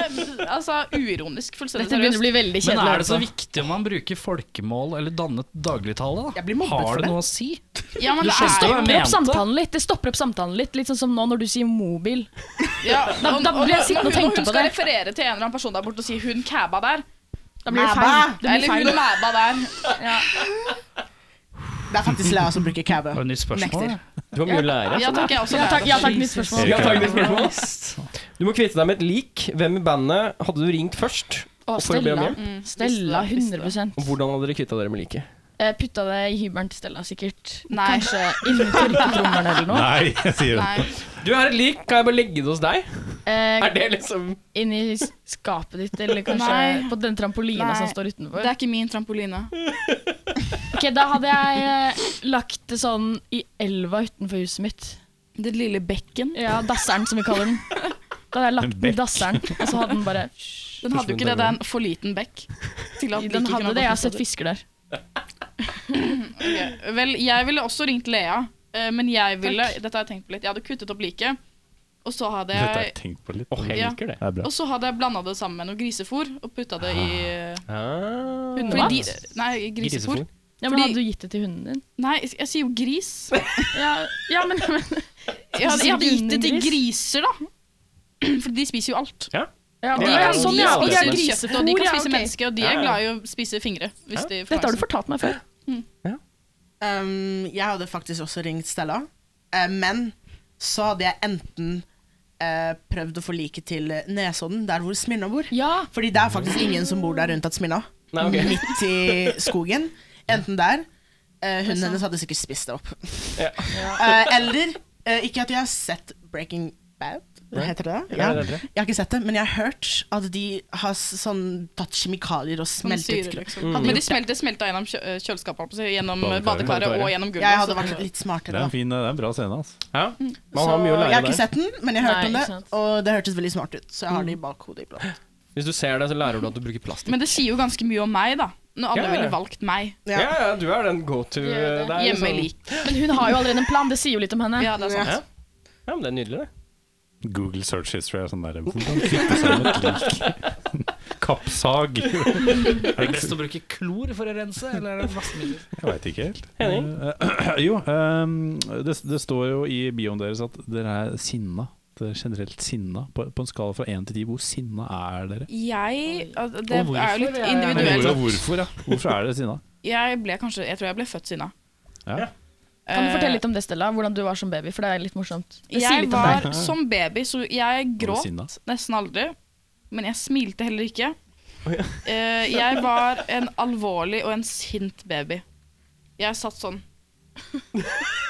Speaker 7: altså, uironisk, fullstendig
Speaker 8: Dette begynner å
Speaker 7: seriøst.
Speaker 8: bli veldig
Speaker 4: Men
Speaker 8: kjedelig. altså.
Speaker 4: er det
Speaker 2: Altså-
Speaker 4: så viktig om man bruker folkemål eller dannet dagligtale? da?
Speaker 9: Jeg blir mobbet for
Speaker 4: Har det
Speaker 9: det.
Speaker 4: noe å si?
Speaker 7: Ja, men
Speaker 4: Du
Speaker 7: det
Speaker 4: skjønte
Speaker 7: er
Speaker 4: hva jeg
Speaker 7: jo
Speaker 8: Stopper opp
Speaker 4: mente.
Speaker 8: samtalen litt. Det stopper opp samtalen litt, litt sånn som nå når du sier mobil.
Speaker 7: ja,
Speaker 8: Da- da blir jeg sittende og tenke
Speaker 7: når hun
Speaker 8: på
Speaker 7: skal
Speaker 8: det.
Speaker 7: referere til en eller annen person der borte og si 'hun kæba der',
Speaker 8: Da blir det
Speaker 9: Mæba!
Speaker 8: feil. Det blir
Speaker 7: eller 'hun
Speaker 8: feil.
Speaker 7: mæba der',
Speaker 9: Det er faktisk Lea som bruker cabbe.
Speaker 4: Det er et nytt spørsmål.
Speaker 9: Nekter.
Speaker 1: Du har mye å lære.
Speaker 7: ja takk, jeg også
Speaker 8: Ja takk,
Speaker 7: lærer.
Speaker 8: ja, takk mitt spørsmål.
Speaker 1: Ja, takk, det er spørsmål. Du må kvitte deg med et lik. Hvem i bandet hadde du ringt først?
Speaker 8: Å,
Speaker 1: For å be om
Speaker 8: Stella. Mm. Stella, 100
Speaker 1: Og hvordan hadde dere kvitta dere med liket?
Speaker 8: Eh, Putta det i hybelen til Stella, sikkert.
Speaker 7: Nei.
Speaker 8: Kanskje innen tørketrommelen eller noe.
Speaker 3: Nei, jeg sier det.
Speaker 7: Nei.
Speaker 1: Du er et lik, kan jeg bare legge det hos deg?
Speaker 8: Eh,
Speaker 1: Er det liksom
Speaker 8: Inn i s- skapet ditt, eller kanskje
Speaker 7: Nei.
Speaker 8: på den trampolina
Speaker 7: Nei.
Speaker 8: som står utenfor.
Speaker 7: Det er ikke min trampoline.
Speaker 8: Ok, Da hadde jeg eh, lagt det sånn i elva utenfor huset mitt.
Speaker 7: Det lille bekken.
Speaker 8: Ja, Dasseren, som vi kaller den. Da hadde jeg lagt den i dasseren, og så hadde den bare
Speaker 7: Den hadde jo ikke det, det er en for liten bekk. Til at
Speaker 8: Den
Speaker 7: liket kunne
Speaker 8: hadde
Speaker 7: ha
Speaker 8: det, jeg har
Speaker 7: gått
Speaker 8: sett
Speaker 7: utover.
Speaker 8: fisker der.
Speaker 7: Ok, Vel, jeg ville også ringt Lea, eh, men jeg ville Dette har jeg tenkt på litt. Jeg hadde kuttet opp liket, og så hadde
Speaker 3: Dette har
Speaker 7: jeg
Speaker 3: jeg tenkt på litt.
Speaker 1: Åh, jeg
Speaker 7: Ja.
Speaker 1: liker det.
Speaker 3: Det er bra.
Speaker 7: og så hadde jeg blanda det sammen med noe grisefôr og putta det i eh,
Speaker 1: Ah.
Speaker 7: fordi de, Nei, grisefôr.
Speaker 1: Grisefôr.
Speaker 8: Ja, men
Speaker 7: Fordi-
Speaker 8: Hadde du gitt det til hunden din?
Speaker 7: Nei, jeg sier jo gris.
Speaker 8: Ja, ja men, men
Speaker 7: Jeg hadde, jeg hadde gitt det til
Speaker 8: Hundegris?
Speaker 7: griser, da. For de spiser jo alt.
Speaker 8: ja,
Speaker 1: Det
Speaker 8: men,
Speaker 1: er
Speaker 8: ja,
Speaker 1: jo
Speaker 8: sånn, ja,
Speaker 1: de
Speaker 8: og det er
Speaker 1: som
Speaker 7: spiser kjøtt, og de kan
Speaker 8: grisefôr, ja,
Speaker 7: spise
Speaker 8: ok.
Speaker 7: mennesker, og de
Speaker 1: Ja,
Speaker 7: er
Speaker 1: ja.
Speaker 7: glad i å spise fingre. Hvis
Speaker 1: Ja.
Speaker 7: de får
Speaker 8: Dette har du
Speaker 7: sjansen.
Speaker 8: fortalt meg før.
Speaker 9: Um, jeg hadde faktisk også ringt Stella, eh, men så hadde jeg enten eh, prøvd å få liket til Nesodden, der hvor Smirna bor. Fordi det er faktisk ingen som bor der rundt at Smirna.
Speaker 1: Nei, ok.
Speaker 9: Midt i skogen. Enten der. Eh, hunden hennes hadde sikkert spist det opp. Eh, eller eh, Ikke at jeg har sett Breaking Bad.
Speaker 12: Right.
Speaker 9: Heter det det?
Speaker 12: Ja, det heter det.
Speaker 9: Jeg har ikke sett det, men jeg har hørt at de har s- sånn, tatt kjemikalier og
Speaker 7: Sånn
Speaker 9: smeltet
Speaker 7: syre,
Speaker 9: kro-
Speaker 7: liksom.
Speaker 9: Hadde
Speaker 7: Men de
Speaker 9: gjort det.
Speaker 7: smelter, smelter gjennom kjø eh, kjøleskapet, altså, gjennom eh,
Speaker 3: Badekaret.
Speaker 7: badekaret og gjennom gulvet. altså.
Speaker 9: Jeg hadde
Speaker 7: så-
Speaker 9: vært litt
Speaker 3: Det er
Speaker 9: smartere,
Speaker 3: en,
Speaker 9: da.
Speaker 3: fin, det er en bra scene, altså.
Speaker 1: Ja. Man
Speaker 9: Så
Speaker 1: har mye å
Speaker 9: jeg
Speaker 1: lære
Speaker 9: har ikke
Speaker 1: der.
Speaker 9: sett den, men jeg har hørt
Speaker 7: Nei,
Speaker 9: om
Speaker 7: ikke
Speaker 9: det, og det hørtes veldig smart ut. Så jeg har det i bakhodet iblant.
Speaker 1: Hvis du ser det, så lærer du at du bruker plastikk.
Speaker 7: Men det sier jo ganske mye om meg, da. Når alle
Speaker 1: Ja, ja.
Speaker 7: ville valgt meg.
Speaker 1: Ja, ja, du er den go to
Speaker 7: det.
Speaker 1: der.
Speaker 7: Hjemme i
Speaker 1: liksom.
Speaker 7: lik.
Speaker 8: Men hun har jo allerede en plan, det sier jo litt om henne.
Speaker 7: Ja, det er sant.
Speaker 1: Ja. liksom- ja, men det er nydelig, det.
Speaker 15: Google search history er sånn der Hvordan fitte seg med et lik? Kappsag.
Speaker 2: Er det best å bruke klor for å rense, eller er det vaskemiddel?
Speaker 15: Jeg veit ikke helt.
Speaker 2: Henning?
Speaker 15: Eh, jo, eh, det, det står jo i bioen deres at dere er sinna. Dere er generelt sinna. På, på en skala fra én til ti, hvor sinna er dere?
Speaker 7: Jeg al- Det er
Speaker 15: Og hvorfor
Speaker 7: jo litt
Speaker 15: er jeg-
Speaker 7: individuelt.
Speaker 15: Og hvorfor, ja. Hvorfor er dere sinna?
Speaker 7: Jeg ble kanskje Jeg tror jeg ble født sinna.
Speaker 15: Ja.
Speaker 8: Kan du fortelle litt om det, Stella? Hvordan du var som baby? For det er litt morsomt. Det
Speaker 7: eh,
Speaker 8: sier
Speaker 7: Jeg
Speaker 8: litt om
Speaker 7: var
Speaker 8: deg.
Speaker 7: som baby, så jeg
Speaker 8: sinna?
Speaker 7: gråt nesten aldri. Men jeg smilte heller ikke. Eh, jeg var en alvorlig og en sint baby. Jeg satt sånn.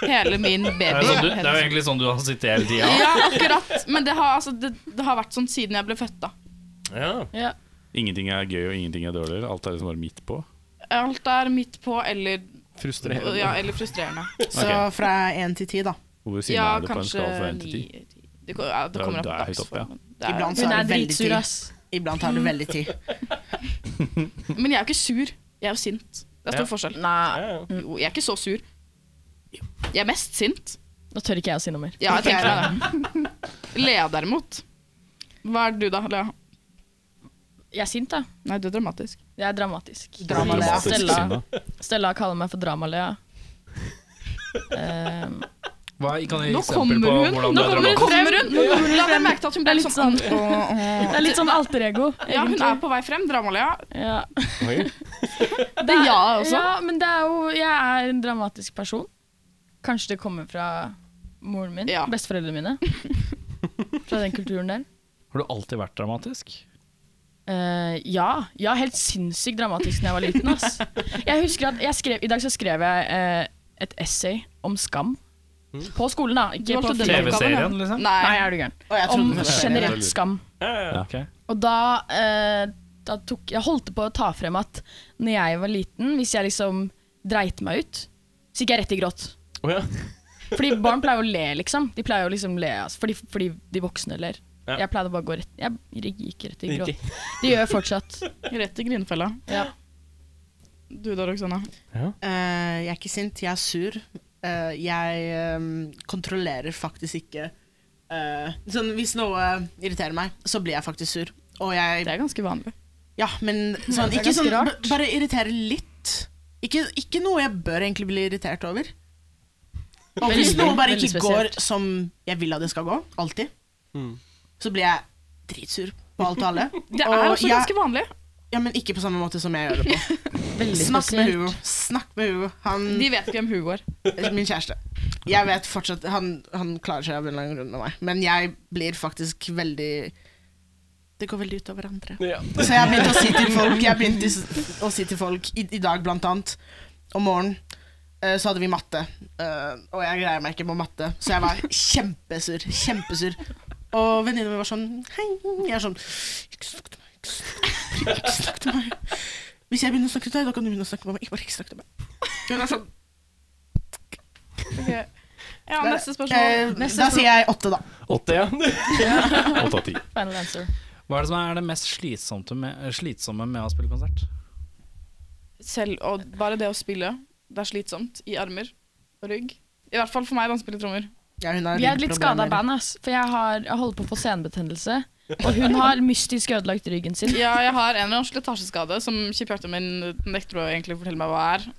Speaker 7: Hele min
Speaker 2: Det er,
Speaker 7: baby.
Speaker 2: jo sånn du, det er jo egentlig sånn du har sittet hele tida.
Speaker 7: Ja, akkurat. Men det har, altså, det, det har vært sånn siden jeg ble født, da. Ja.
Speaker 15: Ingenting er gøy, og ingenting er dårligere. Alt er liksom bare midt på.
Speaker 7: Alt er midt på eller
Speaker 15: Frustrerende.
Speaker 7: Ja, eller frustrerende.
Speaker 9: Så
Speaker 15: Ok.
Speaker 9: fra én til ti, da.
Speaker 15: Hvor sinna
Speaker 7: Ja,
Speaker 15: er du på en
Speaker 7: kanskje
Speaker 15: skala fra én til ti?
Speaker 7: ni- Det, går- ja, det
Speaker 15: er-
Speaker 7: kommer opp
Speaker 15: det er høyt
Speaker 7: dags
Speaker 15: opp, ja.
Speaker 7: Det er-
Speaker 9: Iblant så
Speaker 7: Hun
Speaker 9: er
Speaker 7: er
Speaker 9: det veldig
Speaker 7: dritsur,
Speaker 9: ti.
Speaker 7: ass.
Speaker 9: Iblant er det veldig ti.
Speaker 7: Men jeg er jo ikke sur. Jeg er jo sint. Det er stor
Speaker 9: Ja.
Speaker 7: forskjell. Jo, jeg er ikke så sur. Jeg er mest sint.
Speaker 8: Nå tør ikke jeg å si noe mer.
Speaker 7: Ja, jeg tenker det. Lea derimot. Hva er du da, Lea?
Speaker 8: Jeg er sint, da.
Speaker 7: Nei, du er dramatisk.
Speaker 8: Jeg er dramatisk.
Speaker 7: Dramalea.
Speaker 8: Stella,
Speaker 7: Dramatisk
Speaker 8: Stella kaller meg for Dramalea. Um,
Speaker 2: Hva, kan jeg gi
Speaker 8: Nå
Speaker 2: eksempel
Speaker 8: kommer
Speaker 2: på
Speaker 8: hun.
Speaker 2: hvordan du
Speaker 8: Nå
Speaker 2: er
Speaker 8: kommer hun
Speaker 2: dramatisk?
Speaker 8: frem.
Speaker 7: Kommer hun? Nå la
Speaker 8: Ja.
Speaker 7: deg merke til at hun ble litt sånn
Speaker 8: det er litt sånn alter ego.
Speaker 7: Ja, hun
Speaker 8: egentlig.
Speaker 7: er på vei frem, Drama-Lea.
Speaker 8: Ja.
Speaker 7: Det er jeg også.
Speaker 8: Ja, men det er jo Jeg er en dramatisk person. Kanskje det kommer fra moren min. Besteforeldrene mine. Fra den kulturen der.
Speaker 2: Har du alltid vært dramatisk?
Speaker 8: Eh, ja. ja, helt sinnssykt dramatisk da jeg var liten. Ass. Jeg husker at jeg skrev, I dag så skrev jeg eh, et essay om skam. På skolen, da. Ikke
Speaker 7: Du
Speaker 8: på
Speaker 7: valgte den
Speaker 8: filmen.
Speaker 2: oppgaven, ja. TV-serien, liksom?
Speaker 8: Nei. er du gæren. Om generelt skam.
Speaker 2: Ja, ok.
Speaker 8: Og da, eh, da tok Jeg holdt på å ta frem at når jeg var liten, hvis jeg liksom dreit meg ut, så gikk jeg rett i gråt.
Speaker 1: Å ja.
Speaker 8: Fordi barn pleier å le, liksom. De pleier å liksom le altså, fordi, fordi de voksne ler.
Speaker 1: Ja.
Speaker 8: Jeg pleide å bare å gå rett Jeg gikk rett i
Speaker 1: Riktig.
Speaker 8: gråt. Det gjør jeg fortsatt.
Speaker 7: Rett i grinefella.
Speaker 8: Ja.
Speaker 7: Du da, Roxanna?
Speaker 9: Eh, jeg er ikke sint, jeg er sur. Eh, jeg ehm, kontrollerer faktisk ikke eh, Sånn hvis noe irriterer meg, så blir jeg faktisk sur. Og jeg
Speaker 7: Det er ganske vanlig.
Speaker 9: Ja, men sånn,
Speaker 7: Det er
Speaker 9: ikke
Speaker 7: ganske
Speaker 9: sånn b- Bare irritere litt. Ikke, ikke noe jeg bør egentlig bli irritert over. Og hvis
Speaker 8: Veldig,
Speaker 9: noe bare
Speaker 8: veldig
Speaker 9: ikke går
Speaker 8: spesielt.
Speaker 9: som jeg vil at det skal gå, alltid,
Speaker 1: Mm.
Speaker 9: så blir jeg dritsur på alt og alle.
Speaker 7: Det er
Speaker 9: Og
Speaker 7: også
Speaker 9: jeg-
Speaker 7: ganske vanlig.
Speaker 9: Ja, men ikke på samme måte som jeg gjør det på. Snakk med Hugo. Snakk med Hugo. Han,
Speaker 7: De vet ikke hvem Hugo er.
Speaker 9: min kjæreste. Jeg vet fortsatt Han, han klarer seg av en lang runde med meg, men jeg blir faktisk veldig Det går veldig ut over andre. Så jeg har begynt å si til folk, jeg har begynt å si til folk i, i dag blant annet, om morgenen, eh, så hadde vi matte, eh, og jeg greier meg ikke på matte, så jeg var kjempesur, kjempesur. Og venninnen min var sånn, hei, jeg er sånn, ikke snakk til meg, ikke snakk til meg, ikke snakk til meg. Hvis jeg begynner å snakke til deg, da kan du begynne å snakke med meg, ikke bare ikke snakk til meg. Hun er sånn,
Speaker 7: Ja,
Speaker 9: Der.
Speaker 7: neste
Speaker 9: Eh,
Speaker 7: spørsmål.
Speaker 9: da sier jeg åtte, da.
Speaker 1: Åtte, ja.
Speaker 15: Åtte av ti.
Speaker 8: Final answer.
Speaker 2: Hva er det som er det mest slitsomme med,
Speaker 4: eh,
Speaker 2: slitsomme med å spille konsert?
Speaker 7: Selv, og bare det å spille, det er slitsomt i armer og rygg. I hvert fall for meg, da, som spiller trommer.
Speaker 8: Vi er et litt skada band, ass. For jeg, har, jeg holder på å få senebetennelse. Og hun har mystisk ødelagt ryggen sin.
Speaker 7: Ja, jeg har en eller annen slitasjeskade som Chip Hjarta min nekter å egentlig fortelle meg hva er.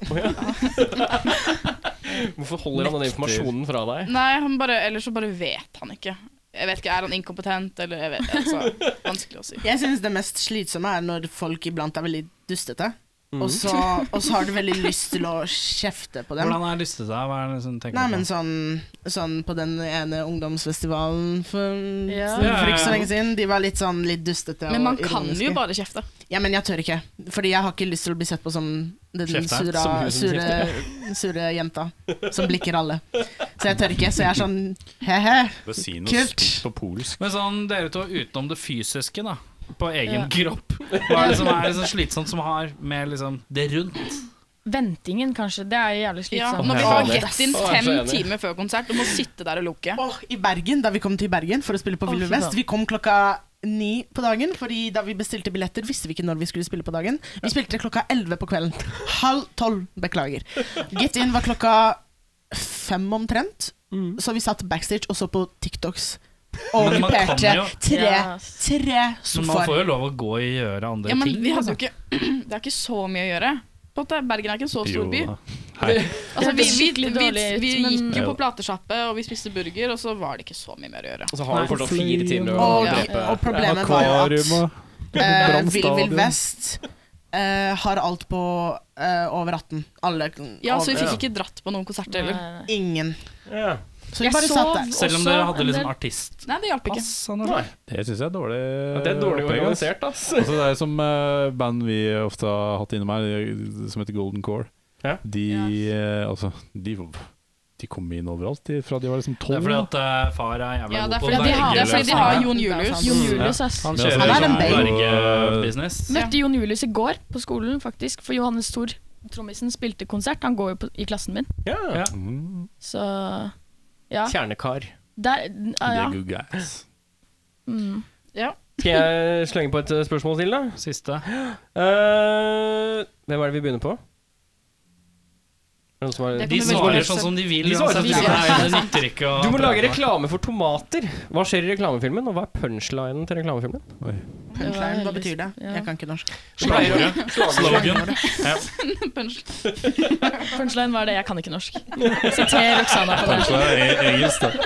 Speaker 1: Hvorfor holder han den informasjonen fra deg?
Speaker 7: Nei, han bare, Eller så bare vet han ikke. Jeg vet ikke, Er han inkompetent, eller jeg vet, altså, Vanskelig å si.
Speaker 9: Jeg synes det mest slitsomme er når folk iblant er veldig dustete.
Speaker 7: Mm.
Speaker 9: Og, så, og så har du veldig lyst til å kjefte på dem.
Speaker 4: Hvordan er lystete? Hva er det som tenker
Speaker 9: Nei,
Speaker 4: på?
Speaker 9: men sånn, sånn på den ene ungdomsfestivalen for,
Speaker 7: Ja.
Speaker 9: for, ikke så lenge siden. De var litt sånn litt dustete
Speaker 7: Men man
Speaker 9: og
Speaker 7: kan
Speaker 9: ironiske.
Speaker 7: jo bare kjefte.
Speaker 9: Ja, men jeg tør ikke. Fordi jeg har ikke lyst til å bli sett på som den
Speaker 7: Kjefteren,
Speaker 9: sura,
Speaker 7: som hun som
Speaker 9: sure, sure jenta som blikker alle. Så jeg tør ikke. Så jeg er sånn he-he.
Speaker 3: Bør si noe
Speaker 9: Kult.
Speaker 3: stort på polsk.
Speaker 4: Men sånn, dere to utenom det fysiske, da. På egen
Speaker 8: Ja.
Speaker 4: kropp. Hva er det som er så slitsomt som har med liksom det rundt?
Speaker 8: Ventingen, kanskje. Det er jævlig
Speaker 7: Ja,
Speaker 8: slitsomt.
Speaker 4: Åh,
Speaker 7: når vi
Speaker 4: jeg
Speaker 7: har
Speaker 4: hater det.
Speaker 7: rett inn
Speaker 9: Åh, jeg er
Speaker 7: fem
Speaker 9: så enig.
Speaker 7: timer før konsert og må sitte der og loke.
Speaker 9: I Bergen, da vi kom til Bergen for å spille på
Speaker 7: Å,
Speaker 9: Ville
Speaker 7: fy faen.
Speaker 9: Vest, vi kom klokka ni på dagen. Fordi da vi bestilte billetter, visste vi ikke når vi skulle spille på dagen. Vi spilte klokka elleve på kvelden. Halv tolv, beklager. Get In var klokka fem omtrent.
Speaker 7: Mm.
Speaker 9: Så vi satt backstage og så på TikToks. Og
Speaker 4: Men man kan
Speaker 9: kuperte
Speaker 4: jo-
Speaker 9: tre, tre
Speaker 4: Så man får jo
Speaker 9: sofaer.
Speaker 4: lov å gå og gjøre andre
Speaker 7: Ja, men
Speaker 4: ting.
Speaker 7: vi hadde jo
Speaker 4: altså.
Speaker 7: ikke Det er ikke så mye å gjøre. På en måte, Bergen er ikke en så stor
Speaker 4: Jo
Speaker 7: by.
Speaker 4: da. Hei.
Speaker 7: Altså,
Speaker 8: Det
Speaker 7: vi, vi,
Speaker 8: hørtes
Speaker 7: vi,
Speaker 8: skikkelig dårlig ut,
Speaker 7: vi
Speaker 8: men-
Speaker 7: gikk jo
Speaker 8: Jo.
Speaker 7: på platesjappe, og vi spiste burger, og så var det ikke så mye mer å gjøre.
Speaker 1: Og så har du fortsatt fire timer å
Speaker 9: Og,
Speaker 1: drepe.
Speaker 9: og problemet var jo at
Speaker 3: Akvarium og
Speaker 9: eh, Vill
Speaker 3: brannstadion.
Speaker 9: Vill Vest eh, har alt på eh, over 18. Alle
Speaker 7: Ja, så vi
Speaker 9: over-
Speaker 7: fikk ikke dratt på noen konserter heller.
Speaker 9: Ingen. Så vi
Speaker 7: Jeg
Speaker 9: bare
Speaker 7: sov
Speaker 9: satt der.
Speaker 4: Selv om
Speaker 7: også sånn
Speaker 4: dere hadde
Speaker 7: en
Speaker 4: liksom
Speaker 7: del-
Speaker 4: artist.
Speaker 7: Nei, det hjalp ikke. Nei.
Speaker 3: Det syns jeg er dårlig.
Speaker 1: det er dårlig
Speaker 3: opplegg, ass.
Speaker 1: organisert, ass.
Speaker 3: Altså, det er som eh, band vi ofte har hatt innom her, eh, som heter Golden Core. De, eh, altså, de, de kom inn overalt de, fra de var liksom
Speaker 4: Det
Speaker 3: tolv.
Speaker 4: er fordi at eh, far er jævla
Speaker 7: Ja,
Speaker 4: god
Speaker 7: det er
Speaker 4: på liksom
Speaker 7: fordi de har, det er fordi de har Jon Julius.
Speaker 8: Jon Julius, ass.
Speaker 4: Han
Speaker 3: Men altså,
Speaker 4: kjører
Speaker 3: det er
Speaker 4: sånn
Speaker 3: en band.
Speaker 4: bergebusiness.
Speaker 8: Møtte Jon Julius i går på skolen, faktisk. For Johannes Thor, trommisen, spilte konsert. Han går jo på, i klassen min.
Speaker 1: Ja.
Speaker 8: Så ja.
Speaker 1: Kjernekar.
Speaker 8: Der, ah, ja.
Speaker 3: good guys.
Speaker 8: Mm.
Speaker 7: ja.
Speaker 1: Skal jeg slenge på et eh, spørsmål til, da?
Speaker 4: Siste.
Speaker 1: Eh, hvem er det vi begynner på? Er det noen som har-
Speaker 4: Det kan De du velge. svarer sånn som de vil,
Speaker 1: De svarer
Speaker 4: uansett.
Speaker 1: sånn som de
Speaker 4: Nei, det
Speaker 1: vil.
Speaker 4: nytter ikke å
Speaker 1: Du må lage
Speaker 4: prøve.
Speaker 1: reklame for tomater. Hva skjer i reklamefilmen, og hva er punchlinen til reklamefilmen?
Speaker 9: Punchline, hva betyr det? Jeg kan ikke norsk.
Speaker 1: Slagordet.
Speaker 4: Slogan.
Speaker 1: Ja.
Speaker 8: Punch- Punchline var det. Jeg kan ikke norsk. Siter Roxana på det.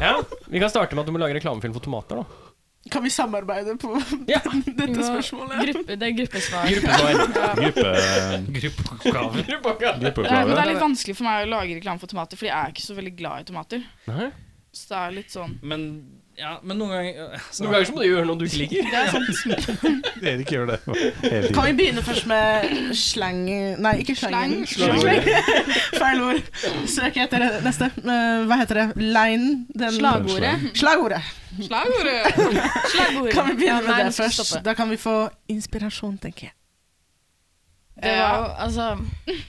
Speaker 1: Ja, Vi kan starte med at du må lage reklamefilm for tomater, da.
Speaker 9: Kan vi samarbeide på
Speaker 8: Vi
Speaker 9: dette
Speaker 8: må-
Speaker 9: spørsmålet?
Speaker 8: Gruppe, det er gruppesvar.
Speaker 1: Gruppesvar.
Speaker 4: Gruppeoppgave.
Speaker 7: Nei, men det er litt vanskelig for meg å lage reklame for tomater, Fordi jeg er ikke så veldig glad i tomater.
Speaker 1: Nei.
Speaker 7: Så det er litt sånn
Speaker 4: Men, ja, men noen ganger
Speaker 1: Noen ganger så må du gjøre noe du ikke liker.
Speaker 9: Det er sant.
Speaker 3: Erik gjør det hele
Speaker 9: Kan vi
Speaker 3: tiden.
Speaker 9: begynne først med slang Nei, ikke slangen.
Speaker 1: Slang.
Speaker 9: Slang. Feil ord. Søk etter det neste. Eh, Hva heter det? Linen? Den-
Speaker 8: Slagordet.
Speaker 9: Slagordet.
Speaker 7: Slagordet! Slagordet.
Speaker 9: Kan vi begynne
Speaker 8: Nei,
Speaker 9: med
Speaker 8: nå
Speaker 9: det
Speaker 8: skal vi
Speaker 9: først?
Speaker 8: stoppe.
Speaker 9: Da kan vi få inspirasjon, tenker jeg.
Speaker 8: Det var jo, altså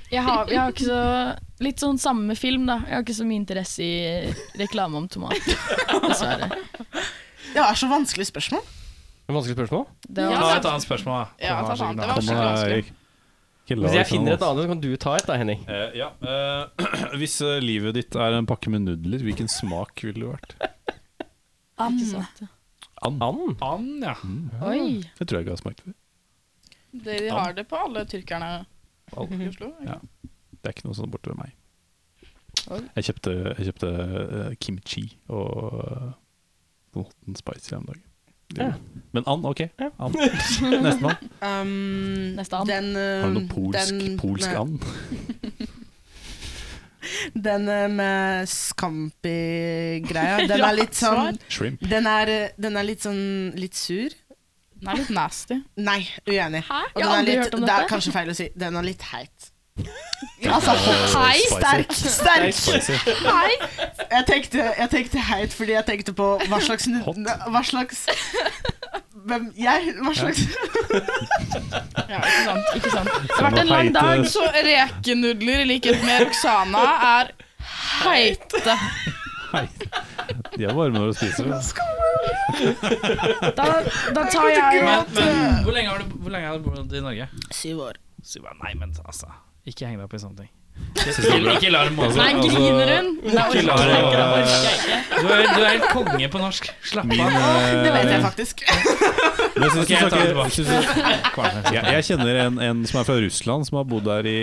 Speaker 8: jeg har, jeg har ikke så Litt sånn samme med film, da. Jeg har ikke så mye interesse i reklame om tomat. Dessverre.
Speaker 9: Det var så vanskelig spørsmål.
Speaker 1: Det er Vanskelig spørsmål.
Speaker 8: Det var,
Speaker 4: Ta et annet spørsmål, da.
Speaker 7: Ja, ta et annet. Det var
Speaker 3: Kom
Speaker 7: skikkelig
Speaker 3: da,
Speaker 7: vanskelig.
Speaker 3: Erik. Ikke lag
Speaker 1: Hvis jeg
Speaker 3: sånn,
Speaker 1: finner et
Speaker 3: ass.
Speaker 1: annet, så kan du ta et, da, Henning.
Speaker 3: Eh, ja. eh, hvis eh, livet ditt er en pakke med nudler, hvilken smak ville det vært?
Speaker 8: ikke sant.
Speaker 3: And.
Speaker 1: And?
Speaker 4: And, ja.
Speaker 8: Oi.
Speaker 3: Det tror jeg ikke jeg har smakt før.
Speaker 7: Dere har det på alle tyrkerne
Speaker 3: Alle.
Speaker 7: i Oslo.
Speaker 3: Ja. Det er ikke noe sånn borte ved meg.
Speaker 8: Oi.
Speaker 3: Jeg kjøpte, jeg kjøpte eh, kimchi og eh, sånn hot and spicy her om dagen.
Speaker 1: Ja.
Speaker 3: Men and, ok. And. Nestemann.
Speaker 9: Um,
Speaker 8: Neste and.
Speaker 9: Den, eh,
Speaker 3: Har du noe polsk,
Speaker 9: den-
Speaker 3: polsk
Speaker 9: nei,
Speaker 3: and?
Speaker 9: Den eh, med scampi-greia. Den er litt sånn
Speaker 3: Shrimp.
Speaker 9: Den er, eh, den er litt sånn litt sur.
Speaker 7: Den er litt nasty.
Speaker 9: Nei, uenig.
Speaker 8: Hæ? Jeg
Speaker 9: Og den
Speaker 8: har
Speaker 9: er
Speaker 8: aldri
Speaker 9: litt,
Speaker 8: hørt om
Speaker 9: Det er
Speaker 8: dette.
Speaker 9: kanskje feil å si. Den er litt heit. Altså,
Speaker 3: Hei,
Speaker 9: sterk, sterk.
Speaker 3: Spicy.
Speaker 9: Hei. Jeg tenkte, jeg tenkte heit fordi jeg tenkte på hva slags nu-
Speaker 3: Hot.
Speaker 9: Hva slags Hvem Jeg? Hva slags
Speaker 7: Ja, ikke sant.
Speaker 8: Ikke sant. Det har vært en lang dag.
Speaker 7: Så rekenudler i likhet med Roxana er heite.
Speaker 3: De er varme når du spiser.
Speaker 8: Da, da tar jeg
Speaker 4: Men, men hvor lenge har du, hvor lenge har du bodd i Norge?
Speaker 9: Syv år.
Speaker 4: Så jeg bare, nei, men altså Ikke heng deg opp i sånne ting. Ikke, ikke la det måle
Speaker 3: Altså,
Speaker 8: Nei, griner
Speaker 4: altså,
Speaker 8: hun? Nei, orker
Speaker 4: la
Speaker 8: jeg ikke.
Speaker 4: det-
Speaker 8: orker jeg ikke.
Speaker 4: Du er, du er helt konge på norsk. Slapp
Speaker 3: eh, Min,
Speaker 4: av.
Speaker 3: eh,
Speaker 9: Det vet jeg faktisk.
Speaker 3: men jeg synes
Speaker 4: Ok, jeg tar det
Speaker 3: du snakker-
Speaker 4: tilbake.
Speaker 3: synes du- jeg, jeg kjenner en, en som er fra Russland, som har bodd der i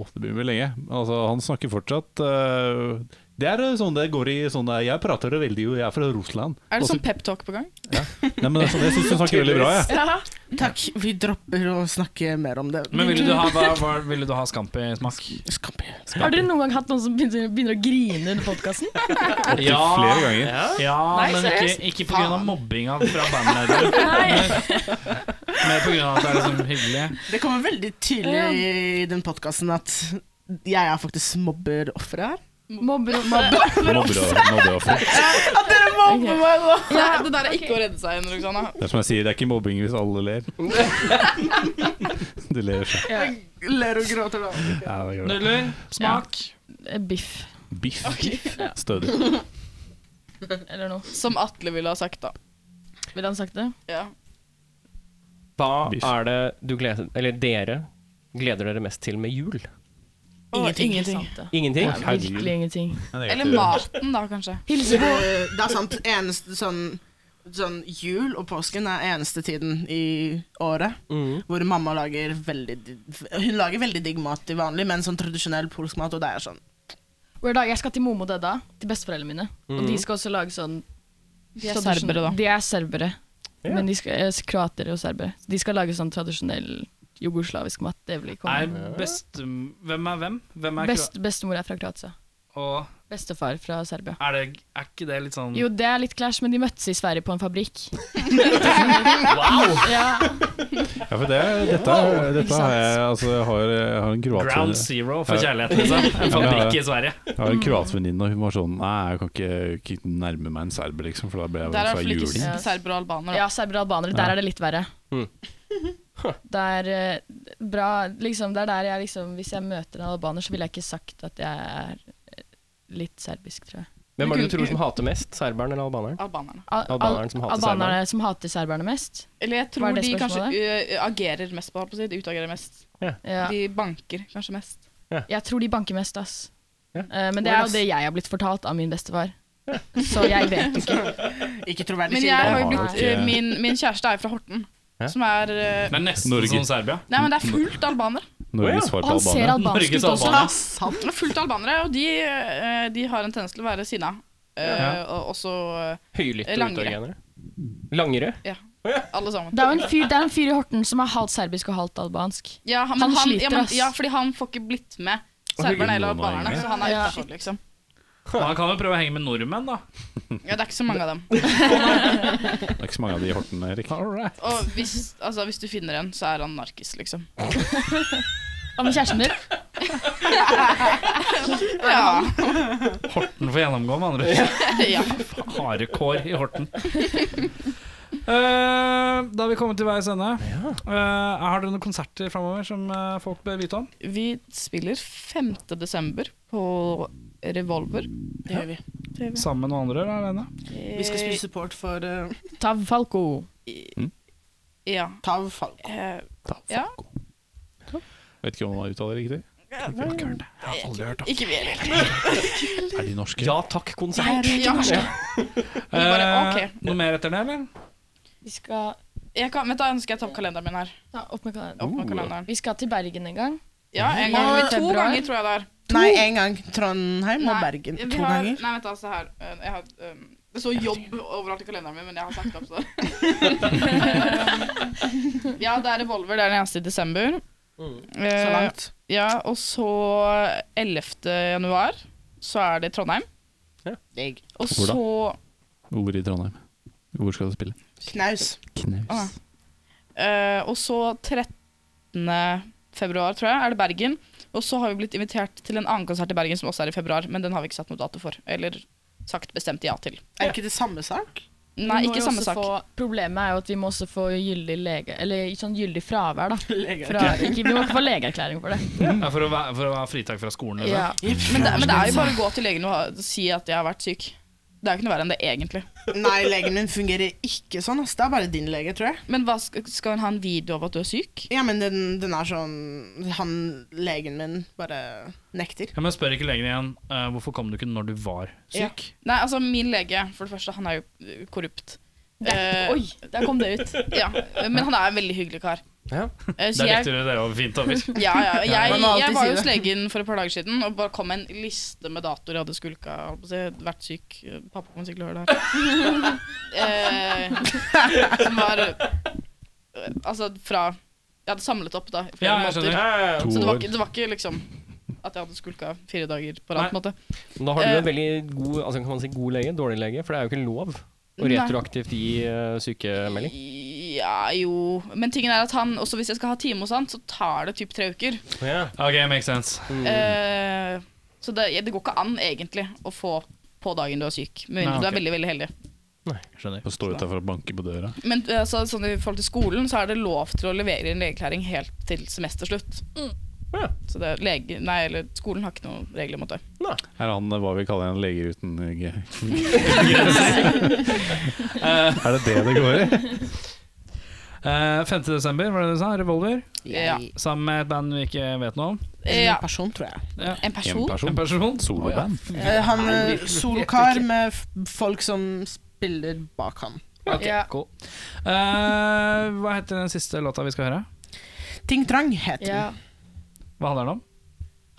Speaker 3: Å, det begynner vel lenge. Altså, han snakker fortsatt eh, Det er eh, sånn det går i sånn der, Jeg prater det veldig jo, jeg er fra Russland.
Speaker 7: Er det
Speaker 3: Også-
Speaker 7: sånn peptalk på gang?
Speaker 3: Nei, men det er sånn, Jeg syns du snakker veldig bra, jeg.
Speaker 9: Takk. Vi dropper å snakke mer om det.
Speaker 4: Men ville du ha, hva, hva, ville du ha Scampi-smak?
Speaker 8: Har dere noen gang hatt noen som begynner, begynner å grine under podkasten?
Speaker 4: Ja,
Speaker 3: flere ganger.
Speaker 4: ja
Speaker 8: Nei,
Speaker 4: men ikke,
Speaker 8: seriøst?
Speaker 4: ikke pga. mobbinga fra bandlederen. Mer pga. at det er liksom hyggelig.
Speaker 9: Det kommer veldig tydelig i den podkasten at jeg er faktisk mobberofferet her.
Speaker 8: Mobber
Speaker 3: Mobbeoffer.
Speaker 9: At dere mobber meg nå!
Speaker 7: Ja, det der er ikke å redde seg under, Roxana.
Speaker 3: Det er som jeg sier, det er ikke mobbing hvis alle ler. Du ler sjøl.
Speaker 9: Jeg ler og gråter da.
Speaker 3: Ja, det går bra.
Speaker 4: Nudler, smak.
Speaker 8: Eh, Biff.
Speaker 3: Biff.
Speaker 8: Ja.
Speaker 3: Stødig.
Speaker 8: Eller noe.
Speaker 7: Som Atle ville ha sagt, da.
Speaker 8: Ville han sagt det?
Speaker 7: Ja.
Speaker 1: Hva
Speaker 3: Biff.
Speaker 1: er det du gleder Eller dere gleder dere mest til med jul?
Speaker 7: Ingenting.
Speaker 8: Sant, det.
Speaker 1: Ingenting?
Speaker 8: Ja, virkelig ingenting.
Speaker 7: Eller maten, da, kanskje.
Speaker 8: Hilse på
Speaker 9: Eh, Det er sant. Eneste sånn Sånn Jul og påsken er eneste tiden i året
Speaker 1: Mm.
Speaker 9: hvor mamma lager veldig di- Hun lager veldig digg mat til vanlig, men sånn tradisjonell polsk mat, og det er sånn
Speaker 8: Hver dag jeg skal til Momo og Dedda, til besteforeldrene mine. Og
Speaker 4: Mm.
Speaker 8: de skal også lage sånn
Speaker 7: De er
Speaker 8: tradisjon-
Speaker 7: serbere, da.
Speaker 8: De er serbere. Men de skal, eh, kroatere og serbere. De skal lage sånn tradisjonell jugoslavisk mat. Det vil ikke
Speaker 4: Er
Speaker 8: komme.
Speaker 4: best, hvem er hvem? hvem er
Speaker 8: Best, bestemor er fra
Speaker 4: kro-
Speaker 8: Kroatia.
Speaker 4: og
Speaker 8: Bestefar fra Serbia.
Speaker 4: er, det, er ikke det litt sånn
Speaker 8: Jo, det er litt clash, men de møttes i Sverige på en fabrikk.
Speaker 4: Wow!
Speaker 8: Ja,
Speaker 3: Ja, for det, dette, dette har jeg Altså, jeg har, jeg har en
Speaker 4: Ground
Speaker 3: kroatvenninne
Speaker 4: zero for kjærligheten, liksom. En fabrikk i Sverige.
Speaker 3: Jeg har en kroatvenninne, og hun var sånn Nei, jeg kan ikke, ikke nærme meg en serber, liksom, for da ble jeg
Speaker 7: Der er
Speaker 3: vel
Speaker 7: i
Speaker 3: fra
Speaker 7: hvert fall ikke
Speaker 3: juling.
Speaker 7: serber og albanere. da.
Speaker 8: ja serbere og albanere. Der er det litt verre.
Speaker 1: Mm.
Speaker 8: Det er eh, bra liksom, Det er der jeg liksom Hvis jeg møter en albaner, så ville jeg ikke sagt at jeg er eh, litt serbisk, tror jeg.
Speaker 1: Hvem er det du tror som hater mest? Serberen eller albaneren?
Speaker 7: Albanerne.
Speaker 8: Al
Speaker 1: Albanerne som hater
Speaker 8: albanerne som hater serberne mest?
Speaker 7: Eller jeg
Speaker 8: Hva er
Speaker 7: tror
Speaker 8: det
Speaker 7: de kanskje
Speaker 8: spørsmålet?
Speaker 7: ø, agerer mest på holdt på å si. De utagerer mest.
Speaker 8: Ja.
Speaker 7: De banker kanskje mest.
Speaker 8: Jeg tror de banker mest, ass.
Speaker 1: Ja.
Speaker 8: Eh, men det er jo det jeg har blitt fortalt av min bestefar. Så jeg vet ikke.
Speaker 9: Ikke troverdig
Speaker 7: Men jeg har
Speaker 9: kilde.
Speaker 7: jo
Speaker 3: har
Speaker 7: blitt
Speaker 3: jo ikke-
Speaker 7: ø, min, min kjæreste er jo fra Horten,
Speaker 1: Ja.
Speaker 7: som er ø,
Speaker 4: Det er nesten
Speaker 3: Norge.
Speaker 4: som Serbia.
Speaker 7: Nei, men det er fullt albaner.
Speaker 3: Norges svar
Speaker 8: Og
Speaker 3: på
Speaker 8: han ser
Speaker 3: Albania.
Speaker 8: albansk
Speaker 4: Norges
Speaker 8: ut også.
Speaker 4: albaner.
Speaker 7: Det er fullt albanere, og de, ø, de har en tendens til å være sinna. ø, Og også eh, ø,
Speaker 1: Høylytte
Speaker 7: Langere.
Speaker 1: utagenere? Langere?
Speaker 7: ja, alle sammen.
Speaker 8: Det er jo en fyr, det er en fyr i Horten som er halvt serbisk og halvt albansk.
Speaker 7: Ja, han,
Speaker 8: Han
Speaker 7: men han,
Speaker 8: sliter,
Speaker 7: ja, men,
Speaker 8: ass.
Speaker 7: ja, fordi han får ikke blitt med
Speaker 1: Og
Speaker 7: serberne eller
Speaker 3: Hyllene
Speaker 7: albanerne,
Speaker 3: er
Speaker 7: så han er
Speaker 8: Ja.
Speaker 7: utafor, liksom.
Speaker 4: Man kan jo prøve å henge med nordmenn, da.
Speaker 7: Ja, det er ikke så mange av dem.
Speaker 3: Det er ikke så mange av de i Horten, Erik.
Speaker 7: Og hvis, altså, hvis du finner en, så er han narkis, liksom.
Speaker 8: Hva med kjæresten din?
Speaker 7: Ja.
Speaker 4: Horten får gjennomgå, med andre ord.
Speaker 7: ja.
Speaker 4: Harde kår i Horten. Eh, da har vi kommet til veis ende. Eh, har dere noen konserter framover som eh, folk bør vite om?
Speaker 7: Vi spiller 5. desember på Revolver.
Speaker 9: Det gjør vi.
Speaker 4: Sammen med noen andre eller alene?
Speaker 9: Vi skal spille support for eh,
Speaker 8: Tav Falco.
Speaker 7: Eh, Ja.
Speaker 9: Tav Falk.
Speaker 7: eh, Ja.
Speaker 3: Vet ikke om han uttaler det riktig.
Speaker 7: Ikke vi heller.
Speaker 3: Er de norske?
Speaker 1: Ja takk-konsert.
Speaker 7: Ja, Vi bare, ok.
Speaker 4: Eh, Noe mer etter det, eller?
Speaker 8: Vi skal
Speaker 7: Jeg kan, vent da, nå skal jeg ta opp kalenderen min her.
Speaker 8: ta opp med kalenderen.
Speaker 9: Oh.
Speaker 7: Opp med kalenderen.
Speaker 8: Vi skal til Bergen en gang.
Speaker 7: Ja, en gang.
Speaker 8: Nå-
Speaker 7: To
Speaker 8: februar.
Speaker 7: ganger, tror jeg det er.
Speaker 9: Nei, én gang Trondheim og
Speaker 7: Nei,
Speaker 9: Bergen.
Speaker 7: vi
Speaker 9: To
Speaker 7: har,
Speaker 9: ganger.
Speaker 7: Nei, vent da, se her. Eh, Jeg har, um, det står jobb overalt i kalenderen min, men jeg har sagt opp, så Ja, det er Revolver. Det er den eneste i desember. Eh,
Speaker 9: Mm. Så langt.
Speaker 7: Ja, og så 11. januar så er det Trondheim.
Speaker 1: Ja.
Speaker 7: Digg. Og
Speaker 3: Hvor da?
Speaker 7: så
Speaker 3: Hvor i Trondheim? Hvor skal du spille?
Speaker 9: Knaus.
Speaker 7: Ah.
Speaker 3: Knaus.
Speaker 7: Eh, og så 13. februar, tror jeg, er det Bergen. Og så har vi blitt invitert til en annen konsert i Bergen som også er i februar, men den har vi ikke satt noe dato for. Eller sagt bestemt ja til.
Speaker 9: Er ikke det samme sak?
Speaker 7: Nei,
Speaker 8: Vi må
Speaker 7: ikke
Speaker 8: jo
Speaker 7: samme
Speaker 8: også
Speaker 7: sak.
Speaker 8: Få, problemet er jo at vi må også få gyldig lege... Eller sånn gyldig fravær, da. Fra,
Speaker 9: Legeerklæring.
Speaker 8: ikke, vi må ikke få legeerklæring for det.
Speaker 4: Ja, for, å være, for å ha fritak fra skolen? liksom. Eller?
Speaker 8: Ja.
Speaker 7: Men det, men det er jo bare å gå til legen og ha- si at jeg har vært syk. Det er jo ikke noe verre enn det, egentlig.
Speaker 9: Nei, legen min fungerer ikke sånn. ass. Det er bare din lege, tror jeg.
Speaker 7: Men hva, skal, skal hun ha en video av at du er syk?
Speaker 9: Ja, men den, den er sånn Han legen min bare nekter.
Speaker 4: Ja, men spør ikke legen igjen eh, hvorfor kom du ikke når du var syk.
Speaker 7: Nei, altså min lege, for det første, han er jo eh, korrupt.
Speaker 8: Det er,
Speaker 7: Eh,
Speaker 8: oi, der kom det ut.
Speaker 7: ja, men han er en veldig hyggelig kar.
Speaker 1: Ja.
Speaker 7: Eh,
Speaker 2: Der
Speaker 7: så jeg-
Speaker 2: likte dere dere over fint over.
Speaker 7: Ja, ja. Jeg,
Speaker 9: Man må alltid
Speaker 7: jeg var
Speaker 9: si
Speaker 7: jo hos
Speaker 9: det.
Speaker 7: legen for et par dager siden og bare kom med en liste med datoer jeg hadde skulka. holdt på å si. Vært syk. Pappa kommer sikkert til å høre det her. eh, som var eh, Altså fra Jeg hadde samlet opp da i flere
Speaker 2: Ja, jeg skjønner.
Speaker 7: måneder.
Speaker 2: Ja, ja, ja.
Speaker 7: Så
Speaker 2: To
Speaker 7: det var,
Speaker 2: år.
Speaker 7: ikke, det var ikke liksom at jeg hadde skulka fire dager på rad. på en måte.
Speaker 1: Men Da har du
Speaker 7: Eh,
Speaker 1: en veldig god altså kan man si god lege, dårlig lege, for det er jo ikke lov å
Speaker 7: Nei.
Speaker 1: retroaktivt gi eh, sykemelding.
Speaker 7: Ja, jo Men tingen er at han, også hvis jeg skal ha time hos han, så tar det typ tre uker.
Speaker 2: Ok, makes sense.
Speaker 9: Mm.
Speaker 7: Eh, så det, det går ikke an egentlig å få på dagen du er syk, med mindre
Speaker 15: Nei,
Speaker 7: du
Speaker 15: ok.
Speaker 7: er veldig veldig heldig.
Speaker 15: Skjønner. Får stå utafor og banke på døra.
Speaker 7: Men eh, altså, sånn i forhold til skolen så er det lov til å levere en legeerklæring helt til semesterslutt. Så det, er lege, nei, eller, skolen har ikke noen regler mot det.
Speaker 15: Her er han eh, hva vi kaller en leger uten eh, g- Er det det det går i?
Speaker 2: Eh, 5. desember, var det det du sa? Revolver?
Speaker 7: Ja.
Speaker 2: Sammen med et band vi ikke vet noe om.
Speaker 7: Ja. En
Speaker 9: person, tror jeg.
Speaker 7: En person?
Speaker 2: En person. En person.
Speaker 15: Soloband.
Speaker 9: Eh, Han eh, solkar med f- folk som spiller bak han.
Speaker 2: Ok, cool. Eh, hva heter den siste låta vi skal høre?
Speaker 9: Ting Trang heter den.
Speaker 8: Ja.
Speaker 2: Hva handler den om?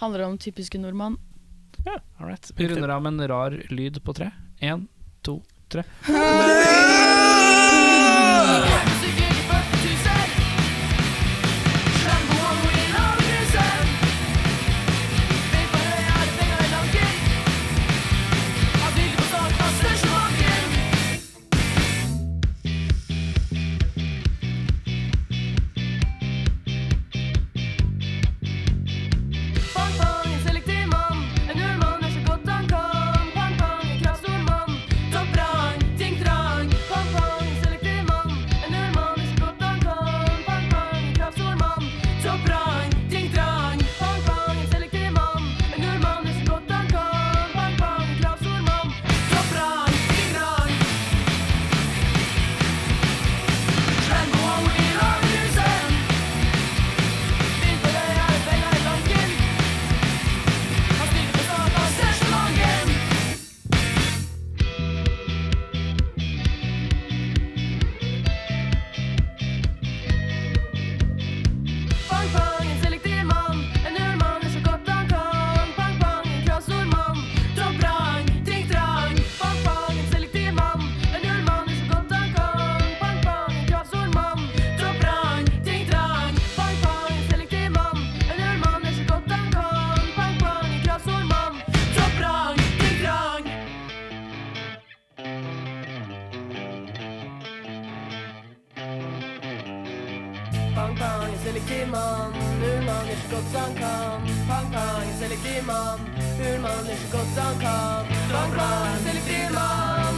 Speaker 8: Handler om typiske nordmann.
Speaker 2: All right. Vi runder av med en rar lyd på tre. Én, to, tre.
Speaker 12: Bang, bang, en selektiv mann. En urmann gjør så godt han kan. Bang, bang, en kravstor mann. Topp rang, ting trang. Bang, bang, en selektiv mann. En urmann gjør så godt han kan. Bang, bang, en kravstor mann. Topp rang, ting trang. Bang, bang, en selektiv mann. En urmann gjør så godt han kan. Bang, bang, en kravstor mann. Topp rang, ting trang. Slengo og Will av huset. Begynte det her, penger i banken. Han stilte på start av sesjongen. Bang, bang, en selektiv mann. En urmann gjør så godt han kan. Bang, bang, en kravstor mann. Topp rang, ting trang. Bang, bang, en selektiv mann. En urmann gjør så godt han kan. Bang, bang, en kravstor mann. Topp rang, ting trang. Bang, bang, en selektiv mann. En urmann gjør så godt han kan. Bang, bang, en kravstor mann. Topp rang, ting trang. Bang, bang, en selektiv mann. Urmann gjør så godt han kan. Bang, bang, en selektiv mann. Urmann gjør så godt han kan. Bang, bang, en selektiv mann.